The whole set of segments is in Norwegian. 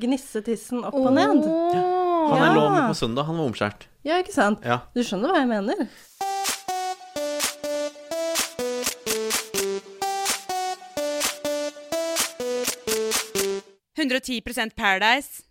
gnisse tissen opp og ned. Han Ja. jeg lå med på søndag, han var omskjært. Ja, ikke sant? Ja. Du skjønner hva jeg mener? P- 110 Paradise.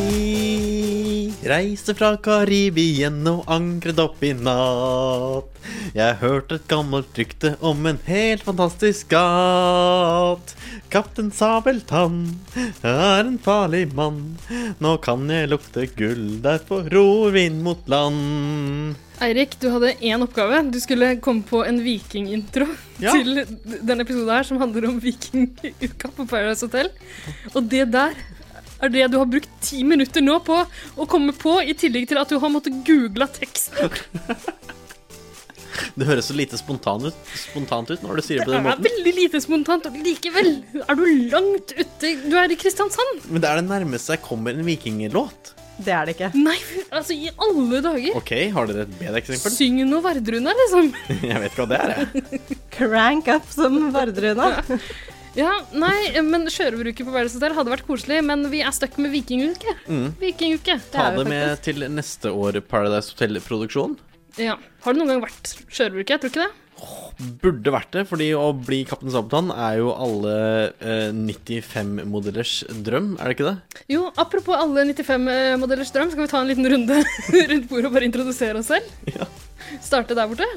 Vi reiste fra Karibien og ankret opp i natt. Jeg hørte et gammelt rykte om en helt fantastisk skatt. Kaptein Sabeltann er en farlig mann. Nå kan jeg lukte gull, derfor ror vi inn mot land. Eirik, du hadde én oppgave. Du skulle komme på en vikingintro Ja. til denne episoden her, som handler om vikinguka på Paradise Hotel. Og det der er det du har brukt ti minutter nå på å komme på, i tillegg til at du har måttet google teksten. Det høres så lite spontant ut, spontant ut når du sier det på Det den er måten. veldig lite spontant, og likevel er du langt ute. Du er i Kristiansand. Men det er det nærmeste jeg kommer en vikinglåt. Det er det ikke. Nei, altså, i alle dager. OK, har dere et bedre eksempel? Syng noe Vardruna, liksom. Jeg vet ikke hva det er, jeg. Crank up som Vardruna. Ja, nei, men sjørøveruke på Paradise Hotel hadde vært koselig, men vi er stuck med vikinguke. Mm. Vikinguke. Ta er jo det med til neste år Paradise Hotel-produksjon. Ja. Har du noen gang vært sjørøveruke? Jeg tror ikke det. Burde vært det, fordi å bli Kaptein Sabeltann er jo alle eh, 95-modellers drøm, er det ikke det? Jo, apropos alle 95-modellers drøm, skal vi ta en liten runde rundt bordet og bare introdusere oss selv? Ja. Starte der borte?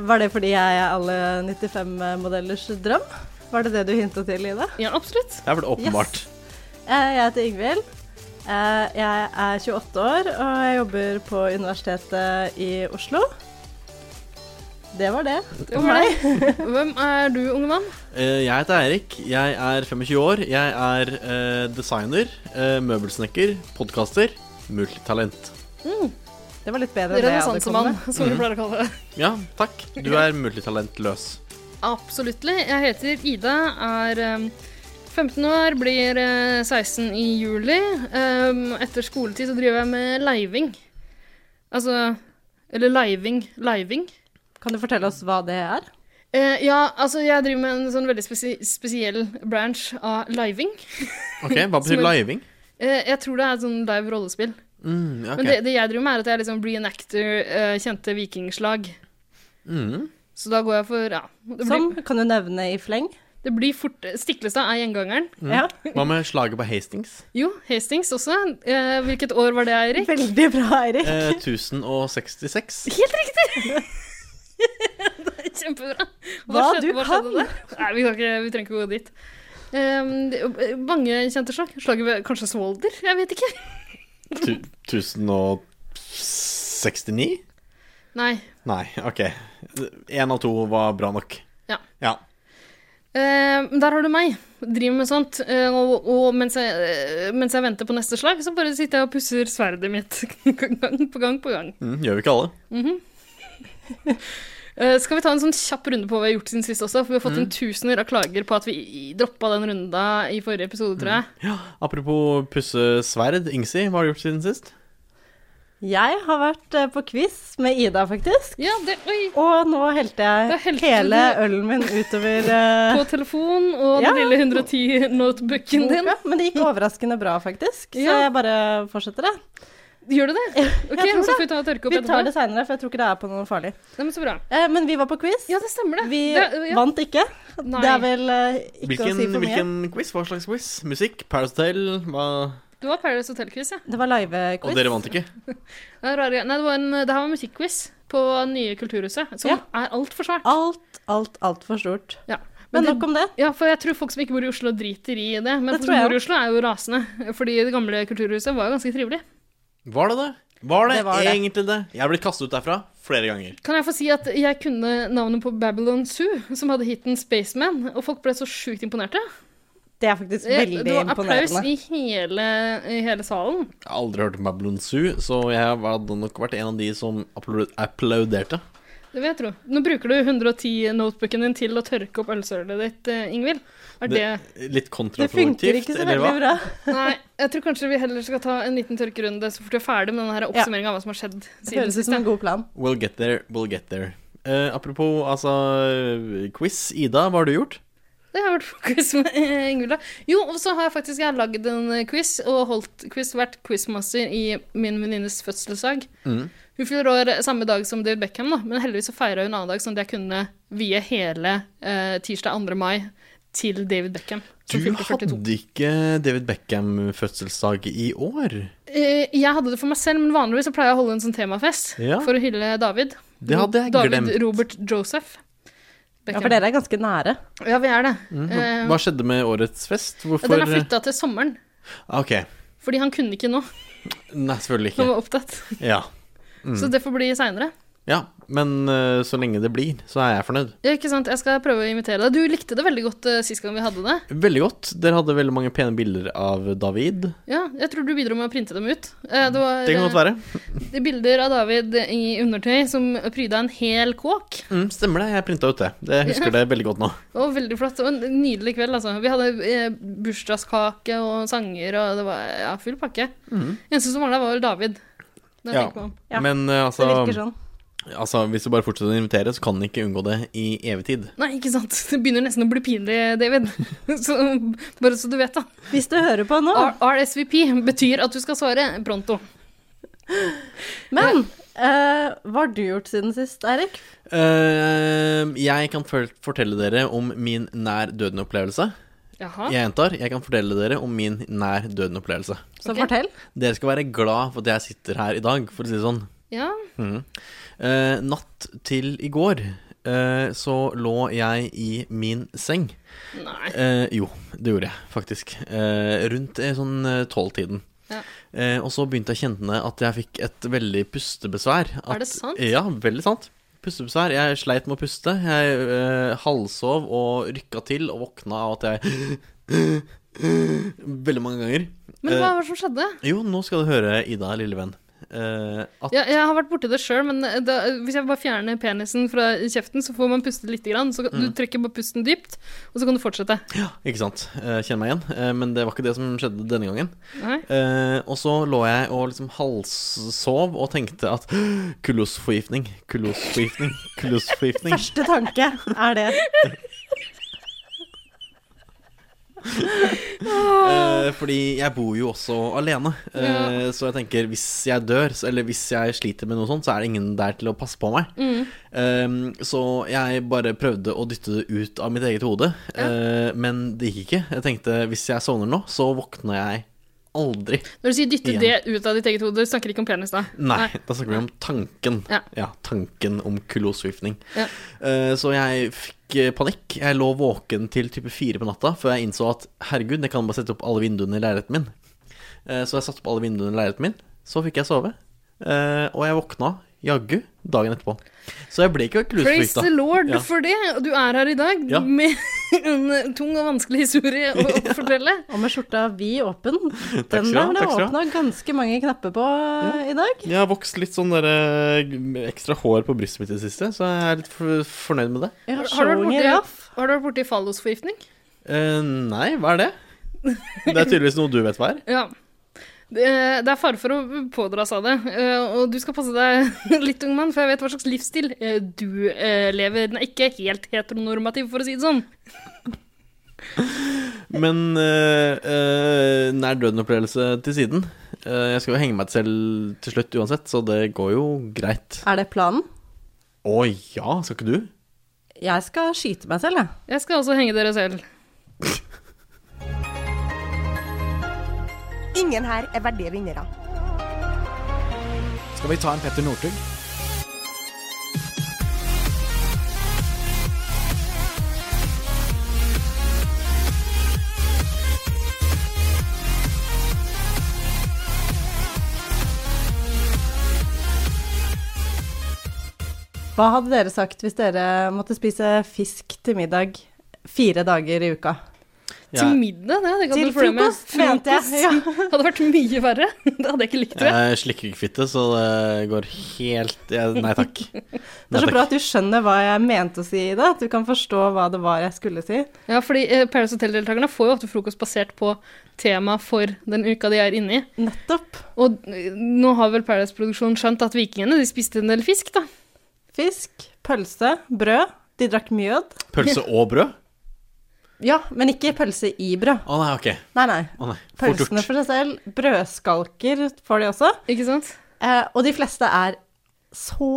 Var det fordi jeg er alle 95-modellers drøm? Var det det du hinta til, Ida? Ja, absolutt. Det er vel åpenbart. Eh, Jeg heter Ingvild. Eh, Jeg er 28 år, og jeg jobber på Universitetet i Oslo. Det var det. Det var deg. Hvem er du, unge mann? Eh, jeg heter Eirik, jeg er 25 år, jeg er eh, designer, eh, møbelsnekker, podkaster, multitalent. Det var litt bedre enn det jeg hadde kommet Renessansemann, med. Mm. som vi pleier å kalle det. Ja, takk. Du er multitalentløs. Absolutt. Jeg heter Ida, er eh, 15 år, blir eh, 16 i juli. Eh, Etter skoletid så driver jeg med leiving. Altså Eller leiving. Leiving. Kan du fortelle oss hva det er? Eh, ja, altså jeg driver med en sånn veldig spesi spesiell branch av leiving. Ok, Hva betyr Som en- living? Eh, jeg tror det er et sånn live rollespill. Mm, ja, ok. Men det, det jeg driver med, er at jeg liksom reenacter eh, kjente vikingslag. Mm. Så da går jeg for Ja. Det blir, Som kan du nevne i fleng? det blir fort Stiklestad er gjengangeren. Mm. Ja. Hva med slaget på Hastings? Jo, Hastings også. Eh, hvilket år var det, Eirik? Veldig bra, Eirik. Eh, 1066. Kjempebra. Hva skjedde- du skjedde der? Nei, vi, kan ikke, vi trenger ikke gå dit. Ehm, det- mange kjente slag. Slaget ved kanskje Svolder? Jeg vet ikke. Tu- 1069? Nei. Nei, ok. Én av to var bra nok. Ja. ja. Ehm, der har du meg. Driver med sånt. Eh, og og mens, jeg, eh, mens jeg venter på neste slag, så bare sitter jeg og pusser sverdet mitt gang på gang på gang. Mm, gjør vi ikke alle? Eh, skal vi ta en sånn kjapp runde på hva vi har gjort siden sist også? For vi har Mm. fått inn tusener av klager på at vi i- droppa den runda i forrige episode, tror jeg. Mm. Apropos pusse sverd, Ingsi, hva har du gjort siden sist? Jeg har vært eh, på quiz med Ida, faktisk. Ja, det Oi! Og nå helte Da jeg helte hele du- ølen min utover eh, På telefon og Ja. den lille 110-notebooken din. boka. Men det gikk overraskende bra, faktisk. Så Ja. jeg bare fortsetter, jeg. Gjør det det? tror Ok, så det. får vi ta og tørke opp Vi etterpå. tar det seinere, for jeg tror ikke det er på noe farlig. Nei, men så bra. Eh, men vi var på quiz. Ja, det stemmer det. Vi det, ja. vant ikke. Nei. Det er vel eh, ikke Hvilken, å si for mye. hvilken quiz? Hva slags quiz? Musikk? Paris Hotel? Hva? Det var Paradise Hotel-quiz, ja. Det var Og live-quiz. dere vant ikke? Det er rare- Nei, det, var en, det her var musikkquiz på nye Kulturhuset, som Ja. er altfor svært. Alt, alt, altfor stort. Ja. Men Men nok om det. Ja, for jeg tror folk som ikke bor i Oslo, driter i det. Men Det folk tror som jeg bor i Oslo, er jo rasende. Fordi det gamle kulturhuset var jo ganske trivelig. Var det det? Var det, Det var det. egentlig det? Jeg er blitt kastet ut derfra flere ganger. Kan jeg få si at jeg kunne navnet på Babylon Zoo, som hadde hiten Spaceman, og folk ble så sjukt imponerte. Det er faktisk Eh, veldig det var applaus imponerende. i hele, i hele salen. Jeg har aldri hørt om Babylon Zoo, så jeg hadde nok vært en av de som applau- applauderte. Det vil jeg tro. Nå bruker du 110-notebooken din til å tørke opp ølsølet ditt, eh, Ingvild. Er det Litt Det funker kontraproduktivt, ikke så eller hva? veldig bra. Nei, jeg tror kanskje vi heller skal ta en liten tørkerunde så fort vi er ferdig med denne oppsummeringa av hva som har skjedd Det siden høres ut sist. som ja. en god plan. We'll get there, we'll get there. Eh, apropos altså quiz. Ida, hva har du gjort? Det har vært quiz med eh, Ingvild, da. Jo, og så har jeg faktisk jeg har lagd en eh, quiz, og holdt quiz, vært quizmaster i min venninnes fødselsdag. Mm. Hun fyller år samme dag som David Beckham, da, men heldigvis så feira hun en annen dag, sånn at jeg kunne vie hele eh, tirsdag 2. mai til David Beckham. Du som fylte 42. hadde ikke David Beckham-fødselsdag i år. Eh, jeg hadde det for meg selv, men vanligvis så pleier jeg å holde en sånn temafest Ja. for å hylle David. Det hadde jeg David eh, glemt. Robert Joseph. Ja, for dere er ganske nære. Ja, vi er det. Eh, Mhm. Hva skjedde med årets fest? Hvorfor Den er flytta til sommeren, Ok. fordi han kunne ikke nå. Nei, selvfølgelig Han ikke. var opptatt. Ja. Mm. Så det får bli seinere. ja. Men eh, så lenge det blir, så er jeg fornøyd. Ja, ikke sant? Jeg skal prøve å invitere deg. Du likte det veldig godt uh, sist gang vi hadde det. Veldig godt. Dere hadde veldig mange pene bilder av David. Ja, jeg tror du bidro med å printe dem ut. Eh, det var Det kan godt være. eh, det er bilder av David i undertøy som pryda en hel kåk. Mm, stemmer det. Jeg printa ut det. Det jeg husker det veldig godt nå. Og veldig flott. Og en nydelig kveld, altså. Vi hadde eh, bursdagskake og sanger, og det var ja, full pakke. Eneste som mangla, var vel David. når jeg Mhm. Ja. tenker meg om. Ja, Men eh, Det altså, virker sånn. altså Hvis du bare fortsetter å invitere, så kan du ikke unngå det i evig tid. Nei, ikke sant. Det begynner nesten å bli pinlig, David. så, bare så du vet, da. Hvis du hører på nå Ah. R RSVP betyr at du skal svare pronto. Men eh, hva har du gjort siden sist, Eirik? Eh, jeg kan for- fortelle dere om min nær døden-opplevelse. Jaha. Jeg gjentar, jeg kan fortelle dere om min nær døden-opplevelse. Så Ok. fortell. Dere skal være glad for at jeg sitter her i dag, for å si det sånn. Ja. Mhm. Eh, natt til i går eh, så lå jeg i min seng. Nei. Eh, jo, det gjorde jeg faktisk. Eh, rundt eh, sånn tolvtiden. Ja. Eh, og så begynte jeg å kjenne at jeg fikk et veldig pustebesvær. At, eh, det sant? Ja, veldig sant. Pustebesvær. Jeg sleit med å puste. Jeg eh, halvsov og rykka til og våkna av at jeg Veldig mange ganger. Men Eh, hva var det som skjedde? Jo, nå skal du høre, Ida, lille venn. Eh, at Ja, jeg har vært borti det sjøl, men eh, da, hvis jeg bare fjerner penisen fra kjeften, så får man puste lite grann. Så du Mm. trekker bare pusten dypt, og så kan du fortsette. Ikke sant. Eh, Kjenner meg igjen. Eh, Men det var ikke det som skjedde denne gangen. Nei. Eh, og så lå jeg og liksom halssov og tenkte at kullosforgiftning, kullosforgiftning, kullosforgiftning. Første tanke er det. Eh, fordi jeg bor jo også alene. Eh, Så jeg tenker hvis jeg dør, så- eller hvis jeg sliter med noe sånt, så er det ingen der til å passe på meg. Mm. Eh, så jeg bare prøvde å dytte det ut av mitt eget hode, eh, men det gikk ikke. Jeg tenkte hvis jeg sovner nå, så våkner jeg aldri. Når du sier dytte Igjen. det ut av ditt eget hode, du snakker ikke om penis da? Nei, da snakker vi om tanken. Ja, Ja. tanken om kullosforgiftning. Ja. Eh, så jeg fikk eh, panikk. Jeg lå våken til type fire på natta før jeg innså at herregud, jeg kan bare sette opp alle vinduene i leiligheten min. Eh, så jeg satte opp alle vinduene i leiligheten min. Så fikk jeg sove. Eh, og jeg våkna jaggu dagen etterpå. Så jeg ble ikke Praise the kullosforgifta. lord Ja. for det! Og du er her i dag Ja. med en tung og vanskelig historie å, å fortelle. Og med skjorta vid åpen. skal Den du ha, der ble takk skal du ha. åpna ganske mange knapper på eh, i dag. Jeg har vokst litt sånn der, eh, ekstra hår på brystet mitt i det siste, så jeg er litt for, fornøyd med det. Jeg har Har- har du vært sjåing i borti- raff. Har du vært borti fallosforgiftning? Eh, nei, hva er det? Det er tydeligvis noe du vet hva er. Ja. Det det er fare for å pådra seg det, eh, og du skal passe deg litt, ung mann, for jeg vet hva slags livsstil eh, du eh, lever. Den er ikke helt heteronormativ, for å si det sånn. Men øh, øh, nær døden-opplevelse til siden. Eh, jeg skal jo henge meg selv til slutt uansett, så det går jo greit. Er det planen? Å ja, skal ikke du? Jeg skal skyte meg selv, jeg. Jeg skal også henge dere selv. Ingen her er verdige vinnere. Skal vi ta en Petter Northug? Hva hadde dere sagt hvis dere måtte spise fisk til middag fire dager i uka? Ja. Til middag? Det hadde jeg ikke Til hatt noe problem med. frokost, mente jeg. Ja. Frokost hadde vært mye verre. Det hadde jeg ikke likt. tror jeg. Jeg slikker ikke fitte, så det går helt ja, Nei takk. Det Nei, er så takk. bra at du skjønner hva jeg mente å si i det. At du kan forstå hva det var jeg skulle si. Ja, fordi eh, Paradise Hotel-deltakerne får jo ofte frokost basert på tema for den uka de er inne i. Nettopp. Og eh, nå har vel Paradise-produksjonen skjønt at vikingene de spiste en del fisk, da. Fisk, pølse, brød. De drakk mjød. Pølse og brød? Ja, men ikke pølse i brød. Å nei, ok. Nei, nei. Å nei, Fort Pølsene gjort. for seg selv. Brødskalker får de også. Ikke sant? Eh, og de fleste er så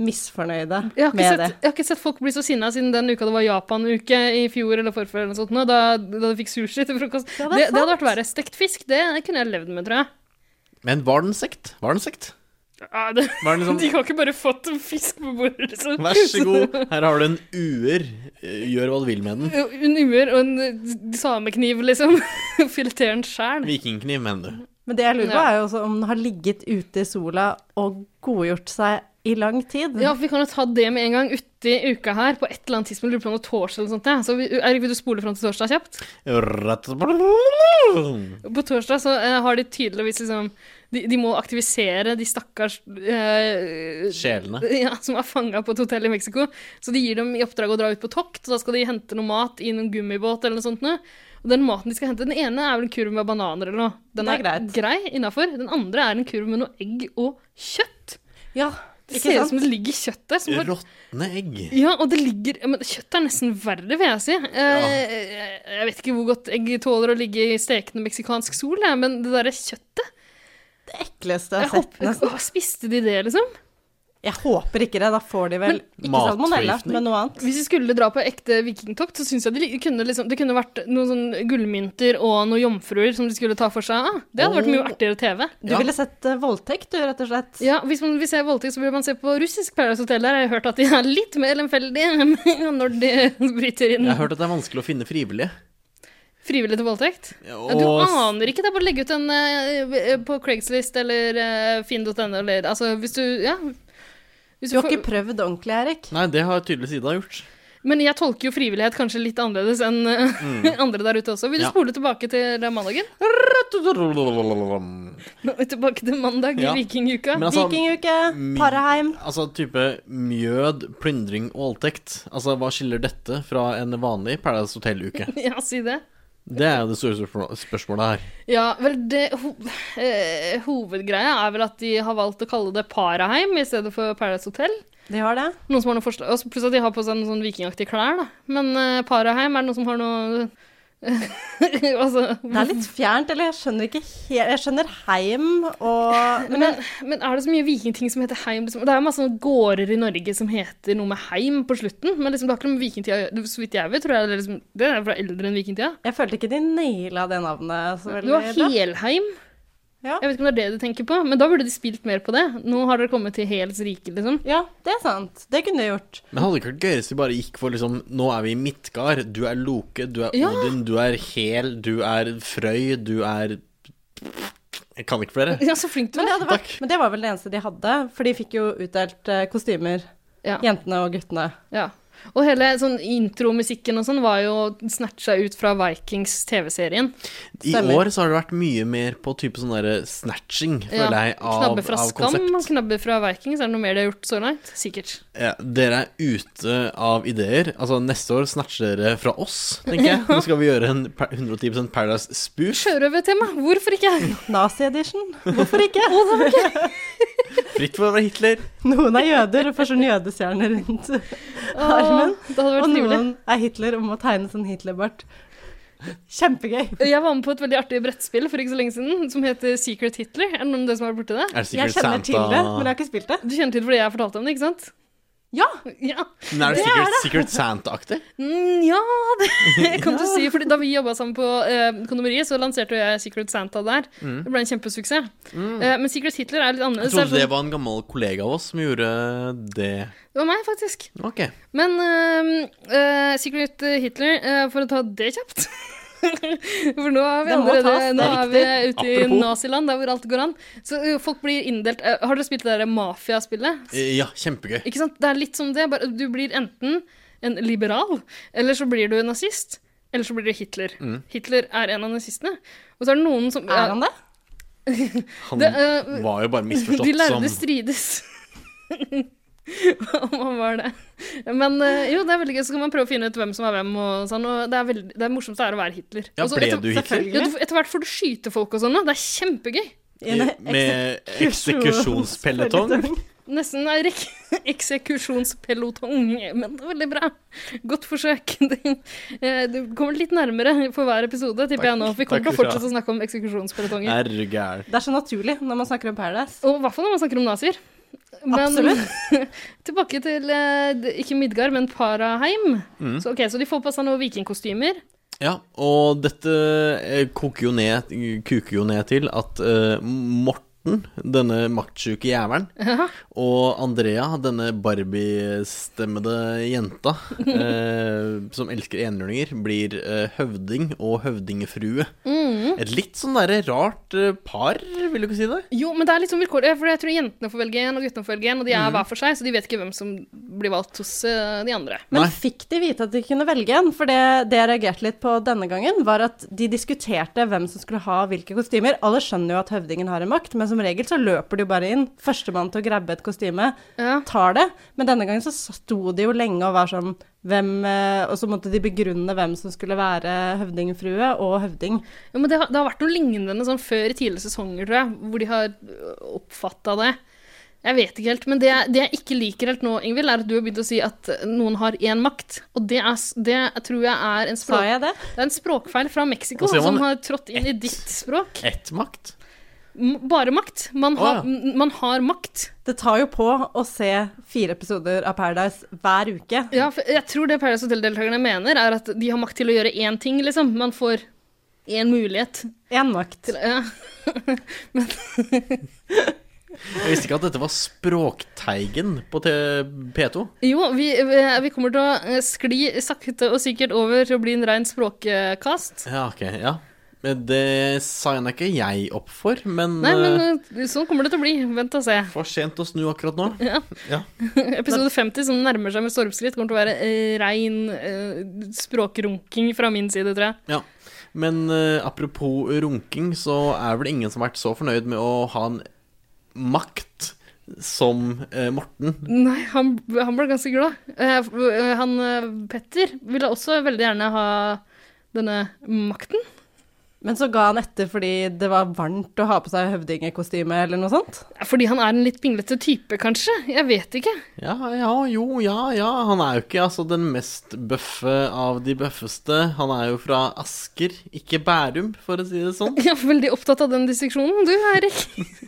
misfornøyde Jeg har, ikke med sett, jeg har ikke sett folk bli så sinna siden den uka det var Japan-uke i fjor eller forfjor, eller noe sånt, nå, da, da de fikk sushi til frokost. Ja, det er det, det sant. hadde vært verre. Stekt fisk, det kunne jeg levd med, tror jeg. Men var den sekt? Var den sekt? Ja, det, Var den de liksom har ikke bare fått en fisk på bordet, liksom. Vær så god, her har du en uer. Eh, Gjør hva du vil med den. En uer og en samekniv, liksom. Fileter den sjæl. Vikingkniv, mener du. det. Men det jeg lurer på, Ja. er jo også om den har ligget ute i sola og godgjort seg i lang tid. Ja, for vi kan jo ta det med en gang uti uka her, på et eller annet tidspunkt. Lurer på om det var torsdag eller noe sånt. Ja. Så vi, Erik, vil du spole fram til torsdag kjapt? På torsdag så eh, har de tydeligvis liksom de, de må aktivisere de stakkars eh, Sjelene. Ja, som er fanga på et hotell i Mexico. Så de gir dem i oppdrag å dra ut på tokt, og da skal de hente noe mat i noen gummibåt eller noe sånt. nå. Og den maten de skal hente, den ene er vel en kurv med bananer eller noe. Den Det er greit. grei innafor. Den andre er en kurv med noe egg og kjøtt. Ja, Det ikke ser ut sant? som det ligger kjøtt der. Som bare, Råtne egg. ja, og det ligger ja, Men kjøtt er nesten verre, vil jeg si. Eh, Jeg vet ikke hvor godt egg tåler å ligge i stekende meksikansk sol, jeg, men det derre kjøttet Det ekleste jeg jeg har sett. håper, nesten. Åh, Spiste de det, liksom? Jeg håper ikke det. Da får de vel ikke Matforgiftning. salmonella, men noe annet. Hvis vi skulle dra på ekte vikingtokt, så syns jeg de li- kunne liksom, det kunne vært noen sånn gullmynter og noen jomfruer som de skulle ta for seg av. Det hadde vært mye artigere TV. Du Ja. ville sett eh, voldtekt, du, rett og slett. Ja, Hvis man vil se voldtekt, så bør man se på russisk Paradise Hotel. Der har jeg hørt at de er litt mer lemfeldige når de bryter inn Jeg har hørt at det er vanskelig å finne frivillige. frivillig til voldtekt. Ja, du Og s- aner ikke. Det er bare å legge ut en eh, på Craigslist eller eh, finn.no eller altså hvis du Ja. Hvis Du har får- ikke prøvd ordentlig, Erik. Nei, det har tydeligvis Ida gjort. Men jeg tolker jo frivillighet kanskje litt annerledes enn eh, andre der ute også. Vil du Mm. Ja. spole tilbake til mandagen? Nå er vi Tilbake til mandag Ja. i vikinguka. Men altså- Vikinguke, my- Parheim. Altså type mjød, plyndring, voldtekt. Altså, hva skiller dette fra en vanlig Paradise Hotel-uke? Ja, si det. Det er jo det store spørsmål- spørsmålet her. Ja, vel, det ho eh, Hovedgreia er vel at de har valgt å kalle det Paraheim i stedet for Paradise Hotel. De har det. Noen som har noe forslag og så Pluss at de har på seg noen sånn vikingaktige klær, da. Men eh, Paraheim, er det noen som har noe Altså Det er Mhm. litt fjernt, eller jeg skjønner ikke helt Jeg skjønner heim og Men Men, men er det så mye vikingting som heter heim? Liksom? Det er jo masse sånne gårder i Norge som heter noe med heim på slutten, men liksom, det har ikke noe med vikingtida å gjøre. Så vidt jeg vet, tror jeg det er, liksom, det er fra eldre enn vikingtida. jeg følte ikke de naila det navnet så Du veldig har bra. Helheim. Ja. Jeg vet ikke om det er det du tenker på, men da burde de spilt mer på det. Nå har dere kommet til Hels rike, liksom. Ja, det er sant. Det kunne de gjort. Men hadde det ikke vært gøyere hvis vi bare gikk for liksom Nå er vi i Midtgard. Du er Loke, du er Ja. Odin, du er Hel, du er Frøy, du er Jeg kan ikke flere. Ja, så flink du Men det, er. hadde vært, Takk. men det var vel det eneste de hadde, for de fikk jo utdelt eh, kostymer, Ja. jentene og guttene. Ja. Og hele sånn intromusikken og sånn var jo snatcha ut fra Vikings TV-serien. I Stemmer. år så har det vært mye mer på type sånn derre snatching, føler jeg, av, knabbe fra av Skam, altså. konsept. knabbe fra Vikings. Er det noe mer de har gjort så langt? Sikkert. Ja, dere er ute av ideer. Altså, neste år snatcher dere fra oss, tenker jeg. Nå skal vi gjøre en pa- 110 Paradise Spoof. Sjørøvertema, hvorfor ikke? Nazi-edition. Hvorfor ikke? Fritt for å være Hitler. Noen er jøder og får sånn jødestjerner rundt. Armen, Armen. Det hadde Og vært trivelig. noen er Hitler og må tegne sånn Hitlerbart. Kjempegøy. Jeg var med på et veldig artig brettspill for ikke så lenge siden som heter Secret Hitler. Er det noen av dere som har vært borti det? Er Jeg det Secret kjenner Santa? til det, men jeg har ikke spilt det. Du kjenner til det fordi jeg fortalte om det, ikke sant? Ja, Ja. Men er det Secret, Secret Santa-aktig? Mm, ja, det kan du si. Fordi da vi jobba sammen på eh, kondomeriet, så lanserte jo jeg Secret Santa der. Det ble en kjempesuksess. Eh, men Secret Hitler er litt Mm. Jeg annerledes. trodde Det det er sånn- var en gammel kollega av oss som gjorde det. det var meg, faktisk. Ok. Men eh, eh, Secret Hitler, eh, for å ta det kjapt For nå er vi Det må allerede tas, det er Nå er vi ute i Apropos. naziland, der hvor alt går an. Så eh, folk blir inndelt eh, Har dere spilt det derre mafiaspillet? Eh, Ja, kjempegøy. Ikke sant? Det er litt som det. Bare, du blir enten en liberal, eller så blir du en nazist. Eller så blir det Hitler. Mm. Hitler er en av nazistene. Og så er det noen som Er han det? Han Det, eh, var jo bare De misforstått lærde som strides. Om han var det. Men eh, jo, det er veldig gøy. Så kan man prøve å finne ut hvem som er hvem. Og sånn, og det, er veldig, det morsomste er å være Hitler. Ja, Og så ble etter- du Hitler? Ja, du- etter hvert får du skyte folk og sånn. da. Det er kjempegøy. I en Med eksekusjonspelletong. Nesten en rekke eksekusjonspelotong, men det er veldig bra. Godt forsøk. Det, eh, du kommer litt nærmere for hver episode, tipper jeg nå. for Vi kommer Takk til å for det. fortsette å snakke om eksekusjonspelotonger. Er du gæren? Det er så naturlig når man snakker om Paradise. Og i hvert fall når man snakker om nazier. tilbake til eh, d- ikke Midgard, men Paraheim. Så, ok, så de får på seg noen vikingkostymer. Ja, og dette eh, koker jo ned, kuker jo ned til at eh, Morten, denne maktsjuke jævelen, og Andrea, denne Barbie-stemmede jenta eh, som elsker enhjørninger, blir eh, høvding og høvdingefrue. Et litt sånn derre rart eh, par, vil du ikke si det? Jo, men det er litt sånn vilkårlig, for jeg tror jentene får velge en, og guttene får velge en, og de er hver for seg, så de vet ikke hvem som blir valgt hos eh, de andre. Men Nei. fikk de vite at de kunne velge en? For det, det jeg reagerte litt på denne gangen, var at de diskuterte hvem som skulle ha hvilke kostymer. Alle skjønner jo at høvdingen har en makt, men som regel så løper de jo bare inn. Førstemann til å grabbe et kostyme Ja. tar det. Men denne gangen så sto de jo lenge og var sånn hvem, eh, Og så måtte de begrunne hvem som skulle være høvdingfrue og høvding. Ja, men det har, det har vært noe lignende sånn før i tidligere sesonger, tror jeg, hvor de har oppfatta det. Jeg vet ikke helt, men det, jeg- det jeg ikke liker helt nå, Ingvild, er at du har begynt å si at noen har én makt. Og det, er, s- det tror jeg er en, Sa språk, jeg det? det er en språkfeil fra Mexico Og så gjør som man har trådt inn i ditt språk. Ett makt. M- Bare makt. Man har, Å, ja. m- man har makt. Det tar jo på å se fire episoder av Paradise hver uke. Ja, for jeg tror det Paradise Hotel-deltakerne mener, er at de har makt til å gjøre én ting, liksom. Man får én mulighet. Én makt. Til, ja. Jeg visste ikke at dette var Språkteigen på T P2. Jo, vi, vi kommer til å eh, skli sakte og sikkert over til å bli en rein språkkast. Ja, ok, ja. Men Det signa ikke jeg opp for, men, Nei, eh, men eh, sånn kommer det til å bli. Vent og se. for sent å snu akkurat nå. Episode 50, som nærmer seg med stormskritt, kommer til å være eh, rein eh, språkrunking fra min side, tror jeg. Ja. Men eh, apropos runking, så er vel ingen som har vært så fornøyd med å ha en makt som eh, Morten. Nei, han, han ble ganske glad. Eh, f- eh, han eh, Petter ville også veldig gjerne ha denne makten. Men så ga han etter fordi det var varmt å ha på seg høvdingekostyme eller noe sånt. Fordi han er en litt pinglete type, kanskje? Jeg vet ikke. Ja, ja, jo, ja, ja. Han er jo ikke altså den mest bøffe av de bøffeste. Han er jo fra Asker, ikke Bærum, for å si det sånn. Jeg er veldig opptatt av den disseksjonen, du, Eirik.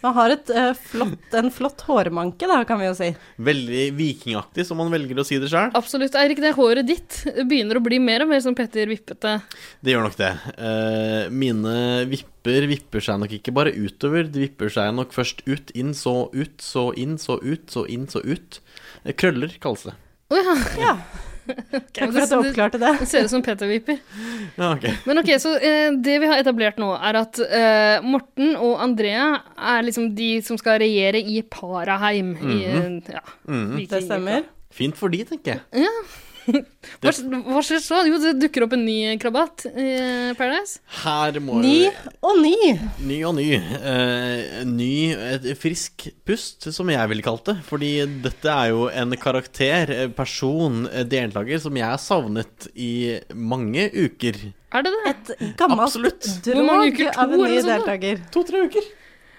Han har et, eh, flott, en flott hårmanke, da, kan vi jo si. Veldig vikingaktig, som han velger å si det sjøl. Absolutt. Eirik, det håret ditt begynner å bli mer og mer som Petter Vippete. Det gjør nok det. Eh, mine vipper vipper seg nok ikke bare utover. De vipper seg nok først ut, inn, så ut, så inn, så ut, så inn, så ut. Eh, Krøller kalles det. Å ja. Ja, Takk for at du oppklarte det. Det ser ut som Petter Vipper. Ja, ok. Men ok, så eh, det vi har etablert nå, er at eh, Morten og Andrea er liksom de som skal regjere i Paraheim. i, eh, ja, Viking- Det stemmer. Fint for de, tenker jeg. Hva, hva skjer så? Jo, det dukker opp en ny krabat i Paradise. Her må Ni og ni. ny og ny. Eh, ny et frisk pust, som jeg ville kalt det. Fordi dette er jo en karakter, eh, person, eh, deltaker som jeg har savnet i mange uker. Er det det? Et gammelt Absolutt. Hvor mange drog uker? To av en ny eller noe sånt, da? deltaker. To-tre uker.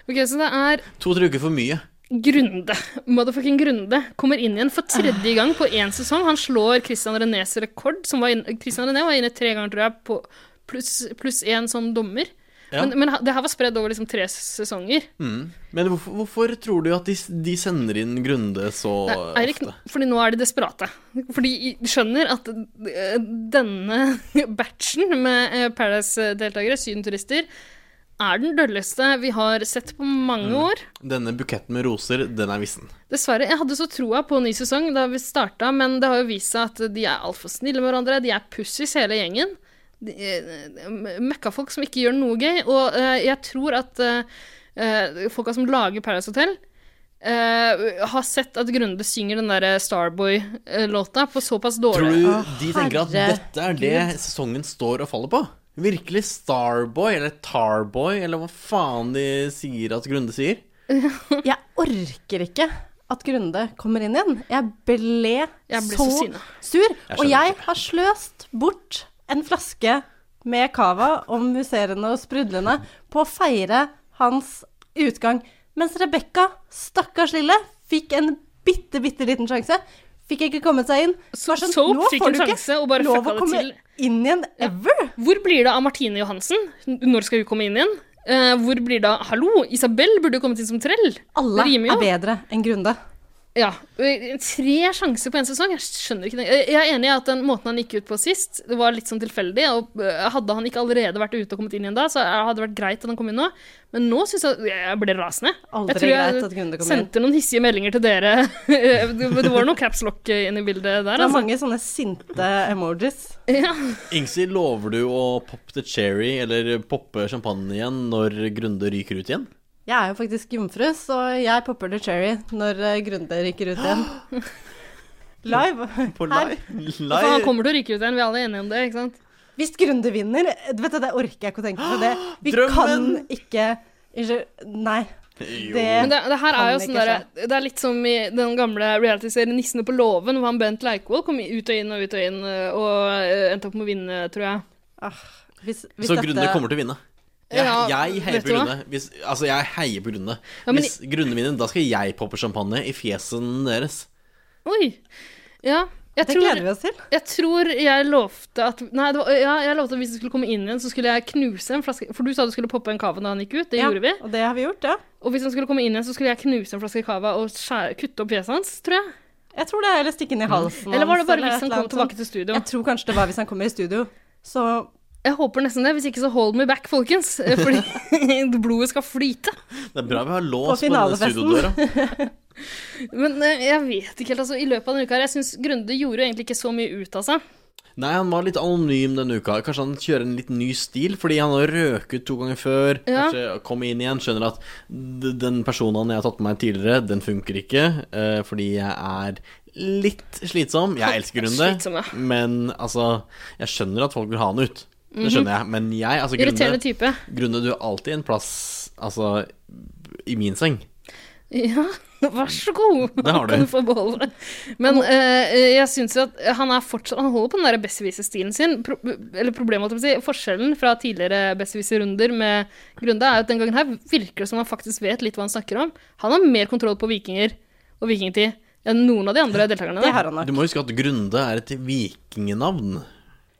Ok, Så det er To-tre uker for mye. Grunde, motherfucking Grunde, kommer inn igjen for tredje gang på én sesong. Han slår Christian Renés rekord. Som var inn, Christian René var inne tre ganger, tror jeg, på pluss pluss én som dommer. Ja. Men, men ha- det her var spredd over liksom tre sesonger. Mm. Men hvorfor, hvorfor tror du at de, de sender inn Grunde så Nei, Eirik, ofte? fordi nå er de desperate. For de skjønner at eh, denne batchen med eh, Paradise-deltakere, sydenturister, er den dølleste vi har sett på mange år. Denne buketten med roser, den er vissen. Dessverre. Jeg hadde så troa på ny sesong da vi starta, men det har jo vist seg at de er altfor snille med hverandre. De er pussies, hele gjengen. De er, eh, Møkkafolk som ikke gjør noe gøy. Og eh, jeg tror at eh, eh, folka som lager Paradise Hotel, eh, eh, har sett at Grunde synger den derre Starboy-låta på såpass Tror dårlig du Å, de tenker at herregud. dette er det sesongen står og faller på? Virkelig Starboy eller Tarboy eller hva faen de sier at Grunde sier? Jeg orker ikke at Grunde kommer inn igjen. Jeg ble, Jeg ble så, så sinna. sur. og skjønner jeg har sløst bort en flaske med cava og musserende og sprudlende på å feire hans utgang. Mens Rebekka, stakkars lille, fikk en bitte, bitte liten sjanse. Fikk ikke kommet seg inn. Så Var Soap nå fikk får en du ikke sjanse og bare lov fucka å det komme inn igjen ever. Hvor blir det av Martine Johansen? N- Når skal hun komme inn igjen? Eh, hvor blir det av Hallo, Isabel burde jo kommet inn som trell. Alle Det rimer jo. er bedre enn Grunde. Ja. eh, Tre sjanser på én sesong, jeg skjønner ikke det. Eh, Jeg er enig i at den måten han gikk ut på sist, det var litt sånn tilfeldig. og eh, Hadde han ikke allerede vært ute og kommet inn igjen da, så eh, hadde det vært greit at han kom inn nå. Men nå syns jeg jeg ble rasende. Aldri jeg tror jeg greit at Grunde kom inn. sendte noen hissige meldinger til dere. det det var noe caps lock inn i bildet der. Det er Altså. mange sånne sinte emojis. Ja. Ingsi, lover du å poppe the cherry eller poppe champagne igjen når Grunde ryker ut igjen? Jeg er jo faktisk jomfru, så jeg popper the cherry når eh, Grunde ryker ut igjen. Live. På Her. live? For han live? kommer til å ryke ut igjen, vi er alle enige om det, ikke sant? Hvis Grunde vinner eh, Vet du, Det orker jeg ikke å tenke på. det. Vi Drømmen! kan ikke Unnskyld. Nei. Det, Men det, det her Kan er jo ikke sånn derre- Det er litt som i den gamle realityserien 'Nissene på låven', hvor han Bent Leikvoll kom ut og inn og ut og inn øh, og øh, endte opp med å vinne, tror jeg. ah, hvis, hvis Så dette- Grunde kommer til å vinne? Jeg, Ja, jeg heier vet på du hva? Grunde. Hvis, altså, jeg heier på Grunde. Ja, men- Hvis Grunde vinner, da skal jeg poppe champagne i fjesen deres. Oi. Ja. Jeg Det gleder tror, vi oss til. jeg tror jeg lovte at Nei, det var, ja, jeg lovte at hvis du skulle komme inn igjen, så skulle jeg knuse en flaske For du sa du skulle poppe en cava da han gikk ut. Det Ja, gjorde vi. Og det har vi gjort, ja. Og hvis han skulle komme inn igjen, så skulle jeg knuse en flaske cava og skjære, kutte opp fjeset hans, tror jeg. Jeg tror det er Eller Mm. stikke inn i halsen Eller var det hans, bare et hvis han eller kom annet tilbake sånt. til studio? Jeg tror kanskje det var hvis han kommer i studio. Så Jeg håper nesten det. Hvis ikke så hold me back, folkens. eh, Fordi blodet skal flyte. Det er bra vi har lås På på denne finalefesten. studiodøra. Men eh, jeg vet ikke helt, altså. I løpet av denne uka her, jeg syns Grunde gjorde jo egentlig ikke så mye ut av seg. Nei, han var litt anonym denne uka. Kanskje han kjører en litt ny stil, fordi han har røket to ganger før. Ja. Kanskje kom inn igjen, skjønner at d- den personen jeg har tatt med meg tidligere, den funker ikke, eh, fordi jeg er litt slitsom. Jeg elsker Grunde, Slitsom, ja. men altså Jeg skjønner at folk vil ha han ut. Det skjønner jeg, men jeg, altså Mhm. Irriterende Grunde, type. Grunde du har alltid en plass, altså i min seng. Ja, vær så god. Det har du. Kan du få beholde. Men eh, jeg syns jo at han er fortsatt Han holder på den der besserwisser-stilen sin. Pro eller problemet, holdt jeg på å si. Forskjellen fra tidligere besserwisser-runder med Grunde er at den gangen her virker det som han faktisk vet litt hva han snakker om. Han har mer kontroll på vikinger og vikingtid enn noen av de andre deltakerne. det der. har han nok. Du må huske at Grunde er et vikingenavn.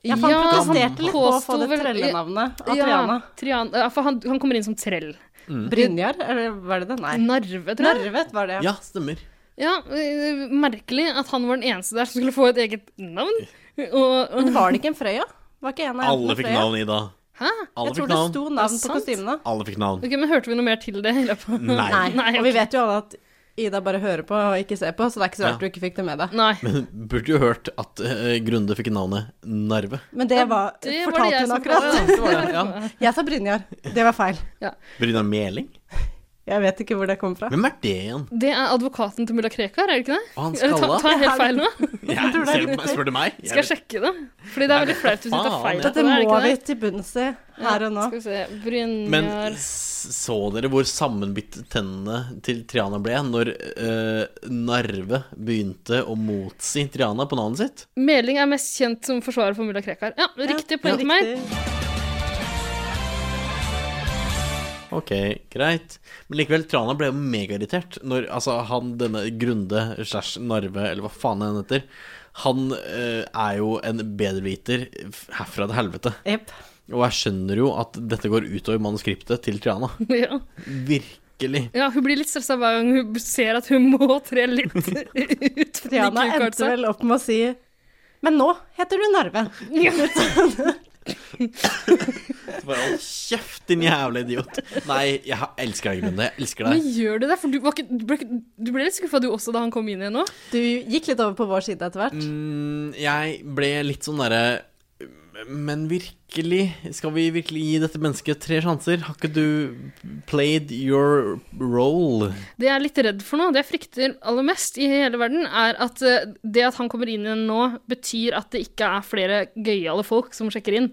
Ja, for han Ja, han protesterte litt på å få påsto det vel- trellenavnet. Ja, Adriana. Trian, ja, for han, han kommer inn som trell. Mm. Brynjar, eller var det det? Nei. Narve, tror jeg. Narvet var det. Ja, stemmer. Ja, øh, merkelig at han var den eneste der som skulle få et eget navn. Og, og, Men var det ikke en Frøya? Var ikke en av Alle jentene fikk Frøya? navn, Ida. hæ? Alle Jeg fikk tror det navn. sto Er navn det på sant? kostymene. Alle fikk navn. Ok, men Hørte vi noe mer til det? i løpet av- Nei. Nei, Og vi vet jo alle at Ida bare hører på og ikke ser på, så det er ikke så Ja. rart du ikke fikk det med deg. Nei. Men burde jo hørt at eh, Grunde fikk navnet Narve. Men det var det var det fortalte jeg hun som akkurat. fortalte. Ja. Jeg sa Brynjar. Det var feil. Brynar Meling? Jeg vet ikke hvor det kom fra. Hvem er det igjen? Det er advokaten til mulla Krekar, er det ikke det? Og han Eller ta- skalla? tar jeg helt feil nå? Jeg tror det er ser på meg- Spør du meg? Skal jeg sjekke det? Fordi det er veldig flaut hvis du tar Faen, feil. ja. Dette er det må ikke vi det? til bunns i her og nå. Skal vi se Men Brynjar s- så dere hvor sammenbitt tennene til Triana ble når eh, Narve begynte å motsi Triana på navnet sitt? Meling er mest kjent som forsvarer for mulla Krekar. Ja, riktig poeng til meg. Riktig. Ok, greit. Men likevel, Trana ble jo megairritert når altså, han denne Grunde slash Narve, eller hva faen han heter, han eh, er jo en bedreviter herfra til helvete. Jepp. Og jeg skjønner jo at dette går utover manuskriptet til Triana. Ja. Virkelig. Ja, hun blir litt stressa hver gang hun ser at hun må tre litt ut. fordi Triana kukarten endte sa- vel opp med å si Men nå heter du Narve. Bare hold kjeft, din jævla idiot. Nei, jeg ha- elsker deg, Grunde. Jeg elsker Men deg. gjør du det? For du, var ikke, du, ble, ikke- du ble litt skuffa du også da han kom inn igjen nå? Du gikk litt over på vår side etter hvert. Mm, jeg ble litt sånn derre Men virkelig, skal vi virkelig gi dette mennesket tre sjanser? Har ikke du played your role? Det jeg er litt redd for nå, det jeg frykter aller mest i hele verden, er at eh, det at han kommer inn igjen nå, betyr at det ikke er flere gøyale folk som sjekker inn.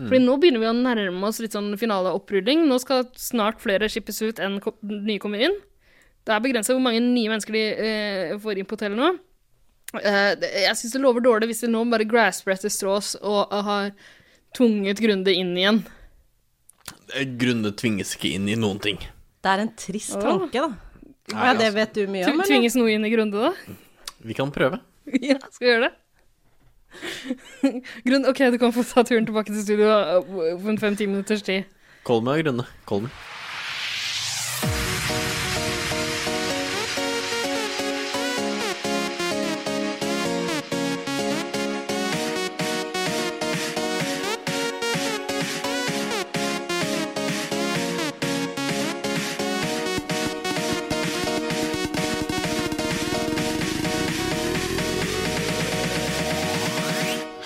Fordi nå begynner vi å nærme oss litt sånn finaleopprydning. Nå skal snart flere skippes ut enn ko- nye kommer inn. Det er begrensa hvor mange nye mennesker de eh, får inn på hotellet nå. Eh, det- jeg syns det lover dårlig hvis de nå bare grasper etter strås og eh, har tvunget Grunde inn igjen. Grunde tvinges ikke inn i noen ting. Det er en trist Åh. tanke, da. Nei, ja, det altså. vet du mye om, Tv- eller? Tvinges noe inn i Grunde, da? Vi kan prøve. Ja, skal vi gjøre det? Grunn, ok, du kan få ta turen tilbake til studio uh, på en fem-ti minutters tid. Kål meg, Grunde. Kål meg.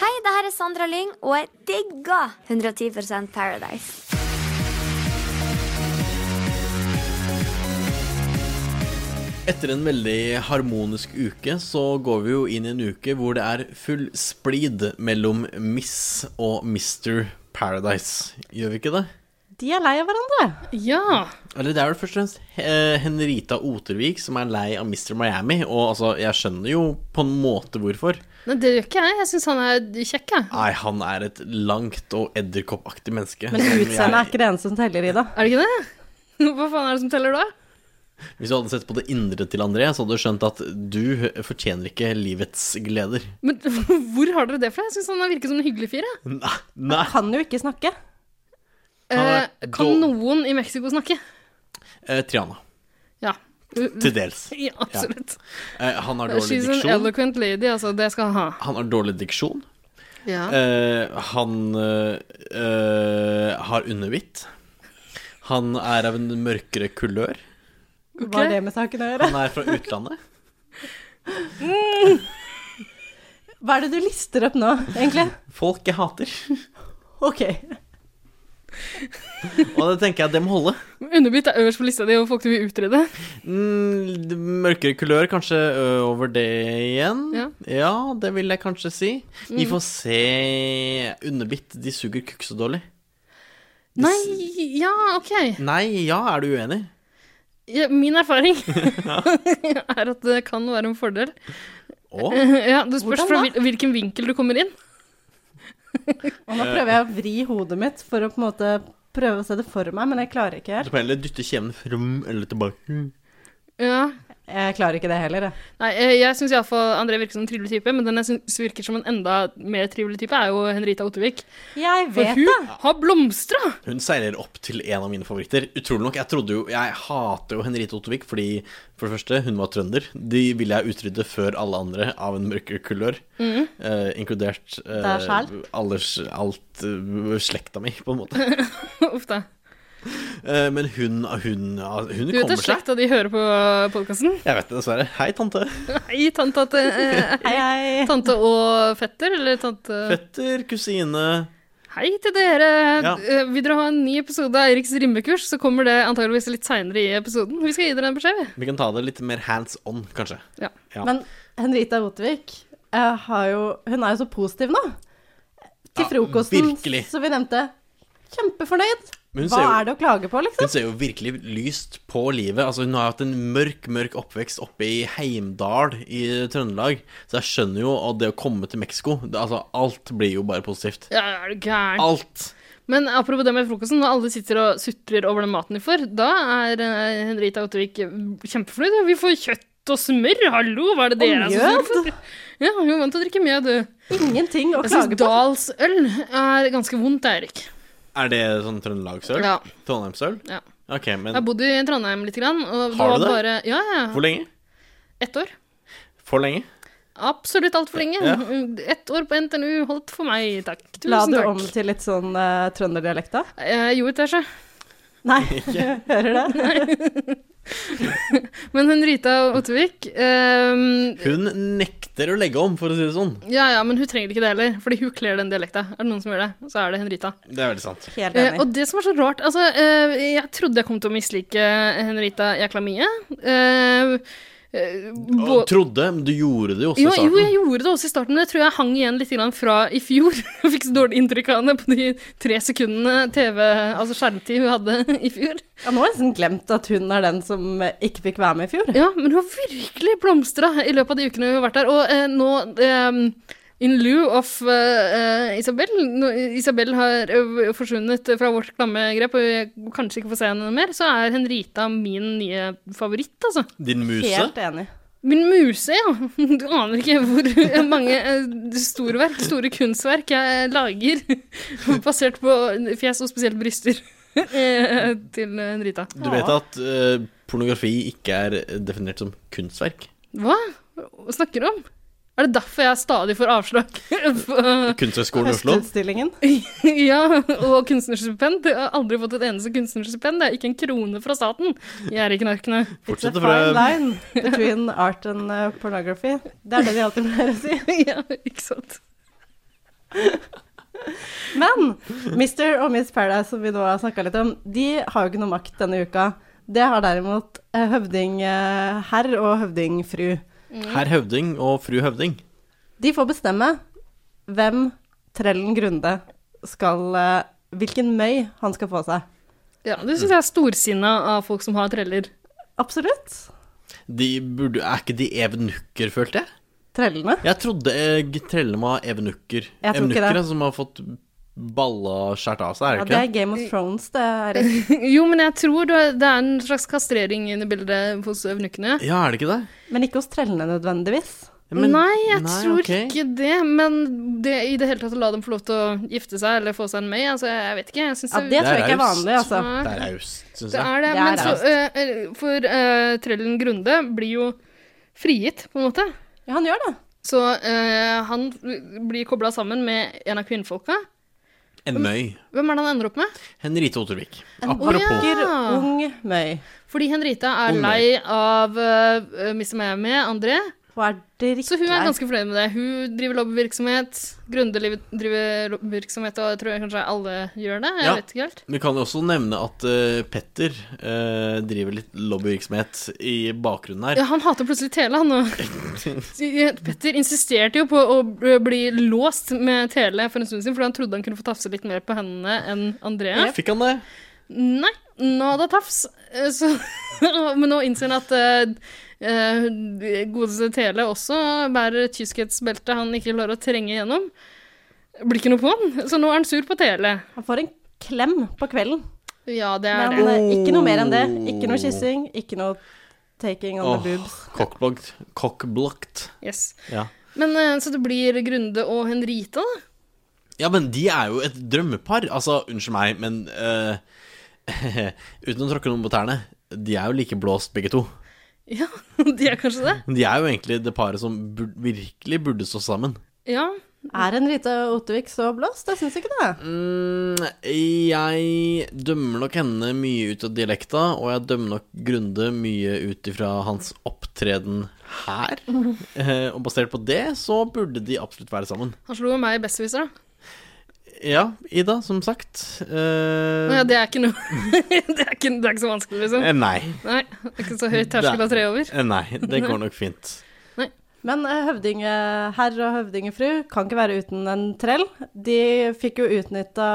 Hei, det her er Sandra Lyng, og jeg digger 110 Paradise. Etter en veldig harmonisk uke så går vi jo inn i en uke hvor det er full splid mellom Miss og Mr. Paradise. Gjør vi ikke det? De er lei av hverandre. Ja! Eller det er vel først og fremst eh, Henrita Otervik som er lei av Mr. Miami. Og altså, jeg skjønner jo på en måte hvorfor. Nei, det gjør ikke jeg. Jeg syns han er kjekk, jeg. Nei, han er et langt og edderkoppaktig menneske. Men som utseendet er jeg- ikke det eneste som teller, Ida. Er det ikke det? Hva faen er det som teller da? Hvis du hadde sett på det indre til André, så hadde du skjønt at du fortjener ikke livets gleder. Men hvor har dere det fra? Jeg syns han virker som en hyggelig fyr. jeg. Nei, nei. Kan jo ikke snakke. Eh, Han er kan dårlig. noen i Mexico snakke? Eh, Triana. Ja. Til dels. Ja, absolutt. Eh, han har dårlig She's an diksjon. eloquent lady, altså. Det skal han ha. Han har dårlig diksjon. Ja. Eh, han eh, eh, har underhvitt. Han er av en mørkere kulør. Hva har det med saken å gjøre? Han er fra utlandet. Hva er det du lister opp nå, egentlig? Folk jeg hater. Ok. Og det tenker jeg det må holde. Underbitt Eh, er øverst på lista di over folk du vil utrede. Mm, mørkere kulør, kanskje ø, over det igjen. Ja. det vil jeg kanskje si. Vi får se. Underbitt, de suger kukk så dårlig. Nei, ja, ok. Nei, ja, er du uenig? Ja, min erfaring er at det kan være en fordel. Å? Ja, Det spørs Hvordan fra da? hvil- hvilken vinkel du kommer inn. Og nå prøver jeg å vri hodet mitt for å på en måte prøve å se det for meg, men jeg klarer ikke Du helt. må heller dytte kjeven fram eller tilbake. Ja. Jeg klarer ikke det heller, jeg. Nei, eh, jeg syns iallfall André virker som en trivelig type, men den jeg syns virker som en enda mer trivelig type, er jo Henrita Ottervik. Jeg For vet hun det. har blomstra! Hun seiler opp til en av mine favoritter. Utrolig nok. Jeg trodde jo Jeg hater jo Henriette Ottervik fordi, for det første, hun var trønder. De ville jeg utrydde før alle andre av en mørkere kulør. Mm. eh, inkludert Deg eh, selv? alles, alt eh, slekta mi, på en måte. Uff da. Eh, men hun, hun, hun Du vet kommer at seg. slekta de hører på podkasten? Jeg vet det, dessverre. Hei, tante. Hei, tante, at, eh, Hei, hei. tante og fetter, eller tante Fetter, kusine Hei til dere! Ja. Eh, Vil dere ha en ny episode av Eiriks rimmekurs, så kommer det antageligvis litt seinere i episoden. Vi skal gi dere en beskjed, vi. Vi kan ta det litt mer hands on, kanskje. Ja. Ja. Men Henrita Rotvik eh, har jo Hun er jo så positiv nå. Til Ja, frokosten, virkelig. så vi nevnte. Kjempefornøyd. Men hun Hva ser jo- er det å klage på, liksom? Hun ser jo virkelig lyst på livet. Altså, hun har hatt en mørk mørk oppvekst oppe i Heimdal i Trøndelag. Så jeg skjønner jo at det å komme til Mexico det, altså, Alt blir jo bare positivt. Ja, er du gæren? Alt! Men apropos det med frokosten, når alle sitter og sutrer over den maten de får, da er eh, Henrita Ottervik kjempefornøyd. Vi får kjøtt og smør, hallo, hva er det dere er som mjød. sørger for? Ja, hun er vant til å drikke mjød, du. Ingenting å Jeg syns klage på. dalsøl er ganske vondt, Eirik. Er det sånn Trøndelagsøl? Ja. Trondheimsøl? Ja. Ok, Jeg har men bodd i Trondheim litt, grann, og Har var du det? Bare, ja, ja. hvor lenge? Ett år. For lenge? Absolutt altfor lenge. Ja. Ett år på NTNU holdt for meg, takk. Tusen La du takk. om til litt sånn uh, trønderdialekt, da? Jeg gjorde det, så. Nei, hører det? Men hun Rita Ottervik ehm, Hun nekter å legge om, for å si det sånn. Ja, ja, men hun trenger ikke det heller, fordi hun kler den dialekta. Er det noen som gjør det, så er det Henrita. Det er veldig sant. Helt Eh, enig. og det som er så rart Altså, eh, jeg trodde jeg kom til å mislike Henrita jækla mye. Eh, eh, Og bå- trodde, men du gjorde det jo også jo, i jo, jeg starten. gjorde det også i starten, men jeg tror jeg hang igjen litt grann fra i fjor. Jeg fikk så dårlig inntrykk av henne på de tre sekundene TV, altså skjermtid hun hadde i fjor. Ja, nå har jeg nesten glemt at hun er den som eh, ikke fikk være med i fjor. Ja, men hun har virkelig blomstra i løpet av de ukene hun har vært der. Og eh, nå eh, In lieu of eh, eh, Isabel nå, Isabel har eh, forsvunnet fra vårt klamme grep, og jeg kanskje ikke får se henne mer, så er Henrita min nye favoritt, altså. Din muse. Helt enig. Min muse, ja. Du aner ikke hvor mange eh, storverk, store kunstverk jeg lager basert på fjes og spesielt bryster eh, til Henrita. Du vet at eh, pornografi ikke er definert som kunstverk? Hva? Hva snakker du om? Er det derfor jeg stadig får avslag? på- Kunsthøgskolen i Oslo? Høstutstillingen. ja, og kunstnerstipend. Jeg har aldri fått et eneste kunstnerstipend. Det er ikke en krone fra staten. Jeg er ikke narkene. It's a Fortsett å fine prøve. line between art and eh, pornography. Det er det de alltid pleier å si. ja, ikke sant? Men Mr. og Miss Paradise, som vi nå har snakka litt om, de har jo ikke noe makt denne uka. Det har derimot eh, høvding eh, herr og høvding fru. Herr Høvding og fru Høvding. De får bestemme hvem Trellen Grunde skal eh, Hvilken møy han skal få seg. Ja, det syns jeg er storsinna av folk som har treller. Absolutt. De burde, er ikke de evenukker, følte jeg? Trellene. Jeg trodde jeg trelle må ha Jeg evenukker. tror ikke det. Evenukker altså, som har fått balla skjært av seg, er Ja, det det ikke? er Game of Thrones, det, Eirik. Jo, men jeg tror det er- det er en slags kastrering inne i bildet hos øvnukkene. Ja, er det ikke det? Men ikke hos trellene nødvendigvis. Ja, men- nei, jeg nei, tror ok. ikke det. Men det, i det hele tatt å la dem få lov til å gifte seg eller få seg en møy, altså, jeg vet ikke. Jeg synes Ja, det tror jeg ikke er raust. vanlig, altså. Nei. Det er raust, syns Det jeg. er det, Det er men så, raust. eh, eh, for eh, Trellen Grunde blir jo frigitt, på en måte. Ja, han gjør det. Så eh, han blir kobla sammen med en av kvinnfolka. En møy. Hvem er det han ender opp med? Henrite Ottervik. En Apropos. vakker, Ja. ung møy. Fordi Henrita er Ung lei Mary. av eh, Mr. Miami, André. Hun er drittlei. Så hun er ganske fornøyd med det. Hun driver lobbyvirksomhet. Grunde liv- driver lobbyvirksomhet, og jeg tror jeg kanskje alle gjør det. Jeg Ja. vet ikke helt. Vi kan jo også nevne at eh, Petter eh, driver litt lobbyvirksomhet i bakgrunnen her. Ja, han hater plutselig Tele, han og Petter insisterte jo på å bli låst med Tele for en stund siden, fordi han trodde han kunne få tafse litt mer på hendene enn Andrea. Fikk han det? Nei, nada tafs. Eh, Så, men nå innser han at eh, eh, godeste Tele også bærer et kyskhetsbelte han ikke klarer å trenge gjennom. Blir ikke noe på han, så nå er han sur på Tele. Han får en klem på kvelden. Ja, det er Men det. eh, ikke noe mer enn det. Oh. Ikke noe kyssing, ikke noe taking on Åh, the boobs. Cockblocked. Cockblocked. Yes. Ja. Men eh, så det blir Grunde og Henrita, da. Ja, men de er jo et drømmepar. Altså, unnskyld meg, men eh, Uten å tråkke noen på tærne, de er jo like blåst begge to. Ja, de er kanskje det. De er jo egentlig det paret som bur virkelig burde stå sammen. Ja, Er en Rita Ottervik så blåst? Jeg syns ikke det. Mm, jeg dømmer nok henne mye ut av dialekta, og jeg dømmer nok Grunde mye ut ifra hans opptreden her. Eh, og basert på det, så burde de absolutt være sammen. Han slo jo meg i Besserwisser, da. Ja, Ida, som sagt. eh, Nå, ja, det er ikke noe det, er ikke, det er ikke så vanskelig, liksom. eh, nei. Nei, det er ikke så høy terskel å tre over. Eh, Nei, det går nok fint. Men eh, høvdingeherr og høvdingefru kan ikke være uten en trell. De fikk jo utnytta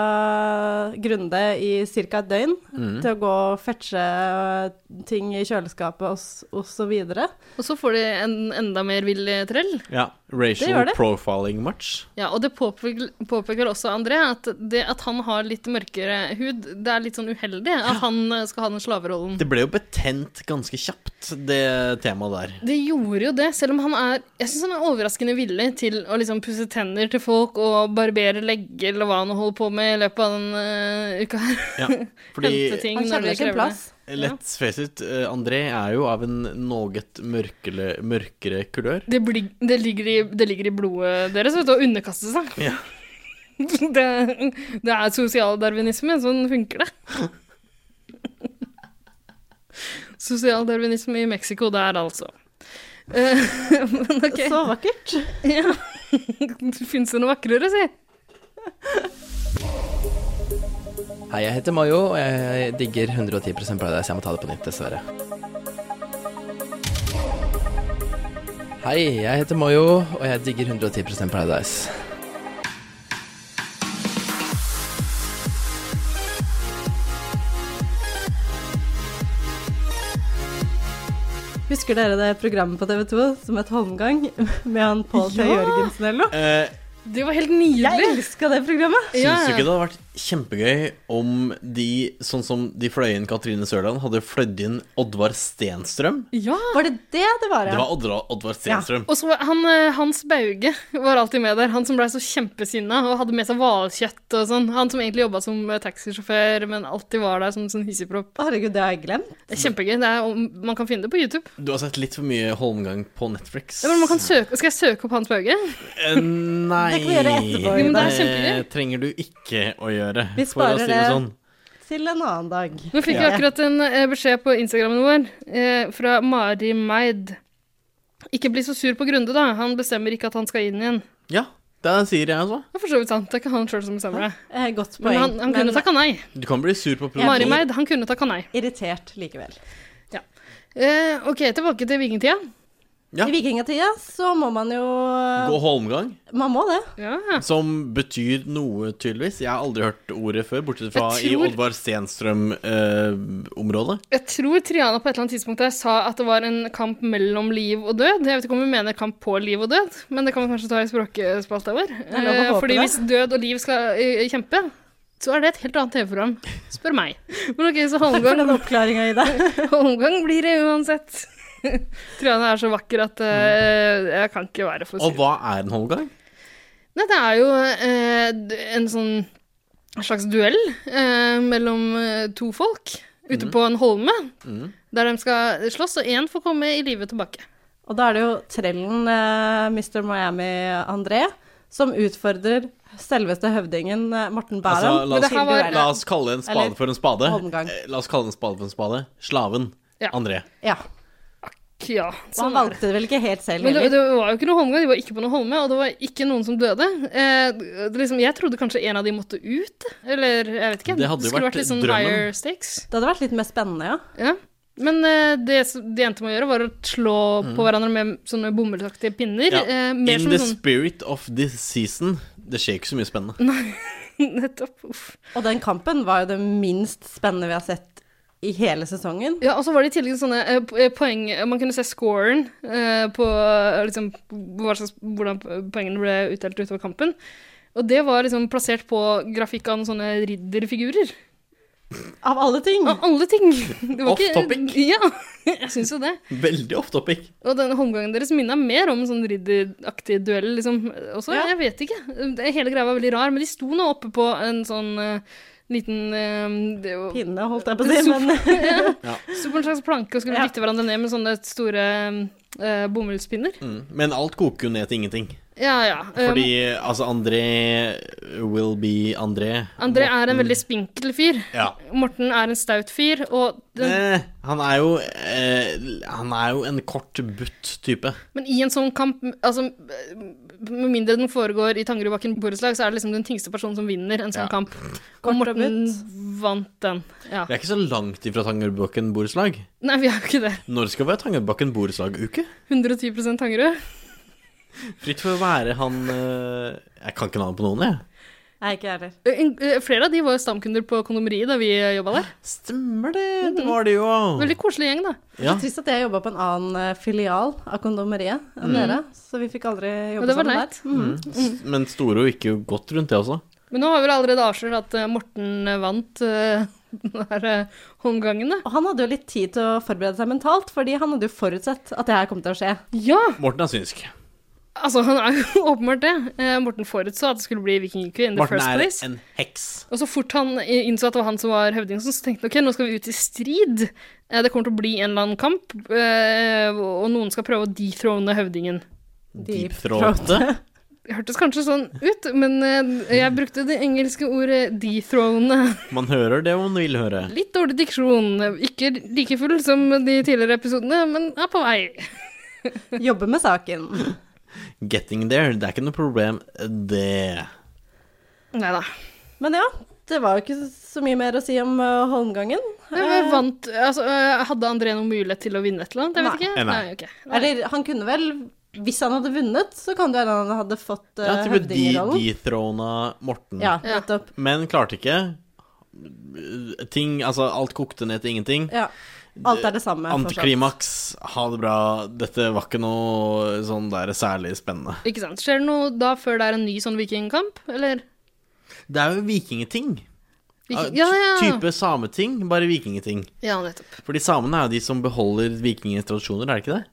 Grunde i ca. et døgn Mm. til å gå og fetche eh, ting i kjøleskapet og, og så videre. Og så får de en enda mer vill eh, trell. Ja, Det gjør Racial det. profiling match. Ja, og det påpeker, påpeker også André, at det at han har litt mørkere hud, det er litt sånn uheldig at han eh, skal ha den slaverollen. Det ble jo betent ganske kjapt, det temaet der. Det gjorde jo det, selv om han er Jeg syns han er overraskende villig til å liksom pusse tenner til folk og barbere legger eller hva han holder på med i løpet av den eh, uka her. Ja, Hente fordi ting Han når kjenner det er sin krevende. plass. Let's face it, eh, André er jo av en noget mørkere, mørkere kulør. Det, blir, det, ligger i, det ligger i blodet deres vet du, å underkaste seg. Ja. Det, det er sosialdarwinisme. Sånn funker det. Sosialdarwinisme i Mexico der, altså. Eh, men OK. Så vakkert. Ja. Fins det noe vakrere, si? Hei, jeg heter Mayo, og jeg digger 110 Paradise. Jeg må ta det på nytt, dessverre. Hei, jeg heter Mayo, og jeg digger 110 Paradise. Husker dere det programmet på TV2 som het Holmgang, med han Pål T. Jørgensen eller noe? Eh, Det var helt Jeg nydelig. elska det programmet! Syns Ja, du ja. ikke det hadde vært kjempegøy om de, sånn som de fløy inn Katrine Sørland, hadde fløyd inn Oddvar Stenstrøm? Ja. Var det det det var, Det ja? var Oddvar, Oddvar Stenstrøm. Og så han, eh, Hans Bauge var alltid med der. Han som blei så kjempesinna og hadde med seg hvalkjøtt og sånn. Han som egentlig jobba som eh, taxisjåfør, men alltid var der som sånn hissigpropp. Å, Herregud, det har jeg glemt. Det er Kjempegøy. Det er, om- man kan finne det på YouTube. Du har sett litt for mye Holmgang på Netflix. Ja, men man kan søke, skal jeg søke opp Hans Bauge? Eh, nei Eh, Det kan vi gjøre etterpå, Jo, men det er trenger du ikke å gjøre, Vi for å sparer si det det. sånn. Til en annen dag. Nå fikk Ja. vi akkurat en eh, beskjed på Instagrammen vår eh, fra Mari Meid. Ikke bli så sur på Grunde, da. Han bestemmer ikke at han skal inn igjen. Ja, det sier jeg altså. Det er for så vidt sant. Det er ikke han sjøl som bestemmer det. Eh, godt poeng. Men han, han kunne takka nei. Du kan bli sur på Mari produksjonen. Meid, han kunne takka nei. irritert likevel. Eh, OK, tilbake til vikingtida. Ja. I vikingtida så må man jo Gå Holmgang, Man må det. Ja. som betyr noe, tydeligvis. Jeg har aldri hørt ordet før, bortsett fra Jeg i tror- Oddvar eh, Stenstrøm-området. Jeg tror Triana på et eller annet tidspunkt der sa at det var en kamp mellom liv og død. Jeg vet ikke om hun mener kamp på liv og død, men det kan vi kanskje ta i språkspalta vår. er lov å Eh, håpe Fordi det. hvis død og liv skal eh, kjempe, så er det et helt annet TV-program. Spør meg. Men ok, så Takk for Holmgang, den oppklaringa, Ida. Holmgang blir det uansett. Triana er så vakker at eh, jeg kan ikke være for Og sur. hva er en Holmgang? Nei, det er jo eh, d- en sånn en slags duell eh, mellom eh, to folk ute Mm. på en holme. Der de skal slåss, og én får komme i live tilbake. Og da er det jo trellen eh, Mr. Miami André som utfordrer selveste høvdingen eh, Morten Bærum. Altså, la, Men det oss, her var- la oss kalle en spade Eller- for en spade. Holmgang. Eh, La oss kalle en spade for en spade. Slaven. Ja. André. Ja. Ja, Og han sånn er det. valgte det vel ikke helt selv Men det, heller. det var jo ikke noe holmgang, de var ikke på noe holme, og det var ikke noen som døde. Eh, det, liksom, jeg trodde kanskje en av de måtte ut, eller jeg vet ikke. Det hadde jo skulle vært vært, litt sånn drømmen. higher stakes. Det hadde vært litt mer spennende, ja. Ja. Men eh, det som de endte med å gjøre, var å slå på hverandre med sånne bomullsaktige pinner. Mm. Ja. Eh, In mer som the sånn spirit of this season. Det skjer ikke så mye spennende. sånn- Nettopp. Uff. Og den kampen var jo det minst spennende vi har sett i hele sesongen. Ja, og så var det i tillegg sånne eh, po- eh, poeng Man kunne se scoren eh, på eh, liksom, hva slags, hvordan poengene ble utdelt utover kampen. Og det var liksom plassert på grafikk av noen sånne ridderfigurer. Av alle ting! Av alle ting! Det var Off topic. Ja, jeg syns jo det. Veldig off topic. Og den håndgangen deres minna mer om en sånn ridderaktig duell, liksom. Også, Ja. jeg vet ikke. Det, hele greia var veldig rar, men de sto nå oppe på en sånn eh, liten eh, det var- Pinne, holdt jeg på å si, men sto på en slags planke og skulle Ja. dytte hverandre ned med sånne store eh, bomullspinner. Mm. Men alt koker jo ned til ingenting. Ja, ja. Um, Fordi altså, André will be André. André er en veldig spinkel fyr. Ja. Morten er en staut fyr, og den, Eh, han er jo eh, Han er jo en kort, butt type. Men i en sånn kamp, altså med mindre den foregår i Tangerudbakken borettslag, så er det liksom den tyngste personen som vinner en sånn Ja. kamp. Kort og Og Morten butt. vant den. Ja. Vi er ikke så langt ifra Tangerudbakken borettslag. Nei, vi er jo ikke det. Når skal vi ha Tangerudbakken borettslag-uke? 110 Tangerud. Fritt for å være han eh, Jeg kan ikke navnet på noen, jeg. Nei, ikke jeg heller. Ø, en- ø, Eh, Flere av de var jo stamkunder på kondomeriet da vi jobba der. Stemmer det, det var det jo. Veldig koselig gjeng, da. Det Ja. er trist at jeg jobba på en annen eh, filial av kondomeriet Mm. enn dere, så vi fikk aldri Og jobbe det var sammen leit. der. Mm. S- Men Storo gikk jo godt rundt det også. Men nå har vi vel allerede avslørt at eh, Morten eh, vant eh, den her eh, holmgangen, da. Og han hadde jo litt tid til å forberede seg mentalt, fordi han hadde jo forutsett at det her kom til å skje. Ja! Morten er synsk. Altså, han er jo åpenbart det. Eh, Morten forutså at det skulle bli vikingku in the Morten first er place. en heks. Og så fort han i- innså at det var han som var høvdingen, så tenkte han ok, nå skal vi ut i strid. Eh, Det kommer til å bli en eller annen kamp, eh, og noen skal prøve å dethrone høvdingen. Deep throat. throat. hørtes kanskje sånn ut, men eh, jeg brukte det engelske ordet 'dethrone'. Man hører det man vil høre. Litt dårlig diksjon. Ikke like full som de tidligere episodene, men er på vei. Jobbe med saken. Getting there, det er ikke noe problem, det. Nei da. Men ja, det var jo ikke så mye mer å si om eh, Holmgangen. Eh. Jeg vant Altså, eh, hadde André noen mulighet til å vinne et eller annet? Jeg vet Nei. ikke. Nei. ok. Eller han kunne vel Hvis han hadde vunnet, så kan det hende han hadde fått Ja, uh, til å bli høvdingrollen. de- dethrona Morten. Ja, Ja. nettopp. Men klarte ikke. Ting, altså alt kokte ned til ingenting. Ja. Alt er det samme. fortsatt. Antiklimaks, ha det bra. Dette var ikke noe sånn der særlig spennende. Ikke sant. Skjer det noe da før det er en ny sånn vikingkamp, eller? Det er jo vikingeting. Viking- Ja, Ja, ja. Type sameting, bare vikingeting. Ja, nettopp. Fordi samene er jo de som beholder vikingenes tradisjoner, er det ikke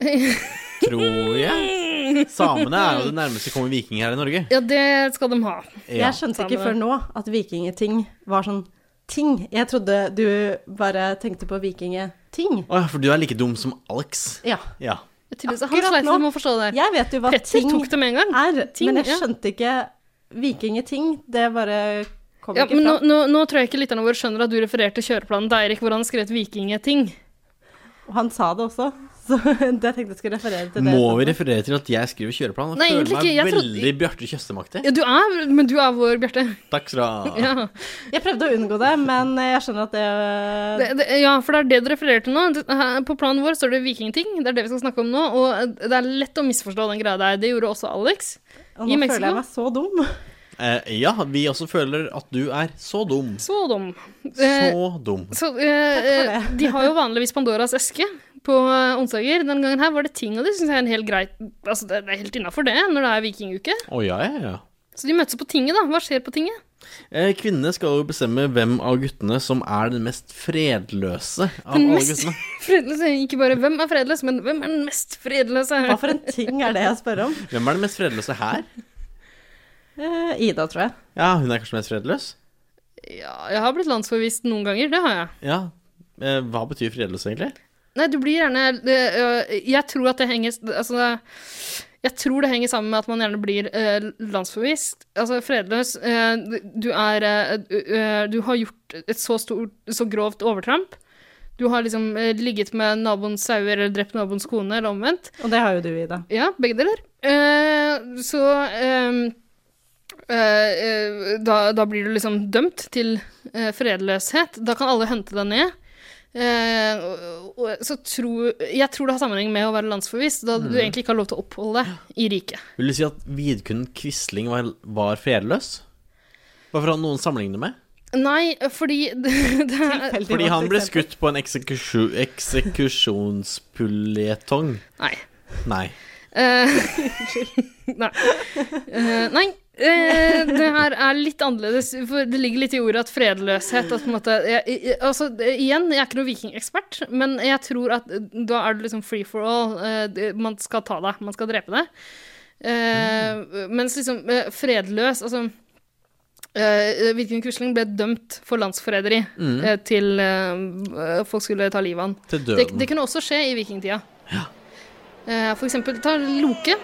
det? Tror jeg. Samene er jo det nærmeste vi kommer vikinger her i Norge. Ja, det skal de ha. Ja. Jeg skjønte ikke Samme. før nå at vikingeting var sånn ting. Jeg trodde du bare tenkte på vikingeting. Å ja, for du er like dum som Alex. Ja. Ja. Jeg tydeligvis- Han Akkurat sleit nå. med å forstå det her. Jeg vet jo hva Petter ting tok det med en gang. er, Ting, men jeg ja. skjønte ikke vikingeting. Det bare kom Ja, ikke men nå, fram. nå, nå tror jeg ikke lytterne våre skjønner at du refererte kjøreplanen til Eirik, hvor han skrev vikingeting. Og han sa det også, så det tenkte jeg skulle referere til det. Må vi referere til at jeg skriver kjøreplan? Nei, Jeg egentlig føler meg ikke. Jeg trodde- veldig Bjarte Tjøstemaktig. Ja, du er, men du er vår Bjarte. Takk skal du ha. Ja. Jeg prøvde å unngå det, men jeg skjønner at det, Det, det, ja, for det er det du refererer til nå. Det, her, på planen vår står det vikingting. Det er det vi skal snakke om nå. Og det er lett å misforstå den greia der. Det gjorde også Alex. Og i nå Mexico? føler jeg meg så dum. Eh, ja, vi også føler at du er så dum. Så dum. Eh, Så dum. så eh, de har jo vanligvis Pandoras eske på eh, onsdager. Den gangen her var det ting, og det syns jeg er en helt greit Altså, det det er helt innafor det når det er vikinguke. Å ja, ja, ja. Så de møtes på tinget, da. Hva skjer på tinget? Eh, Kvinnene skal jo bestemme hvem av guttene som er den mest fredløse av Den alle mest- guttene. Fredløse. Ikke bare hvem er fredløs, men hvem er den mest fredløse? Hva for en ting er det jeg spør om? Hvem er den mest fredløse her? Eh, Ida, tror jeg. Ja, hun er kanskje mest fredløs? Ja, jeg har blitt landsforvist noen ganger. Det har jeg. Ja. Eh, hva betyr fredløs, egentlig? Nei, du blir gjerne det, øh, Jeg tror at det henger Altså, det, jeg tror det henger sammen med at man gjerne blir øh, landsforvist. Altså fredløs. øh, du er øh, øh, Du har gjort et så stort, så grovt overtramp. Du har liksom øh, ligget med naboens sauer eller drept naboens kone, eller omvendt. Og det har jo du, Ida. Ja, begge deler. Eh, så ehm, eh, eh, da, da blir du liksom dømt til eh, fredløshet. Da kan alle hente deg ned. Eh, og, og, så tro, jeg tror det har sammenheng med å være landsforvist, da du egentlig ikke har lov til å oppholde deg i riket. Vil du si at Vidkun Quisling var, var fredløs? Bare for å ha noen å sammenligne med? Nei, fordi det, det er, Veldig Fordi godt han ble eksempel. skutt på en eksekusjon, eksekusjonspuljetong. Nei. Nei. Eh, nei. Eh, nei. Eh, det her er litt annerledes, for det ligger litt i ordet at fredløshet at på en måte, jeg, jeg, altså, det- Igjen, jeg er ikke noen vikingekspert, men jeg tror at eh, da er det liksom free for all. eh, det- man skal ta deg, man skal drepe deg. Eh, Mens liksom eh, fredløs Altså uh, Vidkun Quisling ble dømt for landsforræderi eh, til eh, eh, folk skulle ta livet av han. Til Det, døden. det kunne også skje i vikingtida. Eh, for eksempel, ta Loke.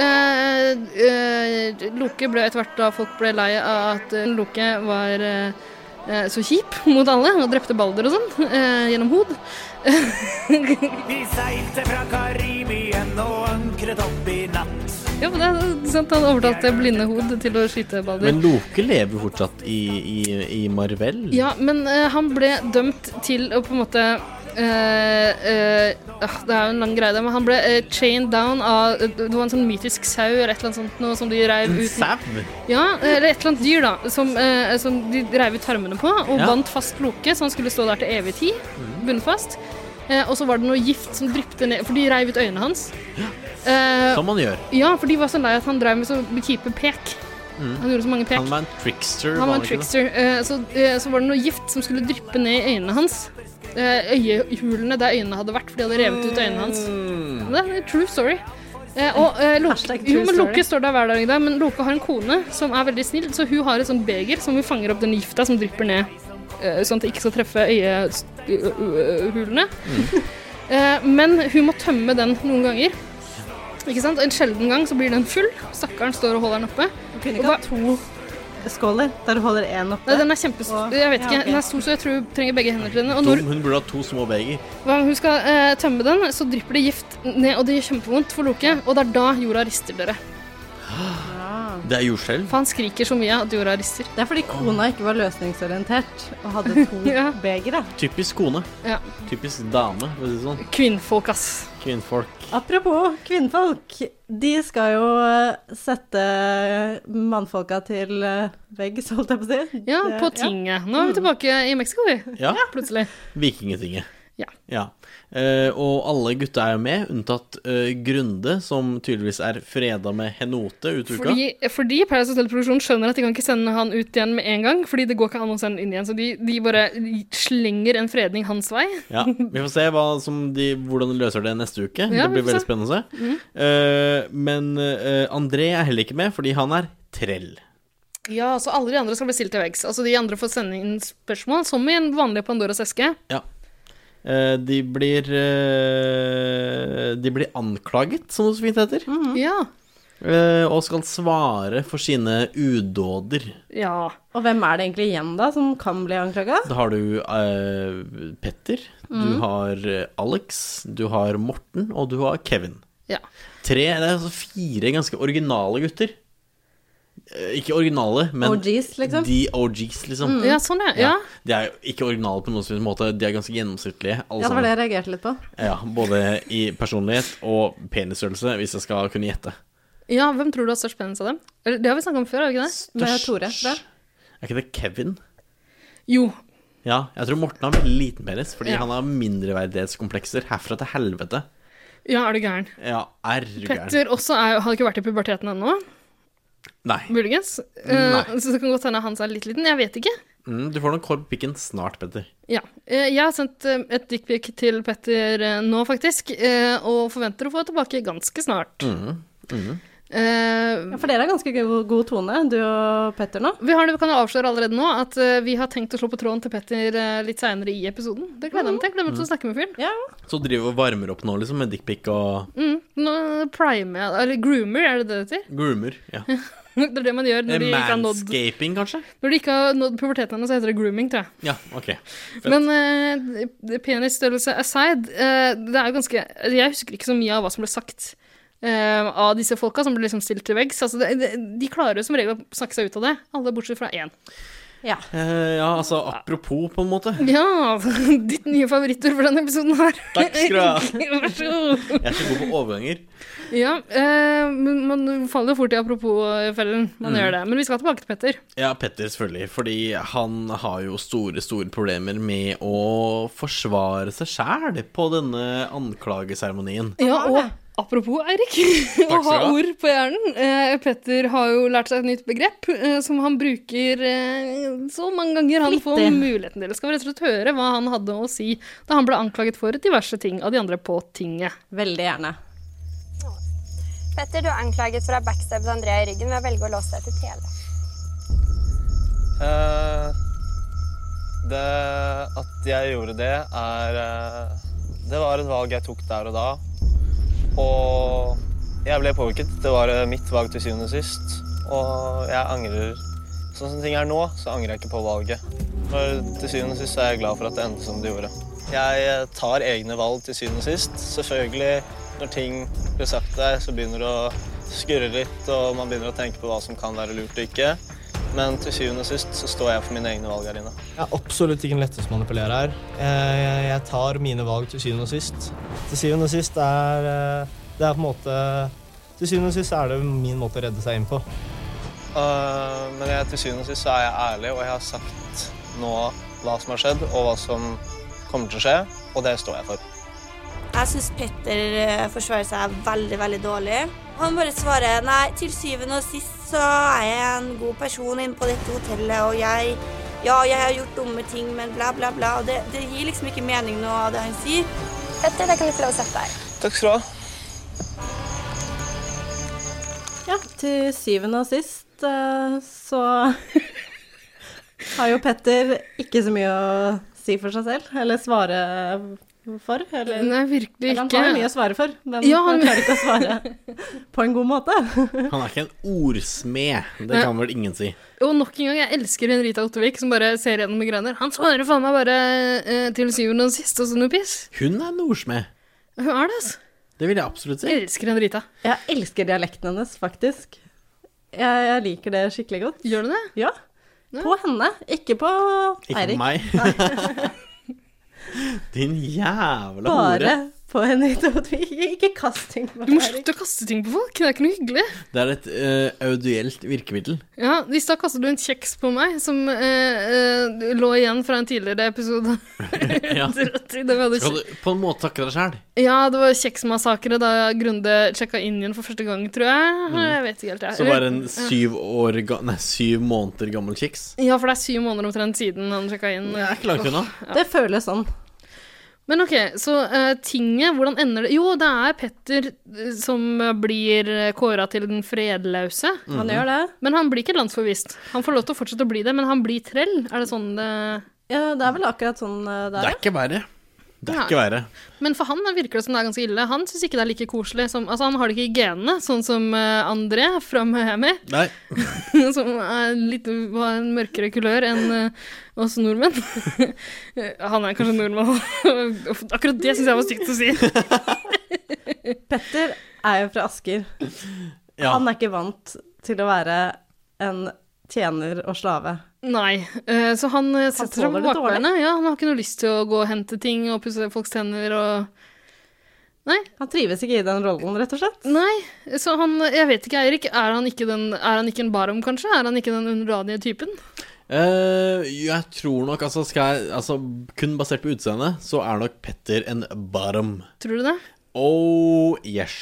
Eh, eh, Loke ble etter hvert da folk ble lei av at eh, Loke var eh, eh, så kjip mot alle og drepte Balder og sånn eh, gjennom hod. Vi seilte fra Karibien og ankret opp i natt. Ja, men det er sant, Han overtalte blinde hod til å skyte Balder. Men Loke lever jo fortsatt i, i, i Marvel. Ja, men eh, han ble dømt til å på en måte eh, eh, ah, Det er jo en lang greie, det, men han ble eh, chained down av Det var en sånn mytisk sau eller et eller annet sånt noe som de reiv En ut sau! Ja, eller et eller annet dyr da, som, eh, som de reiv ut tarmene på og Ja. Mm. bandt fast Loke, så han skulle stå der til evig tid, bundet fast. Eh, og så var det noe gift som dryppet ned, for de reiv ut øynene hans. Eh, Som han gjør. ja, for de var så lei at han drev med så kjipe pek. Han gjorde så mange pek. Mm. Han var en trickster. Han var en ikke det? trickster. eh, Så, eh, så var det noe gift som skulle dryppe ned i øynene hans. Eh, Øyehulene der øynene hadde vært, for de hadde revet ut øynene hans. Hmm. Det er en true story. Eh, Og eh, Loke, Hashtag true jo, men story. Loke står der hver dag, i dag, men Loke har en kone som er veldig snill, så hun har et sånt beger som hun fanger opp den gifta som drypper ned, eh, sånn at det ikke skal treffe Mm. øyehulene. Eh, Men hun må tømme den noen ganger. Ikke sant? En sjelden gang så blir den full. Stakkaren står og holder den oppe. Du kunne ikke ha to skåler der du holder én Nei, oppe. den er kjempestor. Åh, Jeg vet ja, ikke, ok. den er stor, så jeg tror hun trenger begge hendene til den. Og To, når hun burde ha to små beger. hver gang hun skal eh, tømme den, så drypper det gift ned, og det gjør kjempevondt for Loke. Og det er da jorda rister, dere. Det er jordskjelv. For han skriker så mye at jorda rister. Det er fordi kona ikke var løsningsorientert og hadde to Ja. begre. Typisk kone. Ja. Typisk dame, for å si det sånn. Kvinnfolk, ass. Kvinnfolk. Apropos kvinnfolk. De skal jo eh, sette eh, mannfolka til eh, veggs, holdt jeg på å si. Ja, Mm. Det- på tinget. Nå er vi tilbake i Mexico, vi. Ja. Plutselig. Vikingetinget. Ja. Eh, og alle gutta er jo med, unntatt eh, Grunde, som tydeligvis er freda med henote ut uka. Fordi, fordi Paradise Hotel-produksjonen skjønner at de kan ikke sende han ut igjen med en gang, fordi det går ikke an å sende han inn igjen. Så de, de bare slenger en fredning hans vei. Ja, Vi får se hva som de, hvordan de løser det neste uke. Ja, det blir vi får veldig se. Mm. spennende å se. Eh, men eh, André er heller ikke med, fordi han er trell. Ja, så alle de andre skal bli stilt til veggs. Altså, de andre får sende inn spørsmål, som i en vanlig Pandoras eske. Eh, de blir eh, De blir anklaget, som det så fint heter, Ja. eh, og skal svare for sine udåder. Ja. Og hvem er det egentlig igjen da som kan bli anklaga? Da har du eh, Petter, Mm. du har eh, Alex, du har Morten, og du har Kevin. ja. Tre, det er altså fire ganske originale gutter. Eh, Ikke originale, men OGs, liksom. Mm. de OGs, liksom. Ja, sånn, ja. ja. De er jo ikke originale på noen slags måte, de er ganske gjennomsnittlige. Alle Ja, det var det sammen. jeg reagerte litt på. Ja, både i personlighet og penisstørrelse, hvis jeg skal kunne gjette. Ja, hvem tror du har størst penis av dem? Eller, Det har vi snakka om før, har vi ikke det? Med Tore, tror jeg. Er ikke det Kevin? Jo. Ja, jeg tror Morten har veldig liten penis, fordi Ja. han har mindreverdighetskomplekser herfra til helvete. Ja, er du gæren. Ja, er du gæren? Petter også er, har ikke vært i puberteten ennå, Nei. muligens. Eh, Nei. så det kan godt hende hans er litt liten. Jeg vet ikke. Mm, du får nok hår på pikken snart, Petter. Ja. Eh, jeg har sendt eh, et dickpic til Petter eh, nå, faktisk, eh, og forventer å få tilbake ganske snart. Eh, Ja, for dere har ganske go- god tone, du og Petter nå. vi har, det- vi kan jo avsløre allerede nå at eh, vi har tenkt å slå på tråden til Petter eh, litt seinere i episoden. Det gleder jeg meg til. Jeg Gleder meg til å snakke med fyren. Ja. Så driver og varmer opp nå, liksom, med dickpic og Mm. Nå prime, eller groomer, er det det det heter? groomer. Ja. Eh, Det er det man gjør når de ikke har nådd, Manscaping, kanskje? når de ikke har nådd puberteten ennå, så heter det grooming, tror jeg. Ja, ok. Men eh, d- penisstørrelse aside, eh, det er jo ganske Jeg husker ikke så mye av hva som ble sagt eh, av disse folka som ble liksom stilt til veggs. Altså, det- det- de klarer jo som regel å snakke seg ut av det, alle bortsett fra én. ja. Eh, ja, altså apropos, på en måte. Ja, ditt nye favorittord for denne episoden her. Takk skal du ha. Vær så god. Jeg er så god på overganger. Ja, eh, men man faller jo fort i apropos-fellen. Man gjør det. Men vi skal tilbake til Petter. Ja, Petter selvfølgelig, fordi han har jo store, store problemer med å forsvare seg sjæl på denne anklageseremonien. Ja, og apropos Eirik, å Takk skal ha du ha. ord på hjernen. Eh, Petter har jo lært seg et nytt begrep eh, som han bruker eh, så mange ganger han får Flittig. muligheten til. Skal vi rett og slett høre hva han hadde å si da han ble anklaget for diverse ting av de andre på tinget. Veldig gjerne. Petter, du er anklaget for å ha backstabbet Andrea i ryggen ved å velge å låse deg til tele. Eh, det At jeg gjorde det, er eh, Det var et valg jeg tok der og da. Og jeg ble påvirket. Det var eh, mitt valg til syvende og sist. Og jeg angrer Sånn som ting er nå, så angrer jeg ikke på valget. For til syvende og sist så er jeg glad for at det endte som det gjorde. Jeg eh, tar egne valg til syvende og sist. Selvfølgelig, når ting blir sagt til deg, så begynner det å skurre litt, og man begynner å tenke på hva som kan være lurt og ikke. Men til syvende og sist så står jeg for mine egne valg her inne. Jeg er absolutt ikke den letteste å manipulere her. Jeg, jeg, jeg tar mine valg til syvende og sist. Til syvende og sist er eh, det er på en måte Til syvende og sist er det min måte å redde seg inn på. Øh, men jeg, til syvende og sist så er jeg ærlig, og jeg har sagt nå hva som har skjedd, og hva som kommer til å skje, og det står jeg for. Jeg syns Petter eh, forsvarer seg veldig, veldig dårlig. Han bare svarer nei, til syvende og sist så er jeg en god person inne på dette hotellet, og jeg Ja, jeg har gjort dumme ting, men bla, bla, bla. Og det, det gir liksom ikke mening noe av det han sier. Petter, da kan du få lov å sette deg. Takk skal du ha. Ja, til syvende og sist eh, så har jo Petter ikke så mye å si for seg selv, eller svare for? Eller? Nei, virkelig Eller han ikke. har jo mye å svare for, men Ja, han- han klarer ikke å svare på en god måte. Han er ikke en ordsmed. Det kan vel ingen si. Og nok en gang, jeg elsker Henrita Ottervik, som bare ser gjennom migraner. Han svarer faen meg bare eh, til syvende og sist, og sånn noe piss. Hun er en ordsmed. Hun er det, altså. Det vil jeg absolutt si. Jeg elsker Henrita. Jeg elsker dialekten hennes, faktisk. Jeg, jeg liker det skikkelig godt. Gjør du det? Ja. På henne, ikke på Ikke Eirik. på meg. Din jævla hore. Bare på Henrita Otvik. Ikke kast ting på Du må Eirik. slutte å kaste ting på folk, det er ikke noe hyggelig. Det er et eh, audielt virkemiddel. Ja, I stad kastet du en kjeks på meg som eh, eh, lå igjen fra en tidligere episode. Ja. Det var det Skal du på en måte takke deg sjæl? Ja, det var kjeksmassakre da Grunde sjekka inn igjen for første gang, tror jeg. Jeg vet ikke helt, jeg. Mm. Så bare en syv, år ga nei, syv måneder gammel kiks? Ja, for det er syv måneder omtrent siden han sjekka inn. Det er ikke langt unna. Det føles sånn. Men ok, så eh, tinget, hvordan ender det? Jo, det er Petter eh, som eh, blir kåra til den fredløse. Mm. Han Mhm. gjør det. Men han blir ikke landsforvist. Han får lov til å fortsette å bli det, men han blir trell. Er det sånn det Ja, det er vel akkurat sånn eh, det Det er. er ikke verre. Det er Nei. ikke verre. Men for han virker det som det er ganske ille. Han syns ikke det er like koselig som Altså, han har det ikke i genene, sånn som eh, André fra Miami, Nei. som er litt var en mørkere kulør enn eh, oss nordmenn. han er kanskje nordmann. Akkurat det syns jeg var stygt å si. Petter er jo fra Asker. Ja. Han er ikke vant til å være en tjener og slave. Nei, eh, så han eh, setter seg tåler på det dårlig. bakbeina. Ja, han har ikke noe lyst til å gå og hente ting og pusse folks tenner og Han trives ikke i den rollen, rett og slett. Nei, så han Jeg vet ikke, Eirik. Er han ikke, den, er han ikke en barom, kanskje? Er han ikke den underdanige typen? Eh, jeg tror nok, altså, skal jeg, altså kun basert på utseendet, så er nok Petter en bottom. Tror du det? Oh yes.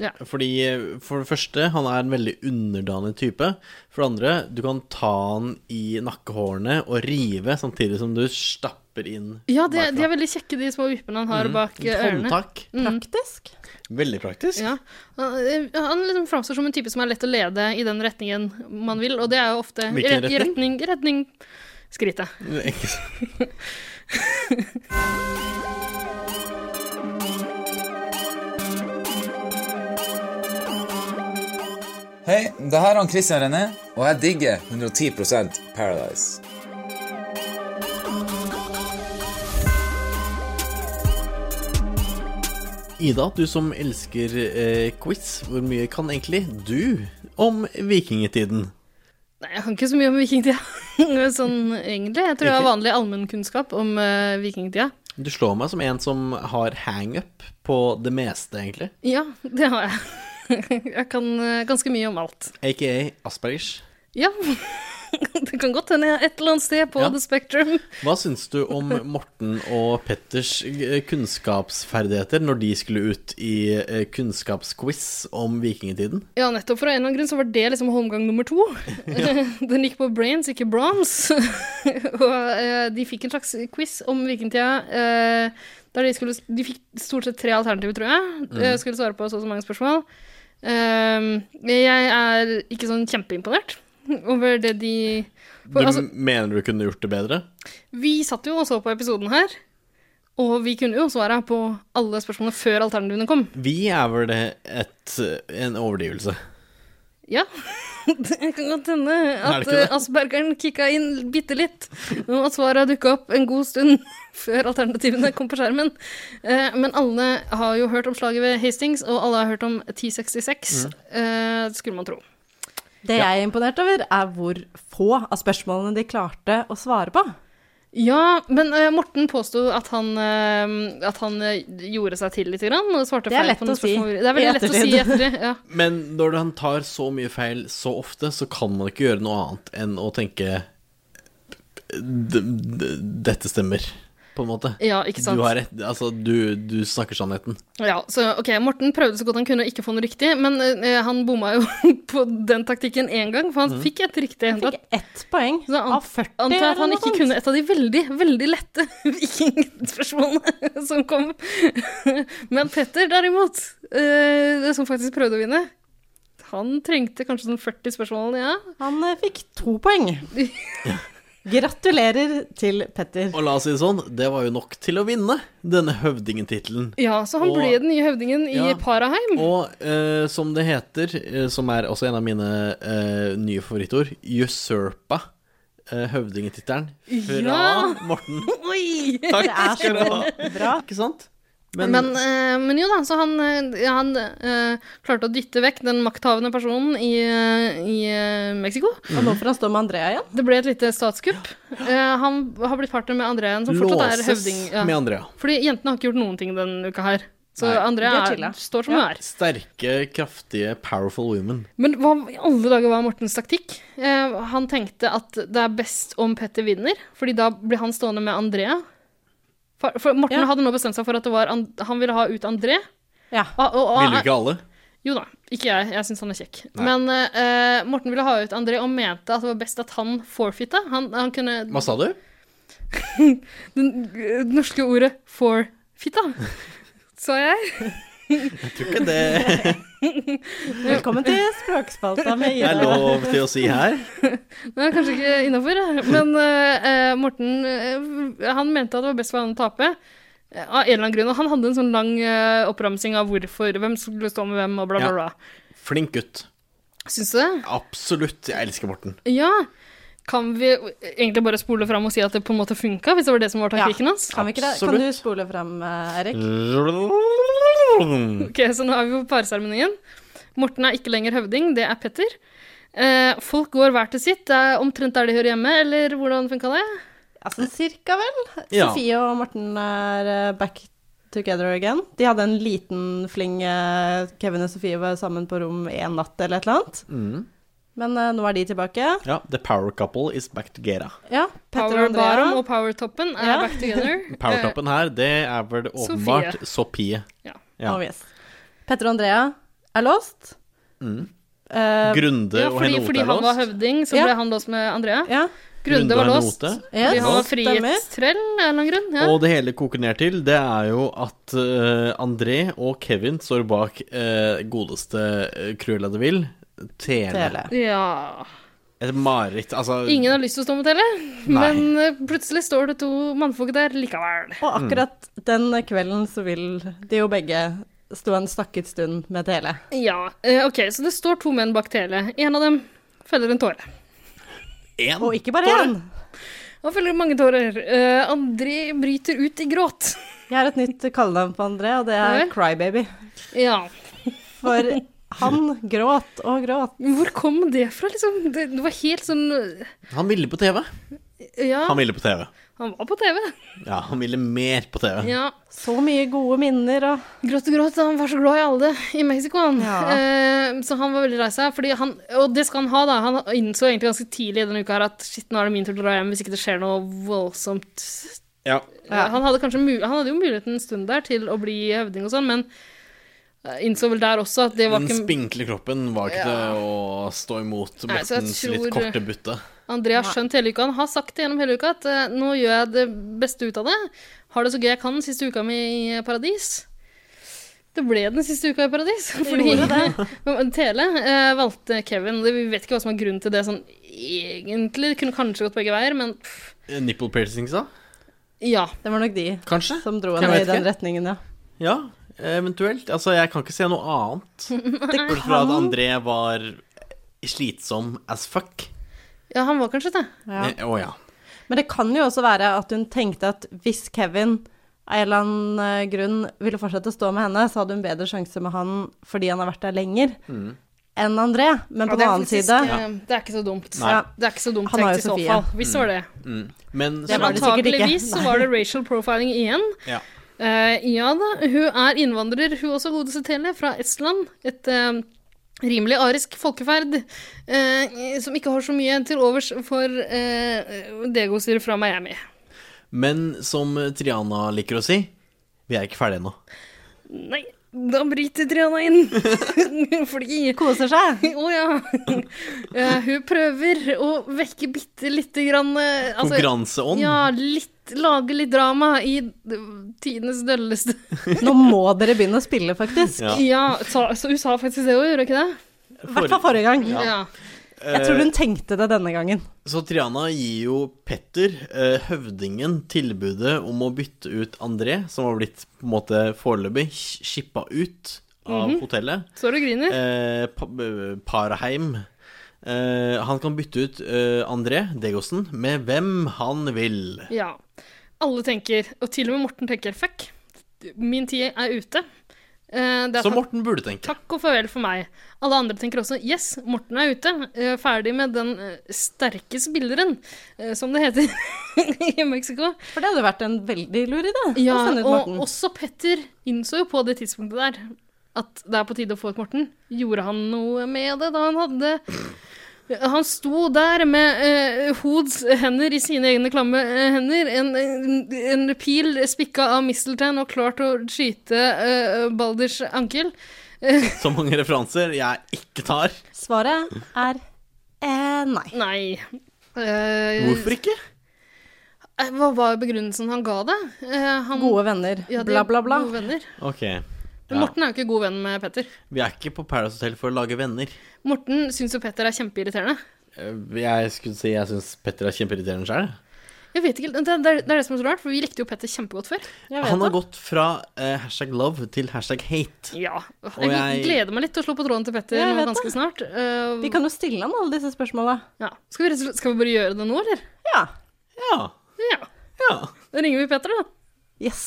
Ja. Fordi eh, for det første, han er en veldig underdanig type. For det andre, du kan ta han i nakkehårene og rive samtidig som du stapper inn Ja, de, de er veldig kjekke, de små vippene han har bak eh, ørene. Mm. håndtak. Praktisk. Veldig praktisk. Ja. Han, eh, han liksom framstår som en type som er lett å lede i den retningen man vil, og det er jo ofte i Hvilken re- i retning, retning skrittet. Ikke sant? Hei, det her er han Christian René, og jeg digger 110 Paradise. Ida, du som elsker eh, quiz, hvor mye kan egentlig du om vikingetiden? Nei, jeg kan ikke så mye om vikingtida. sånn egentlig. Jeg tror jeg har Ikke? vanlig allmennkunnskap om eh, vikingtida. Du slår meg som en som har hangup på det meste, egentlig. Ja, det har jeg. Jeg kan eh, ganske mye om alt. Aka Aspergers. Ja. Det kan godt hende jeg er et eller annet sted på Ja. The Spectrum. Hva syns du om Morten og Petters eh, kunnskapsferdigheter når de skulle ut i eh, kunnskapsquiz om vikingtiden? Ja, nettopp for en eller annen grunn så var det liksom holmgang nummer to. Den gikk på brains, ikke bronze. Og eh, de fikk en slags quiz om vikingtida. eh, der de, skulle, de fikk stort sett tre alternativer, tror jeg. Eh, skulle svare på så og så mange spørsmål. Eh, jeg er ikke sånn kjempeimponert over det de Du For, altså- mener du kunne gjort det bedre? Vi satt jo og så på episoden her, og vi kunne jo svare på alle spørsmålene før alternativene kom. Vi er vel det et, en overdrivelse. Ja, det kan godt hende Er det at ikke det? eh, aspergeren kicka inn bitte litt, og at svarene dukka opp en god stund før alternativene kom på skjermen. Eh, Men alle har jo hørt om slaget ved Hastings, og alle har hørt om 1066, Mm. eh, skulle man tro. Det jeg er imponert over, er hvor få av spørsmålene de klarte å svare på. Ja, men eh, Morten påsto at han, eh, at han eh, gjorde seg til litt grann, og svarte Det er feil lett på å noen si spørsmål. Det er i veldig lett å si i ettertid. ettertid. Ja. Men når han tar så mye feil så ofte, så kan man ikke gjøre noe annet enn å tenke "D- d- Dette stemmer, på en måte. Ja, ikke sant. Du har rett. Altså, du, du snakker sannheten. Ja, så ok, Morten prøvde så godt han kunne å ikke få noe riktig, men eh, han bomma jo på den taktikken én gang, for han fikk et riktig. Han fikk ett poeng Så an- av 40 Antar at eller han noe ikke sånt. kunne et av de veldig, veldig lette vikingspørsmålene som kom. Men Petter, derimot, eh, som faktisk prøvde å vinne, han trengte kanskje sånn 40 spørsmål, ja. Han eh, fikk to poeng. Gratulerer til Petter. Og la oss si det sånn, det var jo nok til å vinne denne høvdingentittelen. Ja, så han Og- ble den nye høvdingen i Ja. Paraheim. Og eh, som det heter, eh, som er også en av mine eh, nye favorittord, usurpa uh, høvdingetittelen fra Ja! Morten. Oi! Takk skal du ha. Ikke sant? Men, eh, men jo da, så han, eh, han eh, klarte å dytte vekk den makthavende personen i, eh, i eh, Mexico. Og nå får han stå med Andrea igjen. Det ble et lite statskupp. Eh, han har blitt partner med Andrea igjen, som fortsatt er Låses høvding. ja. med Andrea. Fordi jentene har ikke gjort noen ting denne uka her. Så Nei. Andrea Det er er chilla. står som hun er. Sterke, kraftige, powerful women. Men hva i alle dager var Mortens taktikk? Eh, han tenkte at det er best om Petter vinner, fordi da blir han stående med Andrea. For, for Morten Ja. hadde nå bestemt seg for at det var and, han ville ha ut André. Ja. Og, og, Ville ikke alle? Jo da, ikke jeg. Jeg syns han er kjekk. Nei. Men eh, Morten ville ha ut André og mente at det var best at han forfeita. Han, han kunne Hva sa du? Den- Det norske ordet 'forfitta', sa jeg. Jeg tror ikke det Velkommen til Språkspalta med er Ida. lov til å si her. Det er kanskje ikke innafor, men eh, eh, Morten eh, han mente at det var best for han å tape. eh, Av en eller annen grunn, og Han hadde en sånn lang eh, oppramsing av hvorfor, hvem skulle stå med hvem, og bla, bla, Ja. bla. Flink gutt. Syns du det? Absolutt. Jeg elsker Morten. Ja. Kan vi eh, egentlig bare spole fram og si at det på en måte funka, hvis det var det som var taktikken hans? Kan, vi ikke det? kan du spole fram, eh, Erik? Nei, Ok, så nå er vi på parseremonien. Morten er ikke lenger høvding, det er Petter. Eh, folk går hver til sitt. Det er omtrent der de hører hjemme, eller hvordan funka det? Altså cirka, vel. Ja. Sofie og Morten er eh, back together again. De hadde en liten fling eh, Kevin og Sofie var sammen på rom én natt eller et eller annet. Mm. Men eh, nå er de tilbake. Ja, the power couple is back together. Ja, Petter og Power Andrea. Barom og Power Toppen er Ja. back together. Eh, Powertoppen her, det er vel åpenbart Sofie. Ja. Eh, Ja. Oh, yes. Petter og Andrea er låst. Mm. Eh, Grunde Ja, og fordi, henne Ote fordi er han var låst. høvding, så Ja. ble han låst med Andrea. Grunde Grunde var og låst Note. fordi han var Yes, frihetstrell av en eller annen grunn. Ja. Og det hele koker ned til, det er jo at eh, André og Kevin står bak eh, godeste eh, Cruella de Vil, Tele. ja. Et mareritt, altså Ingen har lyst til å stå med Telle, Nei. men eh, plutselig står det to mannfolk der likevel. Og Mm. akkurat den kvelden så vil de jo begge stå en stakket stund med Tele. Ja, eh, ok, så det står to menn bak tele. En av dem feller en tåre. En Og ikke bare én. Han feller mange tårer. Eh, André bryter ut i gråt. Jeg har et nytt kallenavn på André, og det Ja er vel. Crybaby. Ja. For han gråt og gråt. Hvor kom det fra, liksom? Det, det var helt sånn Han ville på TV. Ja, Han ville på TV. han var på TV. Ja, han ville mer på TV. Ja. Så mye gode minner og Gråt og gråt, han var så glad i alle i Mexico, han. Ja. Eh, så han var veldig lei seg. fordi han- Og det skal han ha, da. Han innså egentlig ganske tidlig i denne uka her at shit, nå er det min tur til å dra hjem hvis ikke det skjer noe voldsomt. Ja. Eh, Han, hadde kanskje mu han hadde jo muligheten en stund der til å bli høvding og sånn, men eh, innså vel der også at det var Den ikke spinkle kroppen var ikke Ja. til å stå imot Nei, så jeg Mortens tror- litt korte butte. André har Nei. skjønt hele uka. Han har sagt det gjennom hele uka at eh, nå gjør jeg det beste ut av det. Har det så gøy jeg kan den siste uka mi i paradis. Det ble den siste uka i paradis. Fordi Men Tele eh, valgte Kevin. Det- Vi vet ikke hva som er grunnen til det sånn egentlig. Det kunne kanskje gått begge veier, men pff, Eh, Nipple piercings, da? ja. Det var nok de Kanskje? som dro Jeg henne i vet den ikke. retningen, ja. Ja, eventuelt. Altså, jeg kan ikke se noe annet. Bortsett fra at André var slitsom as fuck. Ja, han var kanskje det. Ja. Eh, Å ja. Men det kan jo også være at hun tenkte at hvis Kevin av en eller annen eh, grunn ville fortsette å stå med henne, så hadde hun bedre sjanse med han fordi han har vært der lenger enn André. Men Ja, på det er den annen faktisk, side eh, Det er ikke så dumt. Nei. Det er ikke så dumt Han har tenkt i jo så Sofie. fall. Hvis det var det. Mm. Men Det så var det sikkert ikke. Antakeligvis så Nei. var det racial profiling igjen. Ja. Eh, ja da, hun er innvandrer, hun også godeste Tele, fra Estland. Et eh, rimelig arisk folkeferd eh, som ikke har så mye til overs for uh, Dego-styret fra Miami. Men som Triana liker å si, vi er ikke ferdige ennå. Nei, da bryter Triana inn. Fordi koser seg. Å ja. Eh, hun prøver å vekke bitte lite grann eh, altså- Konkurranseånd. Ja, litt, lage litt drama i eh, tidenes dølleste Nå må dere begynne å spille, faktisk. Ja. Ja, så, så USA faktisk det òg, gjorde ikke det? I hvert fall forrige gang. Ja. Jeg eh, tror hun tenkte det denne gangen. Så Triana gir jo Petter, eh, høvdingen, tilbudet om å bytte ut André, som har blitt på en måte foreløpig skippa ut av Mhm. hotellet. Står og griner. Eh, pa eh, Parheim. Eh, han kan bytte ut eh, André Degosen med hvem han vil. Ja. Alle tenker, og til og med Morten tenker, fuck, min tid er ute. Eh, det er Som takk- Morten burde tenke. Takk og farvel for meg. Alle andre tenker også yes, Morten er ute. eh, Ferdig med den eh, sterke spilleren, eh, som det heter i Mexico. For det hadde vært en veldig lur idé. å Ja, sende ut og Morten. også Petter innså jo på det tidspunktet der at det er på tide å få ut Morten. Gjorde han noe med det da han hadde Han sto der med eh, Hoods hender i sine egne klamme eh, hender, en, en, en pil spikka av Misteltein og klart å skyte eh, Balders ankel. Eh, Så mange referanser jeg ikke tar. Svaret er eh, nei. Hvorfor ikke? Eh, Hva var begrunnelsen han ga det? Eh, han, Gode venner, Ja, de- bla, bla, bla. Gode venner. Ok. Men Ja. Morten er jo ikke god venn med Petter. Vi er ikke på Paradise Hotel for å lage venner. Morten syns jo Petter er kjempeirriterende. Eh, Jeg skulle si jeg syns Petter er kjempeirriterende sjøl. Jeg vet ikke, det, det, er- det er det som er så rart, for vi likte jo Petter kjempegodt før. Han har gått fra eh, hashtag love til hashtag hate. Ja. Og Jeg, jeg- gleder meg litt til å slå på tråden til Petter Ja, jeg nå vet ganske det. snart. Eh, Vi kan jo stille han alle disse spørsmåla. ja. skal, vi, rett og slett- skal vi bare gjøre det nå, eller? Ja. Ja. Ja. Da ringer vi Petter, da. Yes.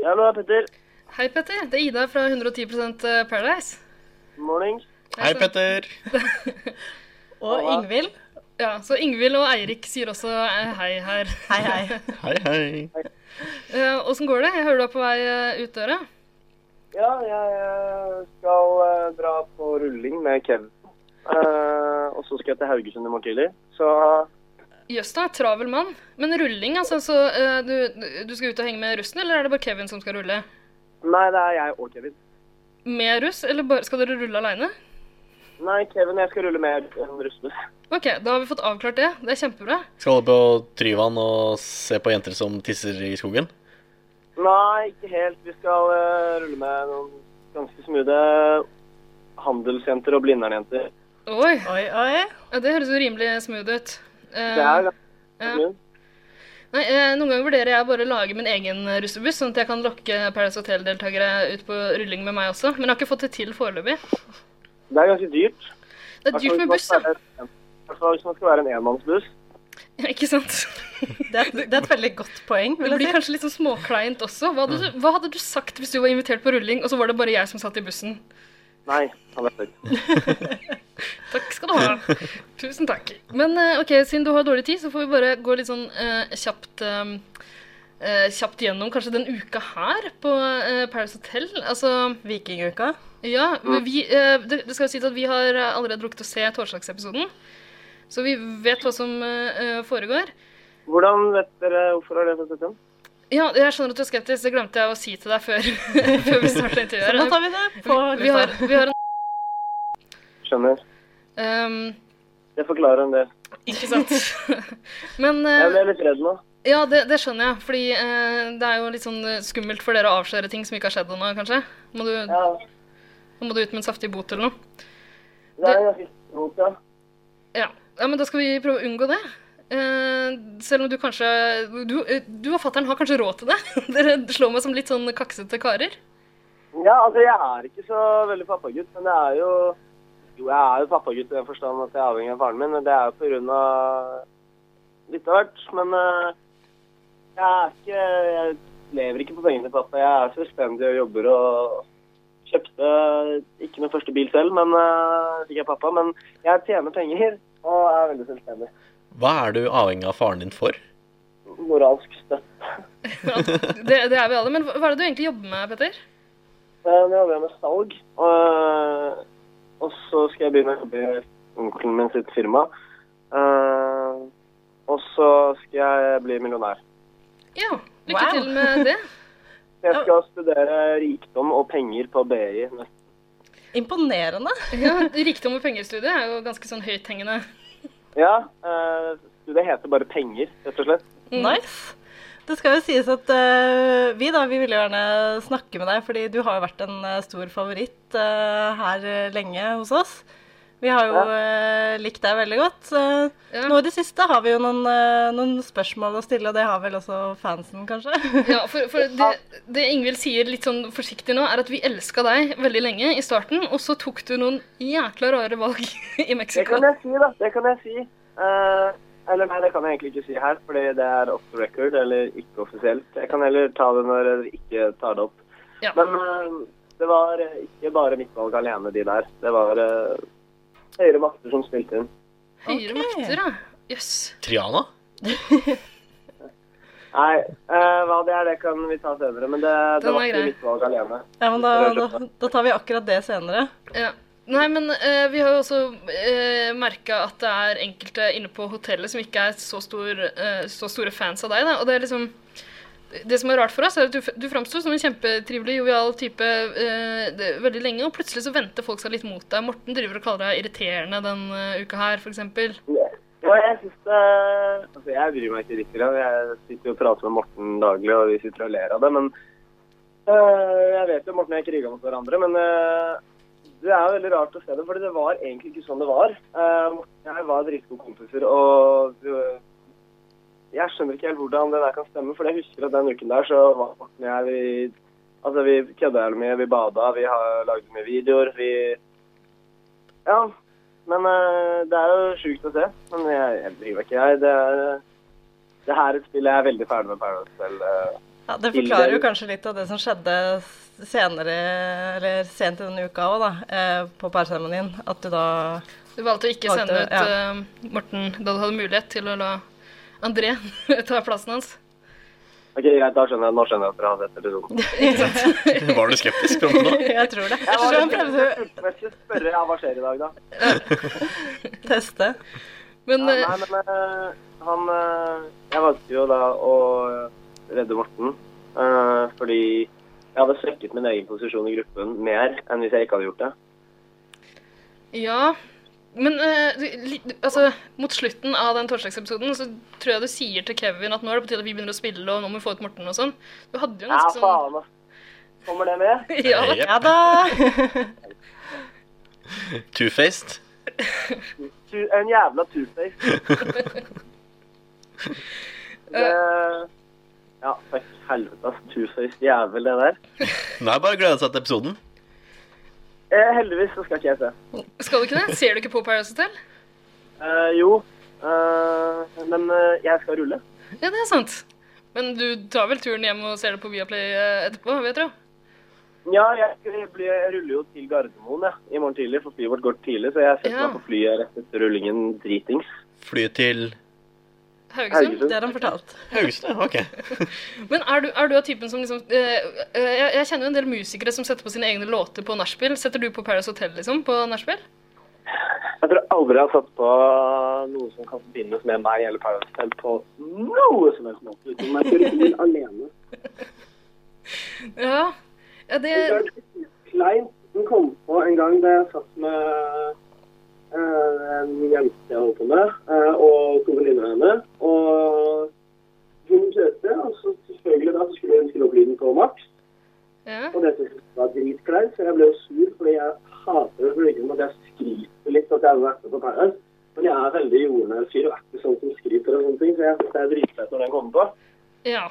Hallo, Petter. Hei, Petter. Det er Ida fra 110 eh, Paradise. Morning. Hei, Petter. Og Ingvild. Ja, så Ingvild og Eirik sier også eh, hei her. Hei, hei. Hei, hei. Åssen går det? Jeg hører du er på vei eh, ut døra. Ja, jeg eh, skal eh, dra på rulling med Kevin. Eh, og så skal jeg til Haugesund i morgen tidlig. Så Jøss da, travel mann. Men rulling, altså. Så eh, du, du skal ut og henge med russen, eller er det bare Kevin som skal rulle? Nei, det er jeg og Kevin. Med russ, eller bare, skal dere rulle aleine? Nei, Kevin og jeg skal rulle med en russen. Ok, da har vi fått avklart det. Det er kjempebra. Skal holde på Tryvann og se på jenter som tisser i skogen? Nei, ikke helt. Vi skal eh, rulle med noen ganske smoothe handelsjenter og blindernjenter. Oi. Ja, det høres jo rimelig smooth ut. Eh, Det er ja. smooth. Nei, eh, noen ganger vurderer jeg bare å lage min egen russebuss, sånn at jeg kan lokke Paradise Hotel-deltakere ut på rulling med meg også. Men jeg har ikke fått det til foreløpig. Det er ganske dyrt. Det er dyrt med buss, ja. ja. I hvert fall hvis man skal være en enmannsbuss. Ikke sant? Det er, et veldig godt poeng. Det blir kanskje litt sånn småkleint også. Hva hadde, Mm. du, hva hadde du sagt hvis du var invitert på rulling, og så var det bare jeg som satt i bussen? Nei, han vet ikke. Takk skal du ha. Tusen takk. Men eh, ok, siden du har dårlig tid, så får vi bare gå litt sånn eh, kjapt eh, eh, Kjapt gjennom kanskje den uka her på eh, Paris Hotel. Altså Vikinguka? Ja. Mm. Men vi, eh, det, det skal jo sies at vi har eh, allerede rukket å se torsdagsepisoden, så vi vet hva som eh, eh, foregår. Hvordan vet dere hvorfor har dere sett den? Ja, jeg skjønner at du er skeptisk. Det glemte jeg å si til deg før, før vi startet intervjuet. Så da tar vi det på vi, vi, har, vi har en Skjønner. ehm, Det forklarer en del. Ikke sant? Men eh, Jeg ble litt redd nå. Ja, det, det skjønner jeg. Fordi eh, det er jo litt sånn eh, skummelt for dere å avsløre ting som ikke har skjedd ennå, kanskje? Må du, Da må du ut med en saftig bot eller noe. Det er ganske stort, ja. Ja, ja men da skal vi prøve å unngå det. Eh, selv om du kanskje Du, eh, du og fatter'n har kanskje råd til det? Dere slår meg som litt sånn kaksete karer. Ja, altså jeg er ikke så veldig pappagutt, men det er jo Jo, jeg er jo pappagutt i den forstand at jeg er avhengig av faren min, men det er jo på grunn av litt av hvert. Men eh, jeg er ikke Jeg lever ikke på pengene til pappa. Jeg er selvstendig og jobber og kjøpte ikke min første bil selv, men eh, fikk jeg pappa. Men jeg tjener penger og er veldig selvstendig. Hva er du avhengig av faren din for? Moralsk støtt. Det, det er vi alle. Men hva hva er det du egentlig jobber med, Petter? Eh, Nå jobber jeg med salg, og, og så skal jeg begynne å jobbe i onkelen min sitt firma. Eh, og så skal jeg bli millionær. Ja, lykke til med det. Jeg skal studere rikdom og penger på BI. Imponerende. Ja, Rikdom og pengestudiet er jo ganske sånn høythengende. Mm. Ja, eh, det heter bare penger, rett og slett. Nice. Det skal jo sies at eh, vi da, vi ville gjerne snakke med deg, fordi du har jo vært en eh, stor favoritt eh, her eh, lenge hos oss. Vi har jo eh, likt deg veldig godt. Eh, Nå i det siste har vi jo noen, eh, noen spørsmål å stille, og det har vel også fansen, kanskje? Ja, for, for det, det Ingvild sier litt sånn forsiktig nå, er at vi elska deg veldig lenge i starten, og så tok du noen jækla rare valg i Det Mexico. kan jeg si, da. Det kan jeg si. Eh, eller nei, det kan jeg egentlig ikke si her, fordi det er off the record, eller ikke offisielt. Jeg kan heller ta det når dere ikke tar det opp. Men eh, det var eh, ikke bare mitt valg alene, de der. Det var eh, høyere makter som spilte inn. Høyere makter, da. Jøss. Triana? Nei, eh, hva det er, det kan vi ta senere, men det, Den det er var ikke grei. mitt valg alene. Ja, men da, da, da tar vi akkurat det senere. Ja. Nei, men eh, vi har jo også uh, merka at det er enkelte inne på hotellet som ikke er så, stor, eh, så store fans av deg. Da. Og det er liksom Det som er rart for oss, er at du, f- du framsto som en kjempetrivelig, jovial type eh, det, veldig lenge, og plutselig så venter folk seg litt mot deg. Morten driver og kaller deg irriterende den eh, uka her, f.eks. Og jeg synes det Altså, jeg bryr meg ikke riktig. da. Jeg sitter jo og prater med Morten daglig, og vi sitter og ler av det, men øh, Jeg vet jo Morten og jeg kriga mot hverandre, men øh, det er jo veldig rart å se det, fordi det var egentlig ikke sånn det var. Eh, Morten og jeg var dritgode kompiser, og øh, jeg skjønner ikke helt hvordan det der kan stemme, for jeg husker at den uken der så var Morten og jeg vi, Altså, vi kødda jævlig mye, vi bada, vi har lagde mye videoer, vi Ja. Men eh, det er jo sjukt å se. Men jeg, jeg bryr meg ikke, jeg. Det, er, det her er et spill jeg er veldig ferdig med Paradise Hotel. eh. Ja, det Til forklarer jo dere. kanskje litt av det som skjedde s- senere, eller sent i denne uka òg, da, eh, på parseremonien. At du da Du valgte å ikke Valgte- sende ut ja. eh, Morten da du hadde mulighet til å la André ta plassen hans. Ok, greit, da skjønner jeg. Nå skjønner jeg at dere har sett episoden. Var du skeptisk fram til nå? Jeg tror det. Jeg var Så han litt prøvde å spørre ja, hva skjer i dag, da. Teste. Men, ja, nei, men eh, han eh, Jeg valgte jo da å redde Morten. eh, fordi jeg hadde svekket min egen posisjon i gruppen mer enn hvis jeg ikke hadde gjort det. Ja, men eh, du- li- du- altså, mot slutten av den torsdagsepisoden så tror jeg du sier til Kevin at nå er det på tide at vi begynner å spille, og nå må vi få ut Morten og sånn. Du hadde jo Ja, ganske sånn faen, ass. Kommer det med? Ja, Jepp. ja Two-faced? Tu- En jævla turface. det, ja, fuck helvete, ass. Two-face jævel, det der. Nei, bare glede seg til episoden. Eh, heldigvis så skal ikke jeg se. Skal du ikke det? Ser du ikke på Paradise Hotel? Eh, jo, eh, men eh, jeg skal rulle. Ja, det er sant. Men du tar vel turen hjem og ser det på Viaplay eh, etterpå, vet du? Ja, jeg, skal bli, jeg ruller jo til Gardermoen jeg, i morgen tidlig, for flyet vårt går tidlig. Så jeg setter Ja. meg på flyet rett etter rullingen dritings. Flyet til Haugesund? Det har han fortalt. Haugesund, ja, ok. Men er du, er du av typen som liksom eh, eh, jeg, jeg kjenner jo en del musikere som setter på sine egne låter på nachspiel. Setter du på Paradise Hotel, liksom, på nachspiel? Jeg tror aldri jeg har satt på noe som kan forbindes med meg eller Paradise Hotel på noe som helst måte. Utenom meg på rullingen alene. Ja. ja det kleint. Hun kom på en gang da jeg satt med eh, en jente jeg holdt på med, eh, og to venninner av henne. Og hun kjørte, og så selvfølgelig da så skulle hun skru opp lyden på maks. Ja. Og det syntes jeg var dritkleint, så jeg ble jo sur fordi jeg hater å flyge med at jeg skryter litt at jeg har vært med på Paradise. Men jeg er veldig jordnær fyr og er ikke sånn som skryter og sånne ting, så jeg synes det er dritfett når den kommer på. Ja.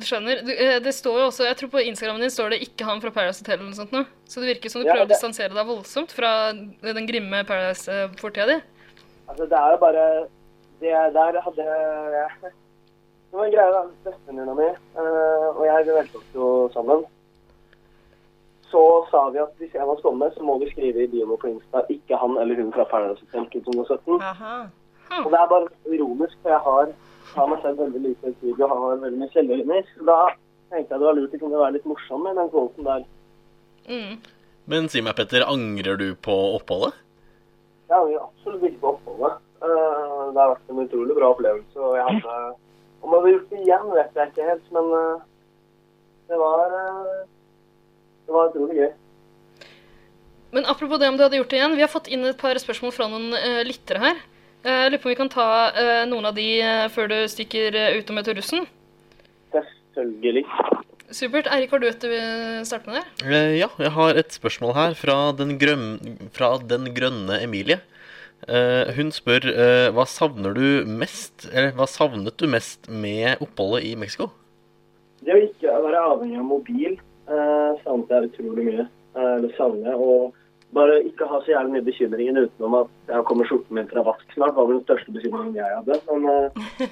Du skjønner. Du, eh, det står jo også, jeg tror På Instagrammen din står det 'ikke han fra Paradise Hotel' eller noe sånt. nå. Så det virker som du Ja, prøver å det- distansere deg voldsomt fra den grimme Paradise-fortida di. Altså, det er jo bare Det der hadde jeg Det var en greie, da. Bestevenninna mi eh, og jeg vi meldte oss jo sammen. Så sa vi at hvis en av oss kommer, så må vi skrive i bioen på Insta 'ikke han eller hun fra Paradise Hotel 2017'. Og det er bare ironisk, for jeg har, har meg selv veldig lite i studio og har veldig mye kjellerlinjer. Så da tenkte jeg det var lurt å kunne være litt morsom med den kvoten der. Men si meg, Petter, angrer du på oppholdet? Jeg angrer absolutt ikke på oppholdet. Eh, det har vært en utrolig bra opplevelse. og jeg hadde... Om jeg hadde gjort det igjen, vet jeg ikke helt, men eh, det var eh, Det var utrolig gøy. Men apropos det om du hadde gjort det igjen, vi har fått inn et par spørsmål fra noen eh, lyttere her. Eh, Jeg lurer på om vi kan ta eh, noen av de eh, før du stikker eh, ut og møter russen. Selvfølgelig. Supert. Eirik, har du et du vil starte med der? Eh, Ja, jeg har et spørsmål her fra den, grøm, fra den grønne Emilie. Eh, hun spør eh, hva savner du mest, eller hva savnet du mest med oppholdet i Mexico? Det å ikke være avhengig av mobil eh, savnet jeg utrolig mye. Eh, det savner jeg. Og bare ikke ha så jævlig mye bekymringen utenom at jeg kommer skjorten min fra vask snart, var vel den største bekymringen jeg hadde. Men eh,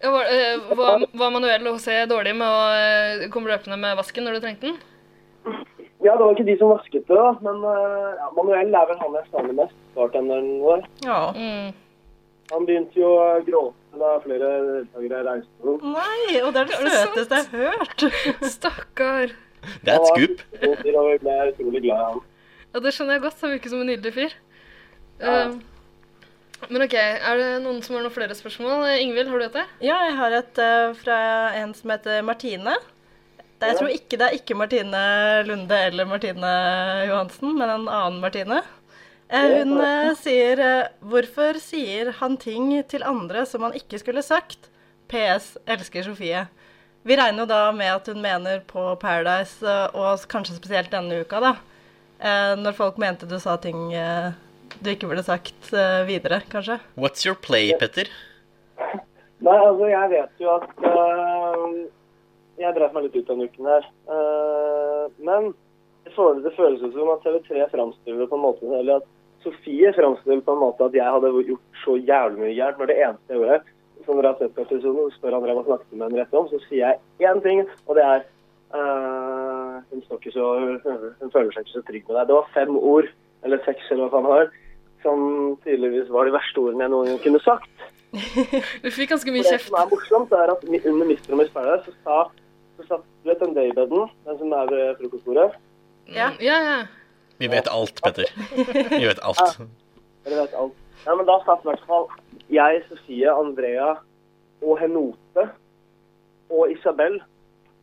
Ja, var, eh, var, var manuell HC dårlig med å eh, komme løpende med vasken når du trengte den? ja, det var ikke de som vasket det, da. Men eh, ja, Manuel er vel han jeg savner mest, bartenderen vår. Ja. Han begynte jo å gråte da flere deltakere reiste og sånn. Nei, og det er det søteste jeg har hørt. Stakkar. Det er et skup. Og vi ble utrolig glad i ham. Ja, det skjønner jeg godt. Han virker som en nydelig fyr. Eh, men OK, er det noen som har noen flere spørsmål? Eh, Ingvild, har du et der? Ja, jeg har et eh, fra en som heter Martine. Det, jeg Ja. tror ikke det er ikke Martine Lunde eller Martine Johansen, men en annen Martine. Eh, Ja. Hun eh, sier eh, Hvorfor sier han ting til andre som han ikke skulle sagt? PS. Elsker Sofie. Vi regner jo da med at hun mener på Paradise, eh, og kanskje spesielt denne uka, da. Eh, Når folk mente du sa ting eh, du ikke burde sagt eh, videre, kanskje. What's your play, Petter? Nei, altså, jeg vet jo at øh, Jeg drev meg litt ut denne uken her. Øh, men det føles, det føles jo som at TV3 framstiller det på en måte Eller at Sofie framstiller det på en måte at jeg hadde gjort så jævlig mye gærent. Når det eneste jeg gjorde, som dere har sett på episoden, spør André hva jeg snakket med henne rett om, så sier jeg én ting, og det er øh, hun, står ikke så, hun føler seg ikke så trygg med deg. Det var fem ord, eller seks, eller hva faen det var, som tydeligvis var de verste ordene jeg noen gang kunne sagt. Du fikk ganske mye For Det kjeft. som er morsomt, er at mi- under Mr. og Miss Paradise så sa så satt du vet den daybeden, den som er ved frokostbordet. Ja, ja. ja. Vi vet alt, Petter. Vi vet alt. Dere vet alt. Ja, men da satt i hvert fall jeg, Sofie, Andrea og Henote og Isabel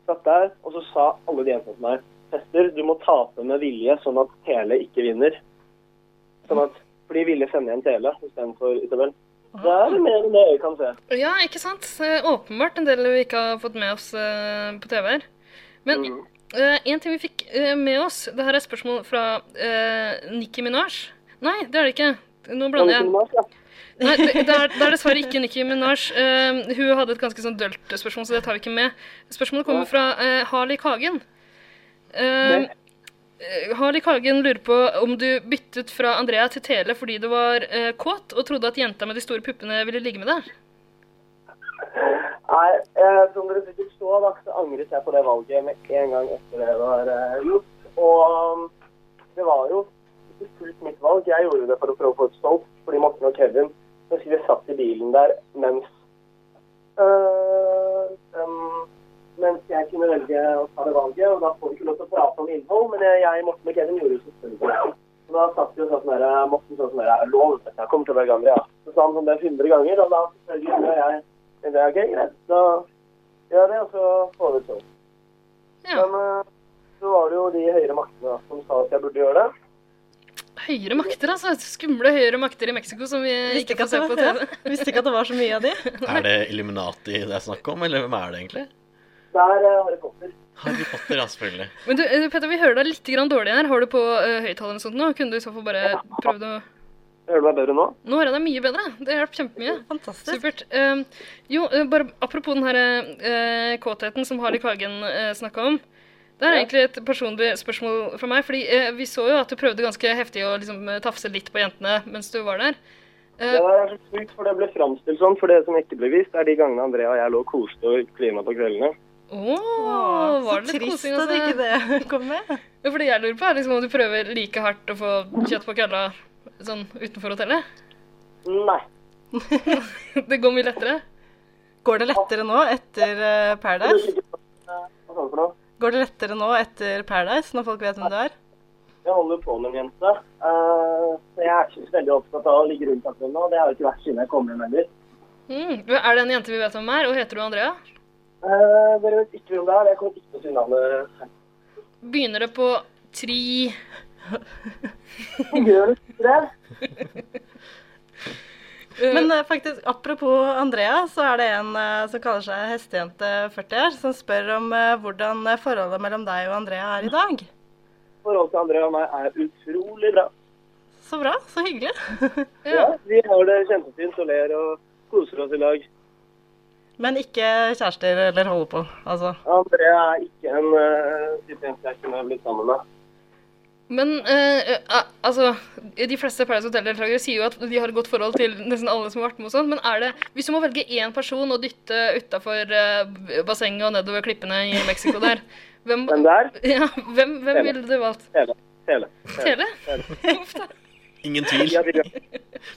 satt der, og så sa alle de jentene til meg Petter, du må tape med Vilje sånn at Tele ikke vinner. Sånn at, fordi Vilje sender igjen Tele istedenfor Isabel. Det er mer enn det jeg kan se. Ja, ikke sant? Eh, Åpenbart en del vi ikke har fått med oss eh, på TV her. Men Mm. eh, en ting vi fikk eh, med oss Det her er spørsmål fra uh, Nikki Minaj. Nei, det er det ikke. Nå blander jeg. Nei, det, det, er, det er dessverre ikke Nikki Minaj. Eh, hun hadde et ganske sånn dølt spørsmål, så det tar vi ikke med. Spørsmålet kommer fra eh, Harley Kagen. Eh, eh, Harley Kagen lurer på om du byttet fra Andrea til Tele fordi du var eh, kåt og trodde at jenta med de store puppene ville ligge med deg. Nei, eh, som dere sikkert så, da, så angret jeg på det valget med en gang etter det var eh, gjort. Og um, det var jo ikke fullt mitt valg. Jeg gjorde det for å prøve å få et stolt, fordi Morten og Kevin Jeg husker vi satt i bilen der mens eh, um, mens jeg kunne velge å ta det valget, og da får vi ikke lov til å prate om innhold, men jeg, jeg Morten og Kevin gjorde jo selvfølgelig det. Og Da satt vi og sa sånn der, Morten sa sånn der, jeg lover dette, jeg kommer til å bli gammel, ja. Så sa han sånn det 100 ganger, og da selvfølgelig gjorde jeg men det er gøy, greit. Da gjør jeg det, og så får vi det til. Men eh, så var det jo de høyere maktene da, som sa at jeg burde gjøre det. Høyere makter, altså. Skumle høyere makter i Mexico som vi Visste ikke ikke, får se at på det var, TV. ja. Visste ikke at det var så mye av de. Er det Illuminati det er snakk om, eller hvem er det egentlig? Det er eh, Harry Potter. Harry Potter, ja, selvfølgelig. Men du, eh, Petter, vi hører deg litt grann dårlig her. Har du på uh, høyttaler eller noe sånt nå? Kunne du i så fall bare prøvd å Hører du meg bedre nå? Nå hører jeg deg mye bedre. Det hjalp kjempemye. Fantastisk. Supert. Eh, jo, eh, bare apropos den her eh, kåtheten som Harley Kagen uh, snakka om. Det er egentlig et personlig spørsmål fra meg. fordi eh, Vi så jo at du prøvde ganske heftig å liksom, eh, tafse litt på jentene mens du var der. Eh, Det er så sjukt, for det ble framstilt sånn. For det som ikke ble vist, er de gangene Andrea og jeg lå og koste og klina på kveldene. Åh, Åh, så var det litt trist kosing, at altså? ikke det kom med. Ja, for det jeg lurer på, er liksom om du prøver like hardt å få kjøtt på kølla sånn utenfor hotellet? Nei. det går mye lettere? Går det lettere nå etter eh, Paradise? Hva sa du for noe? Går det lettere nå etter Paradise, når folk vet hvem du er? Jeg holder på med en jente. Eh, så jeg er ikke så veldig opptatt av å ligge rundt akkurat nå. Det har jo ikke vært siden jeg kom hjem heller. Mm. Er det en jente vi vet hvem er, og heter du Andrea? Eh, dere vet ikke hvem det er. Jeg kommer ikke til å si navnet. Begynner det på tri Gjør det? Men eh, faktisk, apropos Andrea, så er det en eh, som kaller seg Hestejente40 her, som spør om eh, hvordan eh, forholdet mellom deg og Andrea er i dag. Forholdet til André og meg er utrolig bra. Så bra, så hyggelig. Ja, Vi har det kjempefint og ler og koser oss i lag. Men ikke kjærester eller holde på, altså. André er ikke en eh, type jente jeg kunne blitt sammen med. Men eh, eh, altså, de fleste Paradise Hotel-deltakere sier jo at de har et godt forhold til nesten alle som har vært med. og sånn, Men er det, hvis du må velge én person å dytte utafor eh, bassenget og nedover klippene i Mexico der, hvem, Den der? ja, hvem, hvem Tele. ville du valgt? Tele. Tele. Tele? Ingen tvil.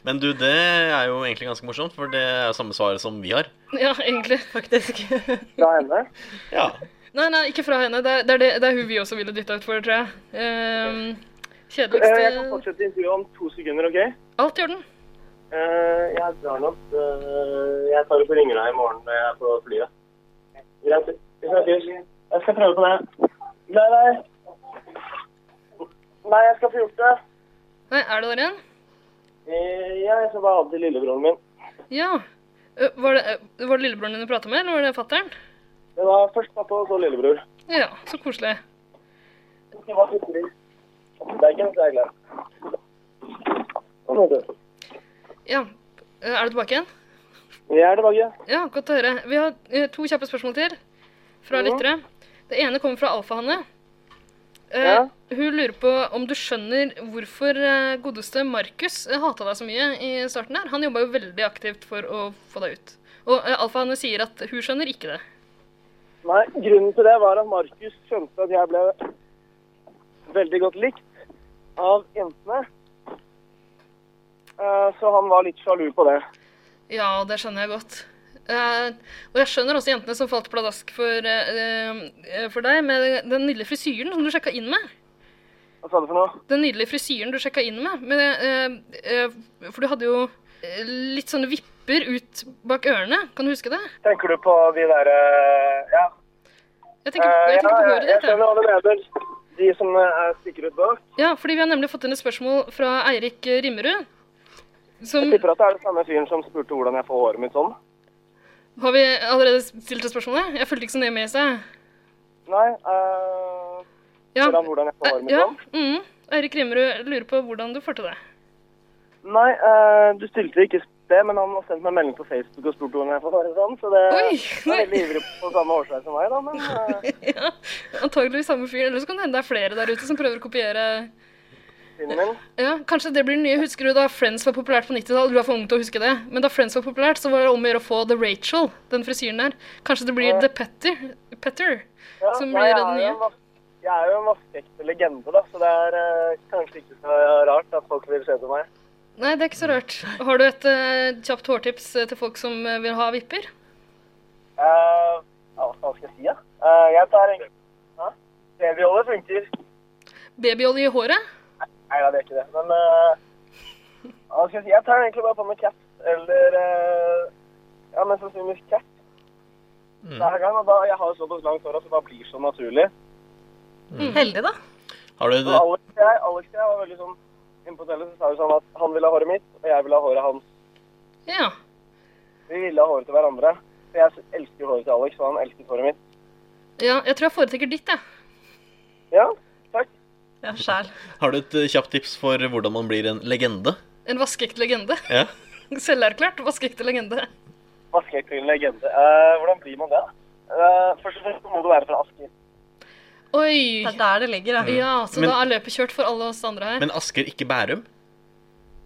Men du, det er jo egentlig ganske morsomt, for det er jo samme svaret som vi har. Ja, egentlig. Faktisk. Fra henne? Ja. Nei, nei, ikke fra henne. Det er, det er, det, det er hun vi også ville dytta utfor, tror jeg. Ehm, Eh, Jeg kan kjedeligste fortsette intervjuet om to sekunder, OK? Alt i orden. Eh, jeg drar nok. eh, jeg tar opp og ringer deg i morgen når jeg er på flyet. Greit. Vi snakkes. Jeg skal prøve på det. Nei, nei. Nei, jeg skal få gjort det. Nei, er du der igjen? Eh, ja, jeg skal bare ha det til lillebroren min. Ja. Eh, Var det, eh, var det lillebroren din du prata med, eller var det fattern? Det var først pappa og så lillebror. Ja, så koselig. Det var hyggelig. Det er ikke noe særlig. Sånn, vet du. Ja. Eh, Er du tilbake igjen? Jeg er tilbake. Ja, godt å høre. Vi har eh, to kjappe spørsmål til fra Ja. lyttere. Det ene kommer fra Alfahanne. Eh, Ja. Hun lurer på om du skjønner hvorfor eh, godeste Markus hata deg så mye i starten her. Han jobba jo veldig aktivt for å få deg ut. Og eh, Alfahanne sier at hun skjønner ikke det. Nei, grunnen til det var at Markus skjønte at jeg ble veldig godt likt av jentene. Eh, så han var litt sjalu på det. Ja, det skjønner jeg godt. Eh, og jeg skjønner også jentene som falt pladask for, eh, eh, for deg med den nydelige frisyren som du sjekka inn med. Hva sa du for noe? Den nydelige frisyren du sjekka inn med. med eh, eh, for du hadde jo eh, litt sånne vipper ut bak ørene. Kan du huske det? Tenker du på de derre Ja. Jeg tenker, jeg tenker Eh, på ja, håret ditt. Jeg jeg. skjønner hva du mener. De som eh, stikker ut bak. Ja, fordi vi har nemlig fått inn et spørsmål fra Eirik Rimmerud. Som Mm. Jeg tipper at det er den samme fyren som spurte hvordan jeg får håret mitt sånn. Har vi allerede stilt det spørsmålet? Jeg fulgte ikke så nøye med i seg. Nei, eh, hvordan, hvordan jeg får håret mitt Ja, sånn. mm. Eirik Rimmerud lurer på hvordan du får til det. Nei, eh, du stilte ikke det, men han har sendt meg en melding på Facebook og spurt hvordan jeg får håret sånn, så det han er veldig ivrig på samme årsvei som meg, da, men eh, ja, antageligvis samme fyr. Eller så kan det hende det er flere der ute som prøver å kopiere synden min. Ja, Kanskje det blir den nye. Husker du da Friends var populært på 90-tallet? Du er for ung til å huske det. Men da Friends var populært, så var det om å gjøre å få The Rachel, den frisyren der. Kanskje det blir Ja. The Petter, Petter Ja, som nei, blir jeg den er jo nye. en vas- Jeg er jo en vaskeekte legende, da, så det er eh, kanskje ikke så rart at folk vil se til meg. Nei, det er ikke så rart. Har du et eh, kjapt hårtips eh, til folk som eh, vil ha vipper? Eh, ja, hva skal jeg si, da? Eh, jeg tar en Hæ? Babyolje funker. Babyolje i håret? Nei da, det er ikke det. Men eh, hva skal jeg si? Jeg tar egentlig bare på meg caps eller eh, Ja, mest sannsynligvis caps. Hver gang, og da, Jeg har jo såpass langt hår, så da blir det så naturlig. Mm. Mm. Heldig, da. Har du Og Alex og jeg, Alex og jeg var veldig sånn Inne på hotellet så sa vi sånn at han ville ha håret mitt, og jeg ville ha håret hans. Ja. Vi ville ha håret til hverandre. For jeg elsker håret til Alex, og han elsket håret mitt. Ja, jeg tror jeg foretrekker ditt, jeg. Ja, takk. Ja, sjæl. Har du et eh, kjapt tips for hvordan man blir en legende? En vaskeekte legende. Ja. Selverklært vaskeekte legende. Vaskeekte legende. Eh, hvordan blir man det? Eh, først og fremst må du være fra Asker. Oi! Det er der det ligger, ja. Ja, så Mm. Men- da er løpet kjørt for alle oss andre her. Men Asker, ikke Bærum?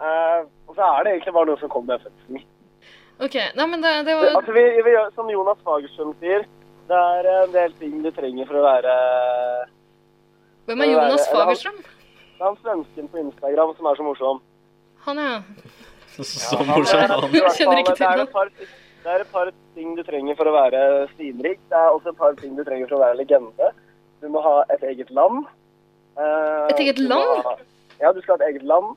Eh, og så er det egentlig bare noe som kommer med fødselen. OK. Nei, men det, det Det- var Altså, vi, vi gjør som Jonas Fagerstrøm sier. Det er eh, en del ting du trenger for å være Hvem er for å Jonas eller han- Fagerstrøm? Det er han svensken på Instagram som er så morsom. Han, ja. Så morsom han. Det er- Kjenner ikke til eh, det er han. et par- Det er et par ting du trenger for å være stilrik. Det er også et par ting du trenger for å være legende. Du må ha et eget land. Eh, Et eget du må land? ha- Ja, du skal ha et eget land.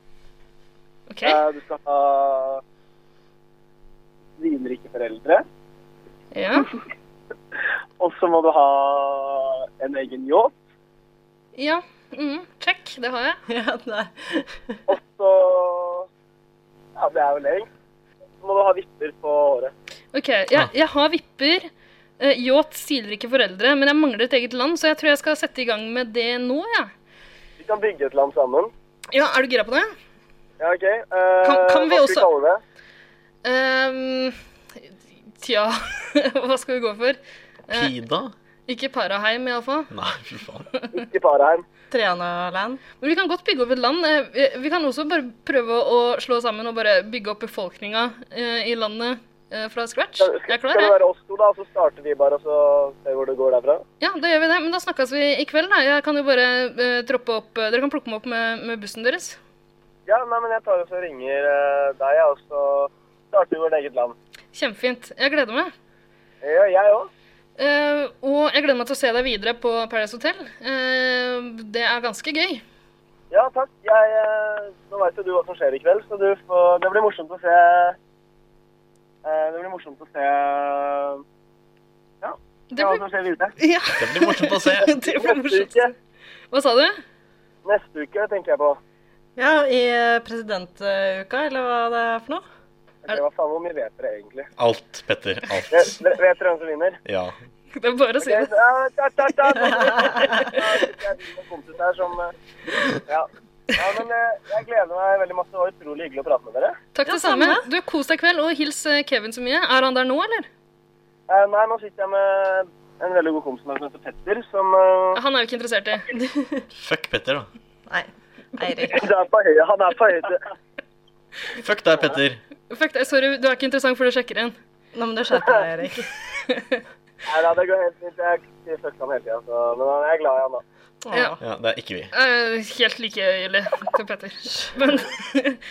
Ok. Eh, du skal ha svinrike foreldre. Ja. Og så må du ha en egen yacht. ja. Mm, check. Det har jeg. Ja, nei. Så Ja, det er vel det. Så må du ha vipper på håret. Ok, jeg, jeg har vipper. Eh, Yacht siler ikke foreldre, men jeg mangler et eget land, så jeg tror jeg skal sette i gang med det nå, jeg. Vi kan bygge et land sammen. Ja, er du gira på det? Ja, OK. Eh, Kan- kan vi hva skal også- vi kalle det? Ehm, tja, hva skal vi gå for? Eh, Pida? ikke Paraheim, iallfall. Nei, fy faen. Ikke Paraheim. Trianaland. Men vi kan godt bygge opp et land. Eh, vi- Vi kan også bare prøve å slå sammen og bare bygge opp befolkninga eh, i landet eh, fra scratch. Jeg er klar, Skal det jeg. være oss to, da, så starter vi bare, og så ser vi hvor det går derfra? Ja, da gjør vi det. Men da snakkes vi i kveld, da. Jeg kan jo bare eh, troppe opp eh, Dere kan plukke meg opp med, med bussen deres. Ja, nei, men jeg tar og så ringer eh, deg, ja, og så starter vi vårt eget land. Kjempefint. Jeg gleder meg. Ja, jeg òg. Eh, og jeg gleder meg til å se deg videre på Paradise Hotel. Eh, det er ganske gøy. Ja, takk. Jeg, eh, nå veit jo du hva som skjer i kveld, så du får Det blir morsomt å se eh, Det blir morsomt å se Ja. Det se Hva blir- som skjer videre. Ja. Det blir morsomt å se. det blir morsomt. Hva sa du? Neste uke tenker jeg på. Ja, i eh, presidentuka, eller hva det er for noe? Eller hva faen, hvor mye vet dere egentlig? Alt, Petter. Alt. Vet, vet dere hvem som vinner? Ja. Det er bare å si det. Ja, ta, ta, ta. Jeg har en kompis her som eh, Ja. ja men eh, jeg gleder meg veldig masse. Det var utrolig hyggelig å prate med dere. Takk, det samme. Du, Kos deg i kveld, og hils eh, Kevin så mye. Er han der nå, eller? Eh, Nei, nå sitter jeg med en veldig god kompis med meg som heter Petter, som eh, Han er jo ikke interessert i. Fuck Petter, da. Eirik. Han er på høyde. Han er på høyde. Fuck deg, Petter. Fuck deg, sorry, du er ikke interessant før du sjekker inn. Nå må du skjerpe deg, Eirik. Nei, da, det går helt fint. Jeg sier fuck han hele tida, så Men jeg er glad i han, da. Ja. Ja, det er ikke vi. Eh, helt likegyldig til Petter. Men,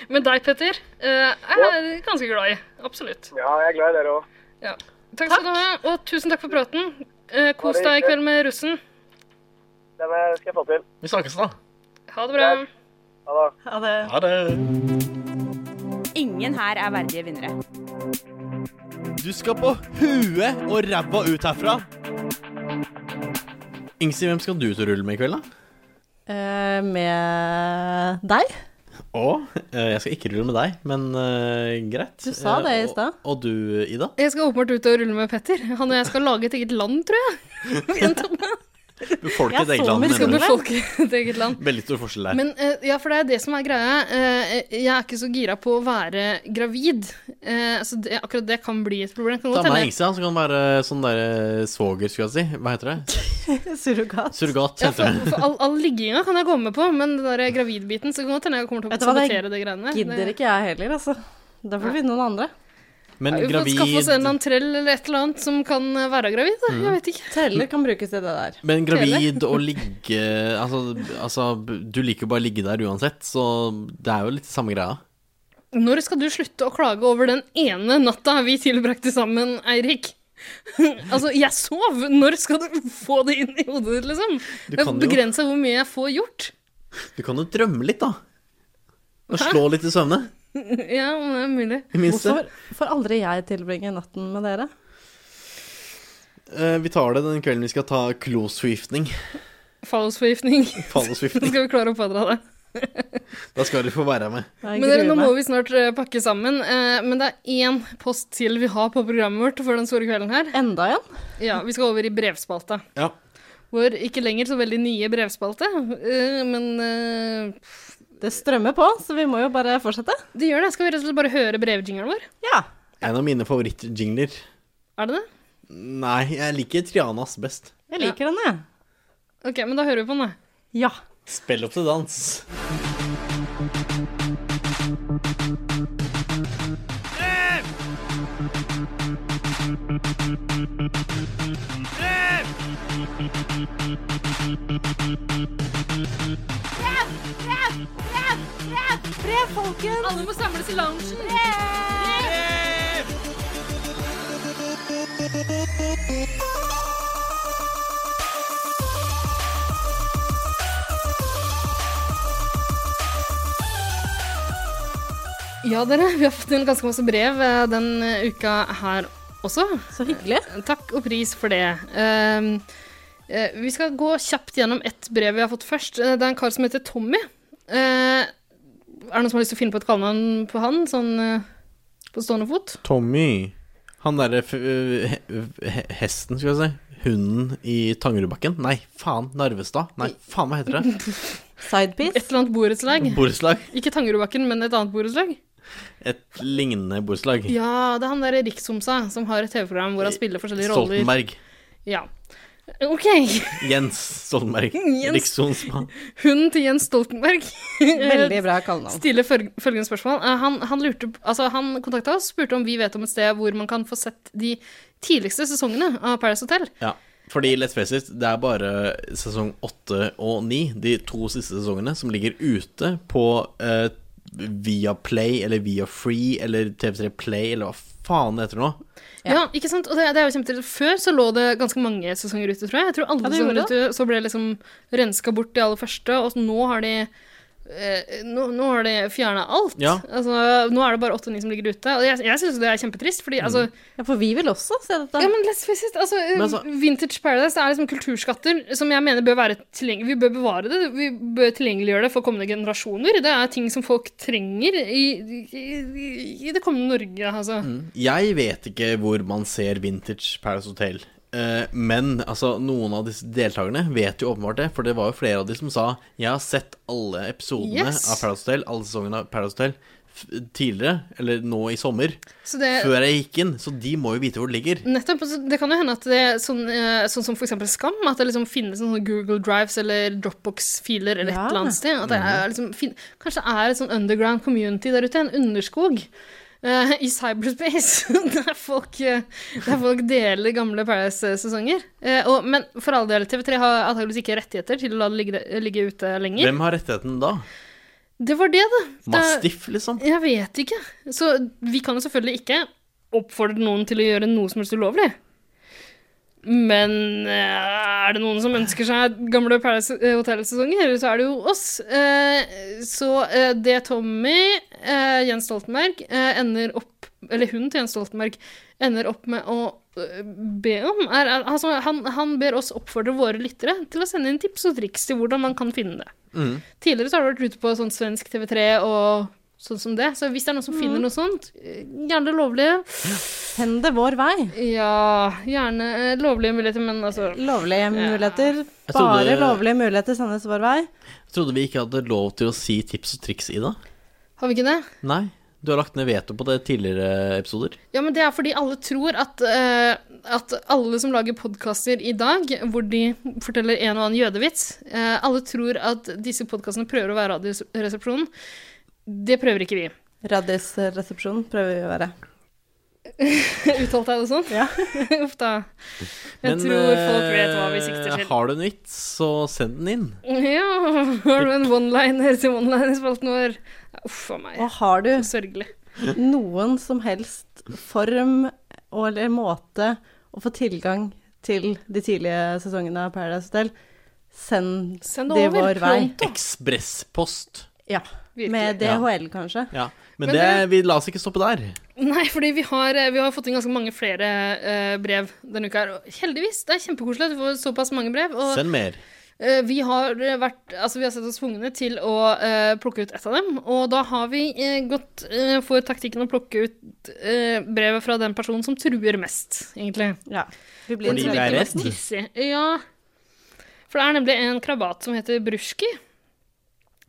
men deg, Petter, eh, er jeg ganske glad i. Absolutt. Ja, jeg er glad i dere òg. Ja. Takk skal du ha, og tusen takk for praten. Eh, kos deg i kveld med russen. Den eh, skal jeg få til. Vi snakkes, da. Ha det bra. Ha det. Ha det. Ha det. Ingen her er verdige vinnere. Du skal på huet og ræva ut herfra. Ingsi, hvem skal du ut og rulle med i kveld, da? Eh, med deg? Å, eh, jeg skal ikke rulle med deg, men eh, greit. Du sa det i Eh, og- stad. Og du, Ida? Jeg skal åpenbart ut og rulle med Petter. Han og jeg skal lage et eget land, tror jeg. Befolket eget land. Vi skal mener du? befolke et eget land. Veldig stor forskjell der. Men eh, ja, for det er det som er greia. Eh, jeg er ikke så gira på å være gravid. Eh, så det, akkurat det kan bli et problem. Kan Ta godt med hende. Ingsi, da, så kan han være sånn derre svoger, skulle jeg si. Hva heter det? Surrogat. Surrogat, Ja, heter for, det. for all, all ligginga kan jeg gå med på, men den der gravidbiten så kan godt hende jeg kommer til Vet å du hva, det sabotere det greiene. gidder ikke jeg heller, altså. Da får vi finne noen andre. Men Vi får skaffe oss en eller gravid annen trell eller et eller annet som kan eh, være gravid. Da. Mm. Jeg vet ikke. Teller kan brukes til det der. men gravid Tele. og ligge altså, altså, du liker jo bare å ligge der uansett, så det er jo litt samme greia. Når skal du slutte å klage over den ene natta vi tilbrakte sammen, Eirik? altså, jeg sov! Når skal du få det inn i hodet ditt, liksom? Du Det er kan jo- begrensa hvor mye jeg får gjort. Du kan jo drømme litt, da. Og Hæ? slå litt i søvne. ja, men det er mulig. I minste. Hvorfor får aldri jeg tilbringe natten med dere? Eh, vi tar det den kvelden vi skal ta klosforgiftning. Fallosforgiftning. Nå Fallosforgiftning. skal vi klare å pådra det. Da skal dere få være med. Men dere, nå må vi snart eh, pakke sammen. eh, Men det er én post til vi har på programmet vårt for den store kvelden her. Enda en? Ja, vi skal over i brevspalta. Ja. Vår ikke lenger så veldig nye brevspalte, eh, men eh, Det strømmer på, så vi må jo bare fortsette. det gjør det. Skal vi rett og slett bare høre brevjingeren vår? En av mine favorittjingler. Er det det? Nei, jeg liker Trianas best. Jeg liker den, jeg. Ok, men da hører vi på den, da. Ja. Spill opp til dans. Brev! Brev! Brev! Brev! Brev, folkens! Alle må samles i loungen. Brev! Ja, dere. Vi har fått inn ganske masse brev eh, den eh, uka her også. Så hyggelig. Takk og pris for det. Ehm, eh, vi skal gå kjapt gjennom ett brev vi har fått først. Eh, Det er en kar som heter Tommy. Eh, Er det noen som har lyst til å finne på et kallenavn på han, sånn eh, på stående fot? Tommy. Han derre f- øh, he- he- hesten, skal jeg si. Hunden i Tangerudbakken. Nei, faen. Narvestad. Nei, faen, hva heter det? Sidepiece? Et eller annet borettslag. Borettslag. Ikke Tangerudbakken, men et annet borettslag. Et lignende borettslag. Ja, det er han derre rikshomsa som har et TV-program hvor han spiller forskjellige roller. Stoltenberg. Ja. OK. Jens Stoltenberg. Jens. Rikssonsmann. Hunden til Jens Stoltenberg. Veldig bra kallenavn. Stille følg følgende spørsmål. Eh, Han, han, lurte, altså, han kontakta oss, spurte om vi vet om et sted hvor man kan få sett de tidligste sesongene av Paradise Hotel. Ja. Fordi, let's face it, det er bare sesong åtte og ni, de to siste sesongene, som ligger ute på eh, via Play eller via Free eller TV3 Play eller hva faen det heter nå. Ja, ikke sant? Og det, det er jo kjempetrist. Før så lå det ganske mange sesonger ute, tror jeg. Jeg tror alle Ja, det sesonger gjorde det. ute så ble liksom renska bort de aller første, og nå har de eh, nå, nå har de fjerna alt. Ja. Altså, nå er det bare 8-9 som ligger ute. Og jeg, jeg syns det er kjempetrist, fordi altså Ja, for vi vil også se dette. Ja, men let's face it. Altså, eh, Men altså- Vintage Paradise det er liksom kulturskatter som jeg mener bør være tilgjengelig. Vi bør bevare det. Vi bør tilgjengeliggjøre det for kommende generasjoner. Det er ting som folk trenger i, i, i, i det kommende Norge, altså. Mm. Jeg vet ikke hvor man ser vintage Paradise Hotel. Eh, Men altså, noen av disse deltakerne vet jo åpenbart det, for det var jo flere av de som sa Jeg har sett alle episodene Yes. av Paradise Hotel, alle sesongene av Paradise Hotel f tidligere, eller nå i sommer, Så det- før jeg gikk inn, så de må jo vite hvor det ligger. Nettopp. altså, Det kan jo hende at det er sånn, eh, sånn som for eksempel Skam, at det liksom finnes sånne Google Drives eller Dropbox-filer eller Ja. et eller annet sted. At det er liksom, fin Kanskje det er et sånn underground community der ute, en underskog eh, i cyberspace, der folk, eh, der folk deler gamle Paradise-sesonger. Eh, og- men for all del, TV3 har antakeligvis ikke rettigheter til å la det ligge, ligge ute lenger. Hvem har rettigheten da? Det var det, da. Det- Mastiff, liksom? Jeg vet ikke. Så vi kan jo selvfølgelig ikke oppfordre noen til å gjøre noe som helst ulovlig. Men eh, er det noen som ønsker seg gamle Paradise Hotel-sesonger, så er det jo oss. Eh, Så eh, det Tommy, eh, Jens Stoltenberg, eh, ender opp Eller hun til Jens Stoltenberg ender opp med å eh, be om, er er- altså han, han ber oss oppfordre våre lyttere til å sende inn tips og triks til hvordan man kan finne det. Mm. Tidligere så har det vært ute på sånn svensk TV3 og sånn som det. Så hvis det er noen som finner noe sånt, eh, gjerne lovlige. Send det vår vei. Ja, gjerne eh, lovlige muligheter, men altså Lovlige muligheter. Jeg Bare trodde- lovlige muligheter sendes vår vei. Jeg trodde vi ikke hadde lov til å si tips og triks, Ida. Har vi ikke det? Nei, du har lagt ned veto på det tidligere episoder. Ja, men det er fordi alle tror at, eh, at alle som lager podkaster i dag, hvor de forteller en og annen jødevits eh, Alle tror at disse podkastene prøver å være Radioresepsjonen. Det prøver ikke vi. Radisresepsjonen prøver vi å være. Uttalte jeg det sånn? Ja. Uff da. Jeg Men, tror folk vet hva vi eh, sikter til. Har du en vits, så send den inn. Ja, har du en one-liner til one-liner-spalten vår? Uff a meg. Og har du Sørgelig. noen som helst form og- eller måte å få tilgang til de tidlige sesongene av Paradise Hotel, send, det de over, vår vei. pronto. Ekspresspost. Ja, med Ja. DHL, kanskje. Ja. Men, Men det, det- vi la oss ikke stoppe der. Nei, fordi vi har, eh, vi har fått inn ganske mange flere eh, brev denne uka. her. og Heldigvis. Det er kjempekoselig at vi får såpass mange brev. Og Send mer. eh, vi har vært Altså, vi har sett oss tvungne til å eh, plukke ut ett av dem. Og da har vi eh, gått eh, for taktikken å plukke ut eh, brevet fra den personen som truer mest, egentlig. Ja. Vi blir Fordi vi er redd. Ja. For det er nemlig en krabat som heter Brusjki.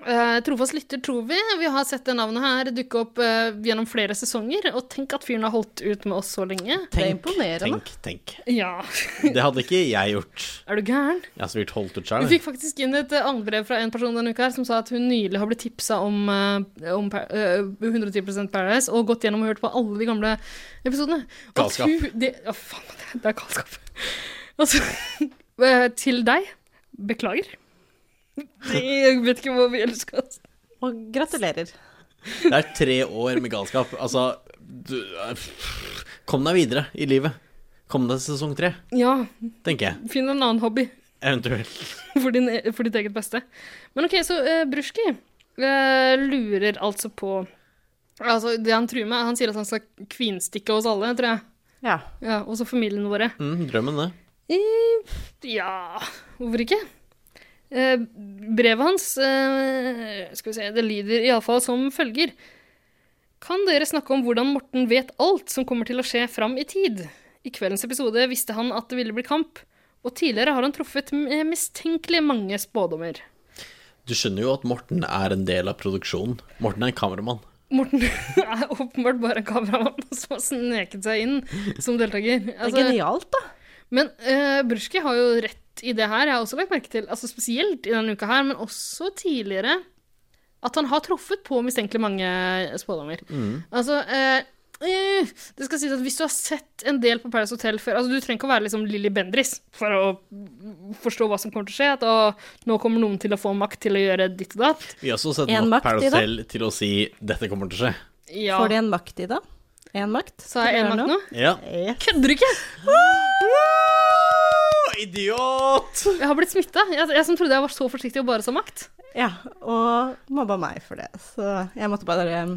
Eh, trofast lytter, tror vi. Vi har sett det navnet her dukke opp eh, gjennom flere sesonger. Og tenk at fyren har holdt ut med oss så lenge. Tenk, tenk, tenk. Ja. Det hadde ikke jeg gjort. Er du gæren? Jeg har så vidt holdt ut Vi sjøl. fikk faktisk inn et eh, annet brev fra en person denne uka her som sa at hun nylig har blitt tipsa om, eh, om Pa- eh, 110 Paradise og gått gjennom og hørt på alle de gamle episodene. Og at Galskap. hun- Det, ja, faen, det- det er galskap. Altså, eh, til deg beklager. Jeg vet ikke hva vi altså. ellers skal si. Og gratulerer. Det er tre år med galskap. Altså du, øh, Kom deg videre i livet. Kom deg til sesong tre, Ja, tenker jeg. finn en annen hobby. Eventuelt. for, din, e, for ditt eget beste. Men OK, så uh, Brusjki eh, lurer altså på Altså, det han truer med, han sier at han skal kvinstikke oss alle, tror jeg. Ja. ja også familiene våre. Mm, drømmen, det. I, ja Hvorfor ikke? Eh, brevet hans eh, skal vi se, det lyder iallfall som følger. Kan dere snakke om hvordan Morten vet alt som kommer til å skje fram i tid? I kveldens episode visste han at det ville bli kamp, og tidligere har han truffet med mistenkelig mange spådommer. Du skjønner jo at Morten er en del av produksjonen. Morten er en kameramann. Morten er åpenbart bare en kameramann som har sneket seg inn som deltaker. Altså- genialt, da. Men uh, Brusjki har jo rett i det her. Jeg har også lagt merke til, altså spesielt i denne uka her, men også tidligere, at han har truffet på mistenkelig mange eh, spådommer. Mm. Altså, eh, eh, det skal sies at hvis du har sett en del på Paradise Hotel før altså Du trenger ikke å være liksom Lilly Bendris for å forstå hva som kommer til å skje. At å, nå kommer noen til å få makt til å gjøre ditt og datt. Vi har også sett En nok makt i Paradise det. Hotel til å si 'dette kommer til å skje'. Ja. Får de en makt i det? Én makt? Skal Sa jeg en vi gjøre makt nå? Ja. Kødder du ikke? Idiot! Jeg har blitt smitta. Jeg, jeg som trodde jeg var så forsiktig og bare sa makt. Ja, og mobba meg for det. Så jeg måtte bare um,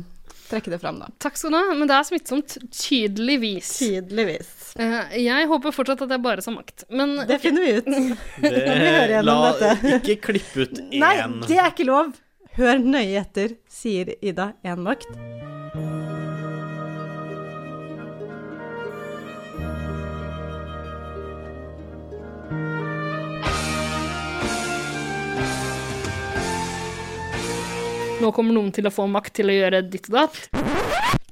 trekke det fram, da. Takk skal du ha, men det er smittsomt. Tydeligvis. Tydeligvis. Eh, jeg håper fortsatt at jeg bare sa makt, men Det finner vi ut. Vi hører gjennom la dette. ikke klippe ut én. Nei, det er ikke lov! Hør nøye etter, sier Ida én makt. Nå kommer noen til å få makt til å gjøre ditt og datt.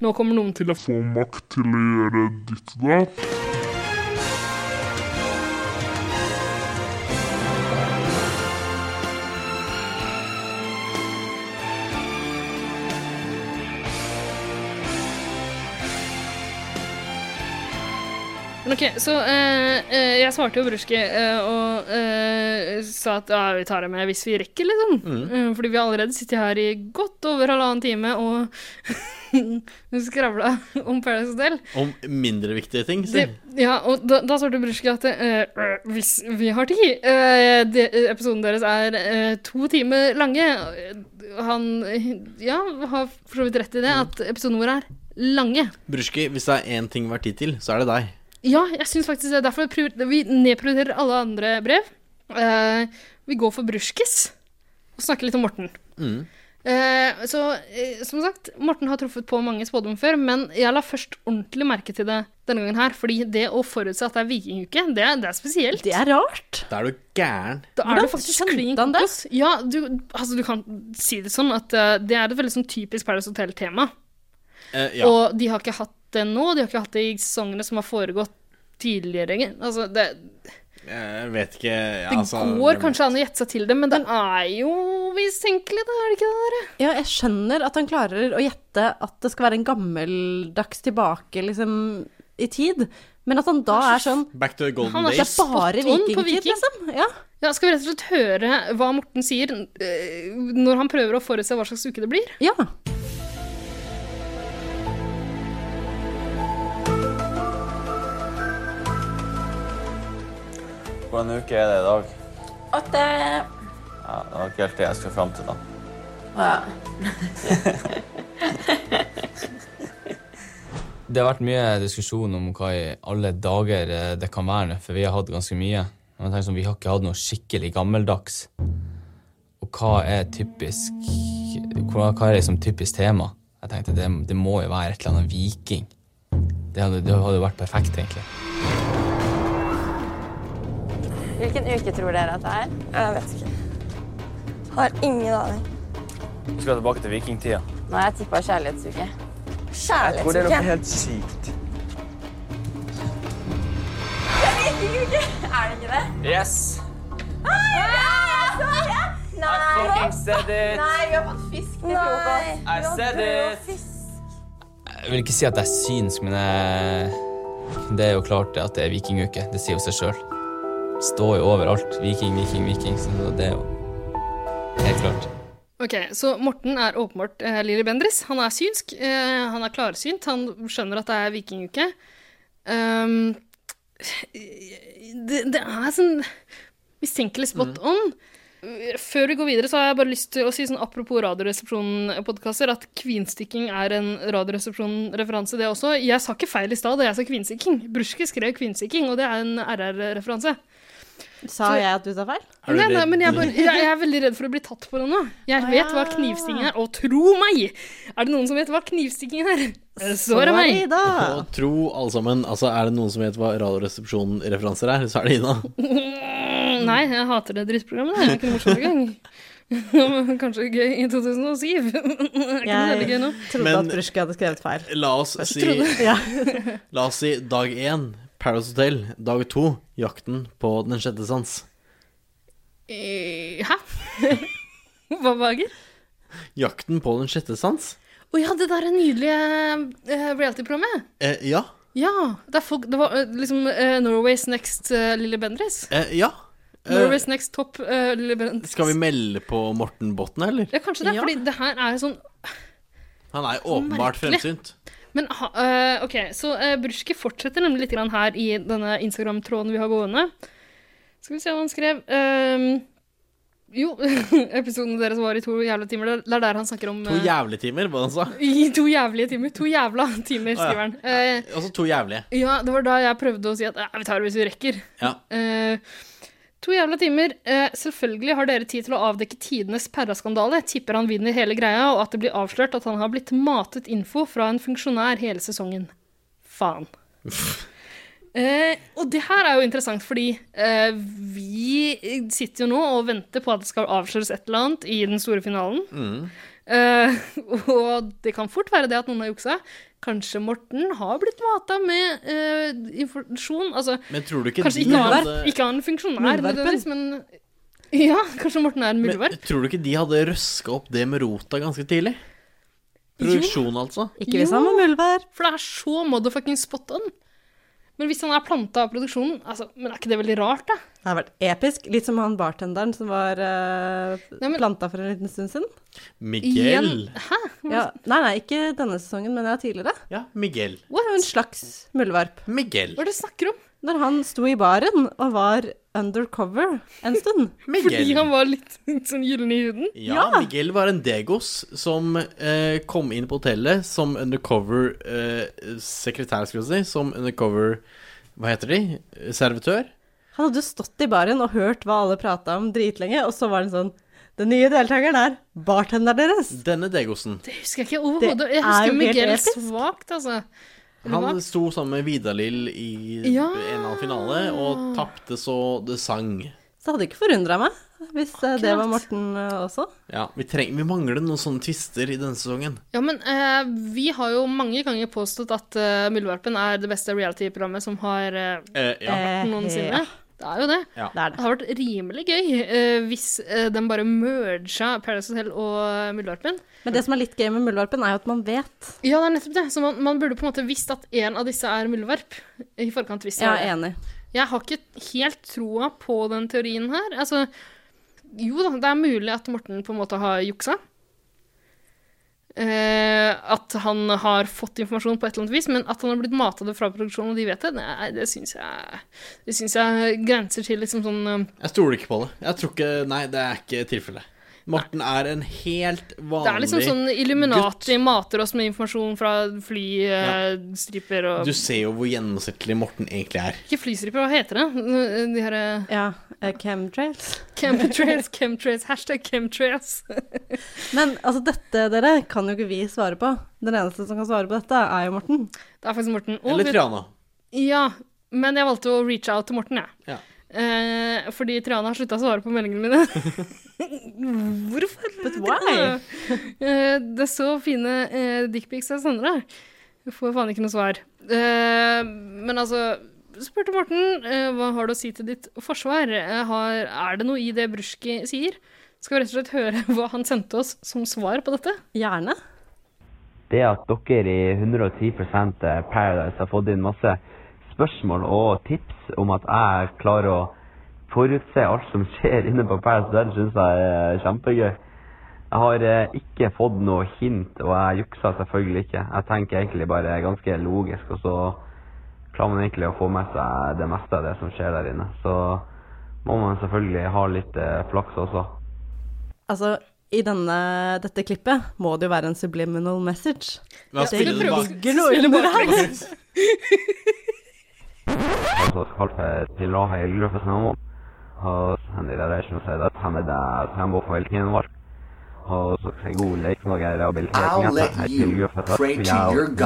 Nå kommer noen til å få makt til å gjøre ditt og datt. Men ok, så eh, eh, jeg svarte jo Brusjki eh, og eh, sa at ja, vi tar det med hvis vi rekker, liksom. Mm. Eh, fordi vi har allerede sittet her i godt over halvannen time og skravla om Paradise Hotel. Om mindre viktige ting, si. Det- Ja, og da, da svarte Brusjki at eh, øh, hvis vi har tid eh, det, Episoden deres er eh, to timer lange. Han eh, ja, har for så vidt rett i det, at episoden vår er lange. Brusjki, hvis det er én ting hver tid til, så er det deg. Ja, jeg syns faktisk det. er Derfor prior- vi nedprioriterer alle andre brev. Eh, vi går for Brusjkis og snakker litt om Morten. Eh, så eh, som sagt, Morten har truffet på mange spådommer før, men jeg la først ordentlig merke til det denne gangen her. Fordi det å forutse at det er vikinguke, det, er- det er spesielt. Det er rart. Da er du gæren. Da er det faktisk klin kokos. Ja, du, altså, du kan si det sånn at eh, det er et veldig sånn typisk Paradise Hotel-tema. Eh, ja. Og de har ikke hatt det nå, de har ikke hatt det i sesongene som har foregått tidligere. egentlig. Altså, det, Jeg vet ikke ja, det altså, går kanskje an å gjette seg til det, men den er jo mistenkelig, da, er det ikke det? Dere? Ja, jeg skjønner at han klarer å gjette at det skal være en gammeldags tilbake, liksom, i tid. Men at han da er sånn Back to the golden Han er days. så Bare spot on på vikingtid, viking. liksom. Ja. Skal vi rett og slett høre hva Morten sier eh, når han prøver å forutse hva slags uke det blir? Ja. Hvordan uke er det i dag? At det Ja, det var ikke helt det jeg skulle fram til, da. ja. Det har vært mye diskusjon om hva i alle dager eh, det kan være nå, for vi har hatt ganske mye. Men jeg tenker sånn, Vi har ikke hatt noe skikkelig gammeldags. Og hva er typisk Hva hva er liksom typisk tema? Jeg tenkte det, det må jo være et eller annet viking. Det hadde, det hadde jo vært perfekt, egentlig. Hvilken uke tror dere at det er? Jeg vet ikke. Har ingen aning. Vi skal tilbake til vikingtida. Nei, jeg tippa kjærlighetsuke. Jeg tror det er noe Kjærlighetsuke? helt sykt. Vikinguke! Er det ikke det? Yes! Nei, jeg så det! Nei! I fucking said it. Nei, vi har fått fisk til frokost. I said it. Jeg vil ikke si at jeg er synsk, men jeg, det er jo klart at det er vikinguke. Det sier jo seg sjøl. Står jo overalt. Viking, viking, viking. Så det er jo helt klart. Ok, Så Morten er åpenbart eh, Lilly Bendriss. Han er synsk. eh, han er klarsynt. Han skjønner at det er vikinguke. Ehm, det, det er sånn mistenkelig spot on. Før vi går videre, så har jeg bare lyst til å si sånn apropos Radioresepsjonen-podkaster, at kvinstikking er en Radioresepsjonen-referanse, det også. Jeg altså sa ikke feil i stad da jeg sa kvinstikking. Brusjki skrev kvinstikking, og det er en RR-referanse. Sa jeg at du sa feil? Er du Nei, nei, redd? men jeg, er bare, jeg, jeg er veldig redd for å bli tatt på det nå. Jeg vet hva knivstikking er, og tro meg! Er det noen som vet hva knivstikking er? Så er det meg. Og tro, alle sammen. Altså, er det noen som vet hva Radioresepsjon-referanser er, så er det Ina. Mm, Nei, jeg hater det drittprogrammet. Det er ikke noe morsomt engang. Kanskje gøy i 2007. Det er ikke noe veldig gøy nå. trodde Men- at Bruschke hadde skrevet feil. La oss si trodde- Ja. La oss si dag én, Paradise Hotel. Dag to, Jakten på den sjette sans. Eh, Hæ? Hva bager? Jakten på den sjette sans? Å ja, det der er nydelige eh, reality-programmet. Eh, ja. Ja. Det, er folk, det var eh, liksom eh, Norway's Next eh, Lille Bendriss. Eh, ja. Eh, Norway's Next Top eh, Lille Bendriss. skal vi melde på Morten Botten, eller? Ja, kanskje det. Fordi det her er jo sånn Han er jo åpenbart Merkelig. fremsynt. Men ha, eh, ok, så uh, Bruschke fortsetter nemlig litt grann her i denne Instagram-tråden vi har gående. Skal vi se hva han skrev. Ehm, jo, episoden deres var i to jævla timer. Det er- Det er der han snakker om To eh, jævlige timer, hva han sa. I to jævlige timer. To jævla timer, Å, ja. skriver han. Eh, Altså to jævlige. ja, det var da jeg prøvde å si at eh, vi tar det hvis vi rekker. Ja. Eh, to jævla timer. Eh, selvfølgelig har dere tid til å avdekke tidenes perraskandale. Tipper han vinner hele greia, og at det blir avslørt at han har blitt matet info fra en funksjonær hele sesongen. Faen. Eh, og det her er jo interessant, fordi eh, vi sitter jo nå og venter på at det skal avsløres et eller annet i den store finalen. Eh, og det kan fort være det at noen har juksa. Kanskje Morten har blitt mata med eh, informasjon. Altså, Men tror du ikke kanskje de ikke han, hadde- ikke han funksjonær Muldvarpen? nødvendigvis, men Ja, kanskje Morten er en muldvarp. Men tror du ikke de hadde røska opp det med rota ganske tidlig? Produksjon, altså. Jo, For det er så motherfucking spot on. Men hvis han er planta av produksjonen, altså, men er ikke det veldig rart, da? Det har vært episk. Litt som han bartenderen som var eh, planta for en liten stund siden. Miguel. Hæ? Ja, nei, nei, ikke denne sesongen, men jeg tidligere. Ja, Miguel. What? En slags muldvarp. Miguel. Hva er det du snakker om? Når han sto i baren og var undercover en stund. Miguel. Fordi han var litt sånn gyllen i huden? Ja, Miguel var en degos som eh, kom inn på hotellet som undercover eh, sekretær, skulle jeg si. Som undercover Hva heter de? Servitør? Han hadde jo stått i baren og hørt hva alle prata om dritlenge, og så var det sånn Den nye deltakeren er bartenderen deres. Denne degosen. Det husker jeg ikke Det overhodet. er Jeg jo husker helt Miguel episk. svakt, altså. Eller hva? Han sto sammen med Vidar-Lill i Ja. en eller annen finale og tapte så det sang. Så det hadde ikke forundra meg hvis eh, det var Morten eh, også. Ja, vi, treng, vi mangler noen sånne twister i denne sesongen. Ja, men eh, vi har jo mange ganger påstått at uh, Muldvarpen er det beste reality-programmet som har eh, Eh, ja. vært noensinne. Eh, ja. Det er jo det. Ja. Det er det. har vært rimelig gøy eh, hvis eh, den bare merga Paradise Hotel og eh, Muldvarpen. Men det som er litt gøy med muldvarpen, er jo at man vet. Ja, det er nettopp det. Så man, man burde på en måte visst at en av disse er muldvarp. I forkant visst. Jeg er enig. Jeg har ikke helt troa på den teorien her. Altså, jo da, det er mulig at Morten på en måte har juksa. Eh, at han har fått informasjon på et eller annet vis, men at han har blitt mata det fra produksjonen, og de vet det, nei, det syns jeg, det synes jeg grenser til liksom sånn eh, Jeg stoler ikke på det. Jeg tror ikke, Nei, det er ikke tilfellet. Morten er en helt vanlig Det er liksom sånn Illuminati mater oss med informasjon fra flystriper og Du ser jo hvor gjennomsnittlig Morten egentlig er. Ikke flystriper, hva heter det? De her eh, Ja, eh, chemtrails. Chemtrails, chemtrails, hashtag chemtrails. Men altså, dette, dere, kan jo ikke vi svare på. Den eneste som kan svare på dette, er jo Morten. Det er faktisk Morten. Og Eller vet- Triana. Ja, men jeg valgte å reach out til Morten, jeg. Ja. Eh, fordi Triana har slutta å svare på meldingene mine. Hvorfor? But why? Eh, det er så fine eh, dickpics jeg sender deg. Jeg får faen ikke noe svar. Eh, men altså Spurte Morten eh, hva har du å si til ditt forsvar. Eh, har, er det noe i det Bruschki sier? Skal vi rett og slett høre hva han sendte oss som svar på dette? Gjerne. det at dere i 110 Paradise har fått inn masse spørsmål og tips om at jeg klarer å forutse alt som skjer inne på Paradise Hotel, syns jeg er kjempegøy. Jeg har eh, ikke fått noe hint, og jeg juksa selvfølgelig ikke. Jeg tenker egentlig bare ganske logisk, og så klarer man egentlig å få med seg det meste av det som skjer der inne. Så må man selvfølgelig ha litt eh, flaks også. Altså, i denne, dette klippet må det jo være en subliminal message. Men han Det Altså, spiller det bak- ligger noe under her. altså kalt til Rahel Gløffesen om. har en del av reisene sagt at han er der han bor på hele tiden vår. Og så skal jeg godle ikke noe I'll rehabilitering. let you pray to your God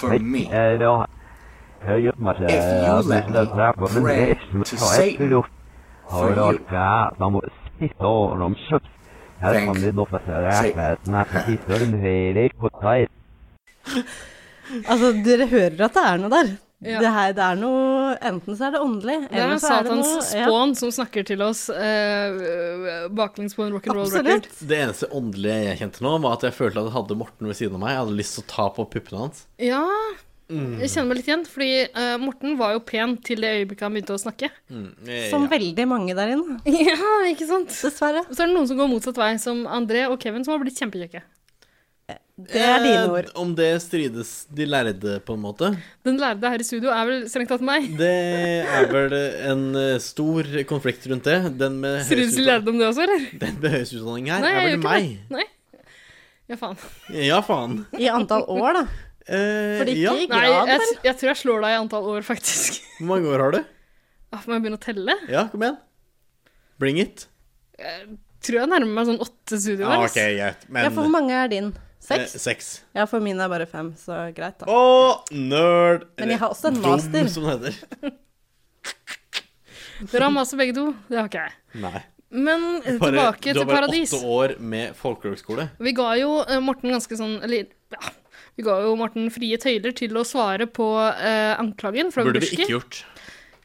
for me. If you let me pray to Satan for you. Thank Altså, dere hører at det er noe der. Ja. Det, her, det er noe Enten så er det åndelig, Det er eller så er det Satans noe ja. spån som snakker til oss eh, baklengs på en rock'n'roll record. Det eneste åndelige jeg kjente nå, var at jeg følte at jeg hadde Morten ved siden av meg. Jeg hadde lyst til å ta på puppene hans. Ja, Mm. jeg kjenner meg litt igjen, fordi eh, Morten var jo pen til det øyeblikket han begynte å snakke. Mm, eh, Som ja. veldig mange der inne. Ja, ikke sant? Dessverre. Så er det noen som går motsatt vei, som André og Kevin, som har blitt kjempekjekke. Det er dine ord. Eh, Om det strides de lærde, på en måte. Den lærde her i studio er vel strengt tatt meg. Det er vel en eh, stor konflikt rundt det. Den med Synes du høyest lærde om det også, eller? Den med høyest utdanning her Nei, er jeg vel gjør meg. ikke det. Nei. Ja, faen. Ja, faen. Eh, I antall år, da. Fordi ikke i Nei, grad, jeg, vel? jeg tror jeg slår deg i antall år, faktisk. Hvor mange år har du? Ah, må jeg begynne å telle? Ja, kom igjen. Bring it. Jeg tror jeg nærmer meg sånn åtte studioer. Ah, ass. ok, greit. Men ja, for hvor mange er din? Seks? Eh, seks. Ja, for min er bare fem, så greit, da. Å, nerd. Men jeg har også en Dum, master. som det heter. Dere har masse begge to. Det har ikke jeg. Nei. Men eh, Bare- tilbake du til har bare paradis. åtte år med folkehøgskole. Vi ga jo eh, Morten ganske sånn Eller ja, vi ga jo Morten frie tøyler til å svare på eh, anklagen fra Burde vi Guberski. ikke gjort.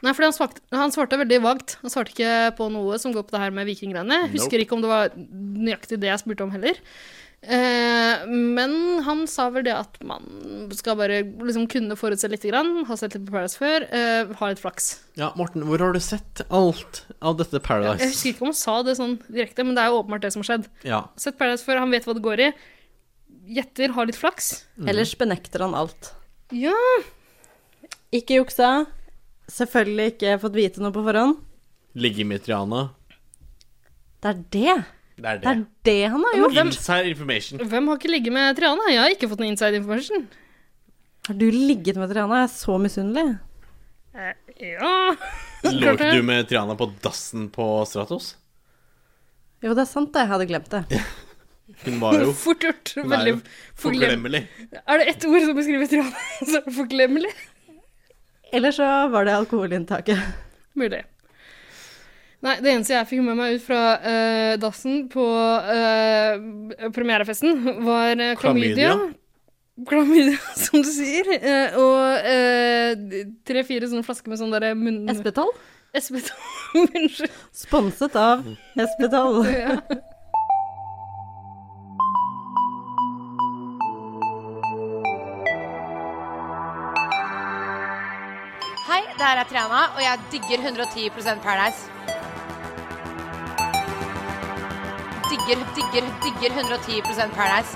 Nei, fordi han, svarte, han svarte veldig vagt. Han svarte ikke på noe som går på det her med vikinggreiene. Jeg Husker Nope. ikke om det var nøyaktig det jeg spurte om heller. Eh, men han sa vel det at man skal bare liksom kunne forutse lite grann, ha sett litt på Paradise før, eh, ha litt flaks. Ja, Morten, hvor har du sett alt av dette Jeg Paradise? husker ikke om han sa det sånn direkte, men det er jo åpenbart det som har skjedd. Ja. Sett Paradise før, han vet hva det går i. Gjetter, har litt flaks. Mm. Ellers benekter han alt. Ja. Ikke juksa. Selvfølgelig ikke fått vite noe på forhånd. Ligge med Triana. Det er det. Det er Det det. er det han har gjort. Inside information. Hvem har ikke ligget med Triana? Jeg har ikke fått noe inside information. Har du ligget med Triana? Jeg er så misunnelig. Eh, ja Lå ikke du med Triana på dassen på Stratos? Jo, det er sant, det. Jeg hadde glemt det. Hun var jo Fort gjort. Hun er jo Veldig forglemmelig. Er det ett ord som beskriver Triana, så er det forglemmelig. Eller så var det alkoholinntaket. Mulig. Nei, det eneste jeg fikk med meg ut fra eh, dassen på eh, premierefesten, var eh, klamydia. Klamydia. Klamydia, som du sier. eh, og eh, tre-fire sånne flasker med sånn derre munn... Espetall? Espetall, unnskyld. Sponset av Espedal. Ja. Hei, det her er Triana, og jeg digger 110 Paradise. Digger, digger, digger 110 Paradise.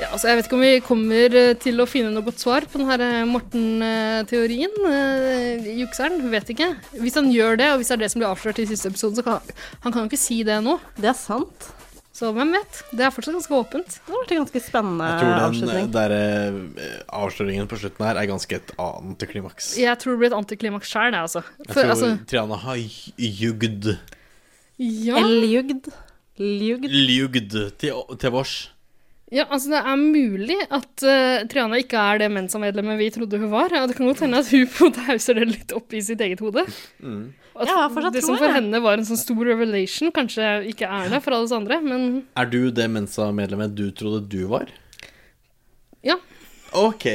Ja, altså, jeg vet ikke om vi kommer eh, til å finne noe godt svar på denne Morten-teorien. eh, Jukseren, vet ikke. Hvis han gjør det, og hvis det er det som blir avslørt i siste episode, så kan han kan jo ikke si det nå. Det er sant. Så hvem vet? Det er fortsatt ganske åpent. Det har vært en ganske spennende Ah, Jeg tror den eh, avslutning. der, eh, avsløringen på slutten her er ganske et antiklimaks. Jeg tror det blir et antiklimaks sjøl, jeg, altså. Jeg For, tror altså Triana har j- ljugd. eh, ja. Ljugd. Ljugd. Ljugd til, til vårs. ja, altså det er mulig at eh, Triana ikke er det Mensa-medlemmet vi trodde hun var. Ja, det kan godt hende at hun på en måte hauser det litt opp i sitt eget hode. Mm. At Ja, fortsatt det tror som for jeg. henne var en sånn stor revelation, kanskje ikke er det for alle oss andre, men Er du det Mensa-medlemmet du trodde du var? Ja. Ok.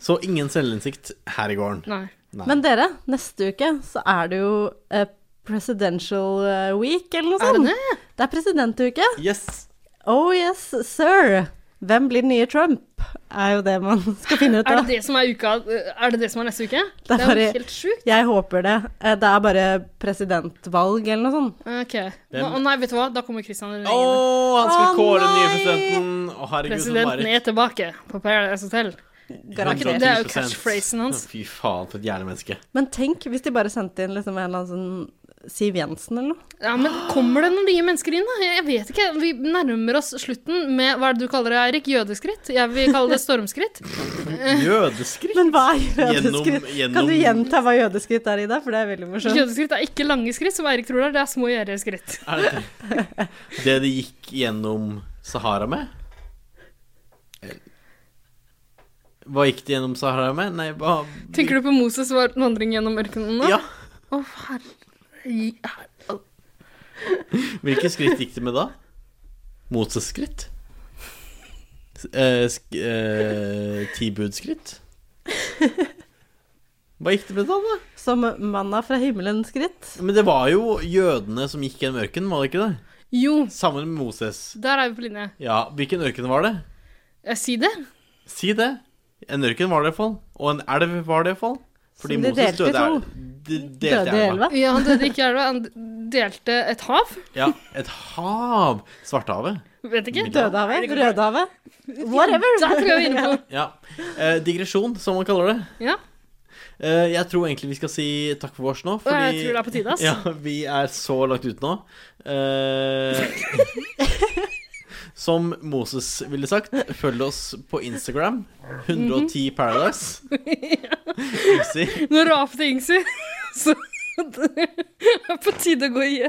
Så ingen selvinnsikt her i gården. Nei. Nei. Men dere, neste uke så er det jo eh, Presidential eh, Week, eller noe Er sånt. det det? er presidentuke. Yes. Oh yes, sir. Hvem blir den nye Trump? Er jo det man skal finne ut Er av. det det som er uka eh, Er det det som er neste uke? Det er jo bare- helt sjukt. Jeg håper det. Eh, Det er bare presidentvalg eller noe sånt. Ok. Hvem- Å, Nei, vet du hva? Da kommer Christian Å, han skal kåre den nye presidenten. Å, herregud, så Presidenten bare- er tilbake på Paradise Hotel. Garantert. Det er jo 110%. catchphrasen hans. Fy faen, for et gjernemenneske. Men tenk hvis de bare sendte inn liksom en eller annen sånn Siv Jensen eller noe. Ja, men kommer det noen nye mennesker inn, da? Jeg jeg vet ikke. Vi nærmer oss slutten med hva er det du kaller det, Eirik? Jødeskritt? Jeg vil kalle det stormskritt. Jødeskritt? Men hva er jødeskritt? Gjennom- gjennom- Kan du gjenta hva jødeskritt er, Ida? For det er veldig morsomt. Jødeskritt er ikke lange skritt, som Eirik tror det er. Det er små gjerdeskritt. Er det det de gikk gjennom Sahara med? Hva gikk de gjennom Sahara med? Nei, hva Tenker du på Moses' var- vandring gjennom ørkenen nå? Ja. Å, herre... Hvilke skritt gikk de med da? Moses-skritt? S- eh, sk eh, Tibud-skritt? Hva gikk det med da, da? Som manna fra himmelen skritt. Men det var jo jødene som gikk gjennom ørkenen, var det ikke det? Jo. Sammen med Moses. Der er vi på linje. Ja, hvilken ørken var det? Jeg si det. Si det. En ørken var det iallfall. Og en elv var det iallfall. Fordi Som de Moses delte i døde to. el- De delte i elva. Ja, han døde ikke i elva. Han delte et hav. Ja, et hav. Svartehavet. Vet ikke. Dødehavet? Rødehavet? Whatever. Der tror jeg vi er inne på. Ja. Eh, digresjon, som man kaller det. Ja. Eh, jeg tror egentlig vi skal si takk for oss nå. Og jeg tror det er på tide, ass. Ja, vi er så langt ute nå. Eh, som Moses ville sagt, følg oss på Instagram. 110 Paradise. Easy. Nå rapte Ingsi, så det er på tide å gå i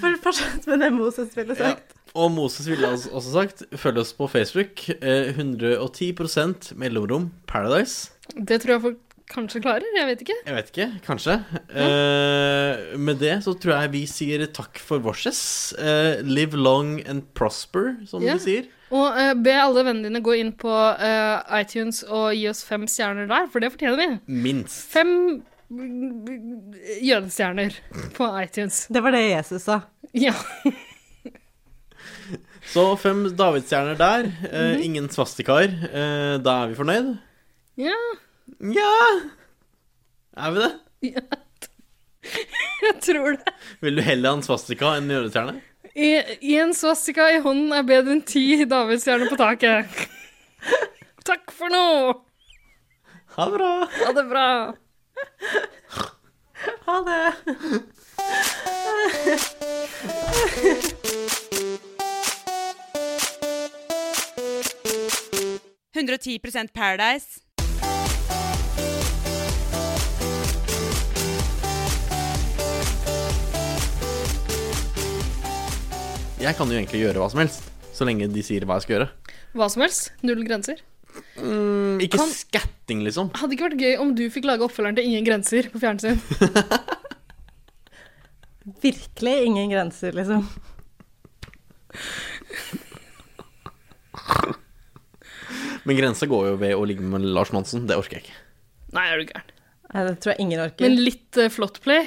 For fortsatt med det Moses ville Ja. sagt. Og Moses ville altså også sagt, følg oss på Facebook. Eh, 110 mellomrom Paradise. Det tror jeg folk kanskje klarer. Jeg vet ikke. Jeg vet ikke, kanskje. Eh, med det så tror jeg vi sier takk for vorses. Eh, live long and prosper, som Ja. de sier. Og eh, be alle vennene dine gå inn på eh, iTunes og gi oss fem stjerner der, for det fortjener vi. Minst. Fem eh, jødestjerner på iTunes. Det var det Jesus sa. Ja. Så fem davidsstjerner der. Eh, Ingen svastikaer. Eh, da er vi fornøyd. Ja. Ja. Er vi det? Jeg tror det. Vil du heller ha en svastika enn en jødestjerne? I- Én swastika i hånden er bedre enn ti davidsstjerner på taket. Takk for nå! Ha det bra. Ha det bra. Ha det. Paradise. 110 Paradise. Jeg kan jo egentlig gjøre hva som helst, så lenge de sier hva jeg skal gjøre. Hva som helst. Null grenser. Mm, ikke Kan- skatting, liksom. Hadde ikke vært gøy om du fikk lage oppfølgeren til Ingen grenser på fjernsyn. Virkelig ingen grenser, liksom. Men grensa går jo ved å ligge med Lars Monsen. Det orker jeg ikke. Nei, er du gæren. eh, Nei, det tror jeg ingen orker. Men litt uh, flott play.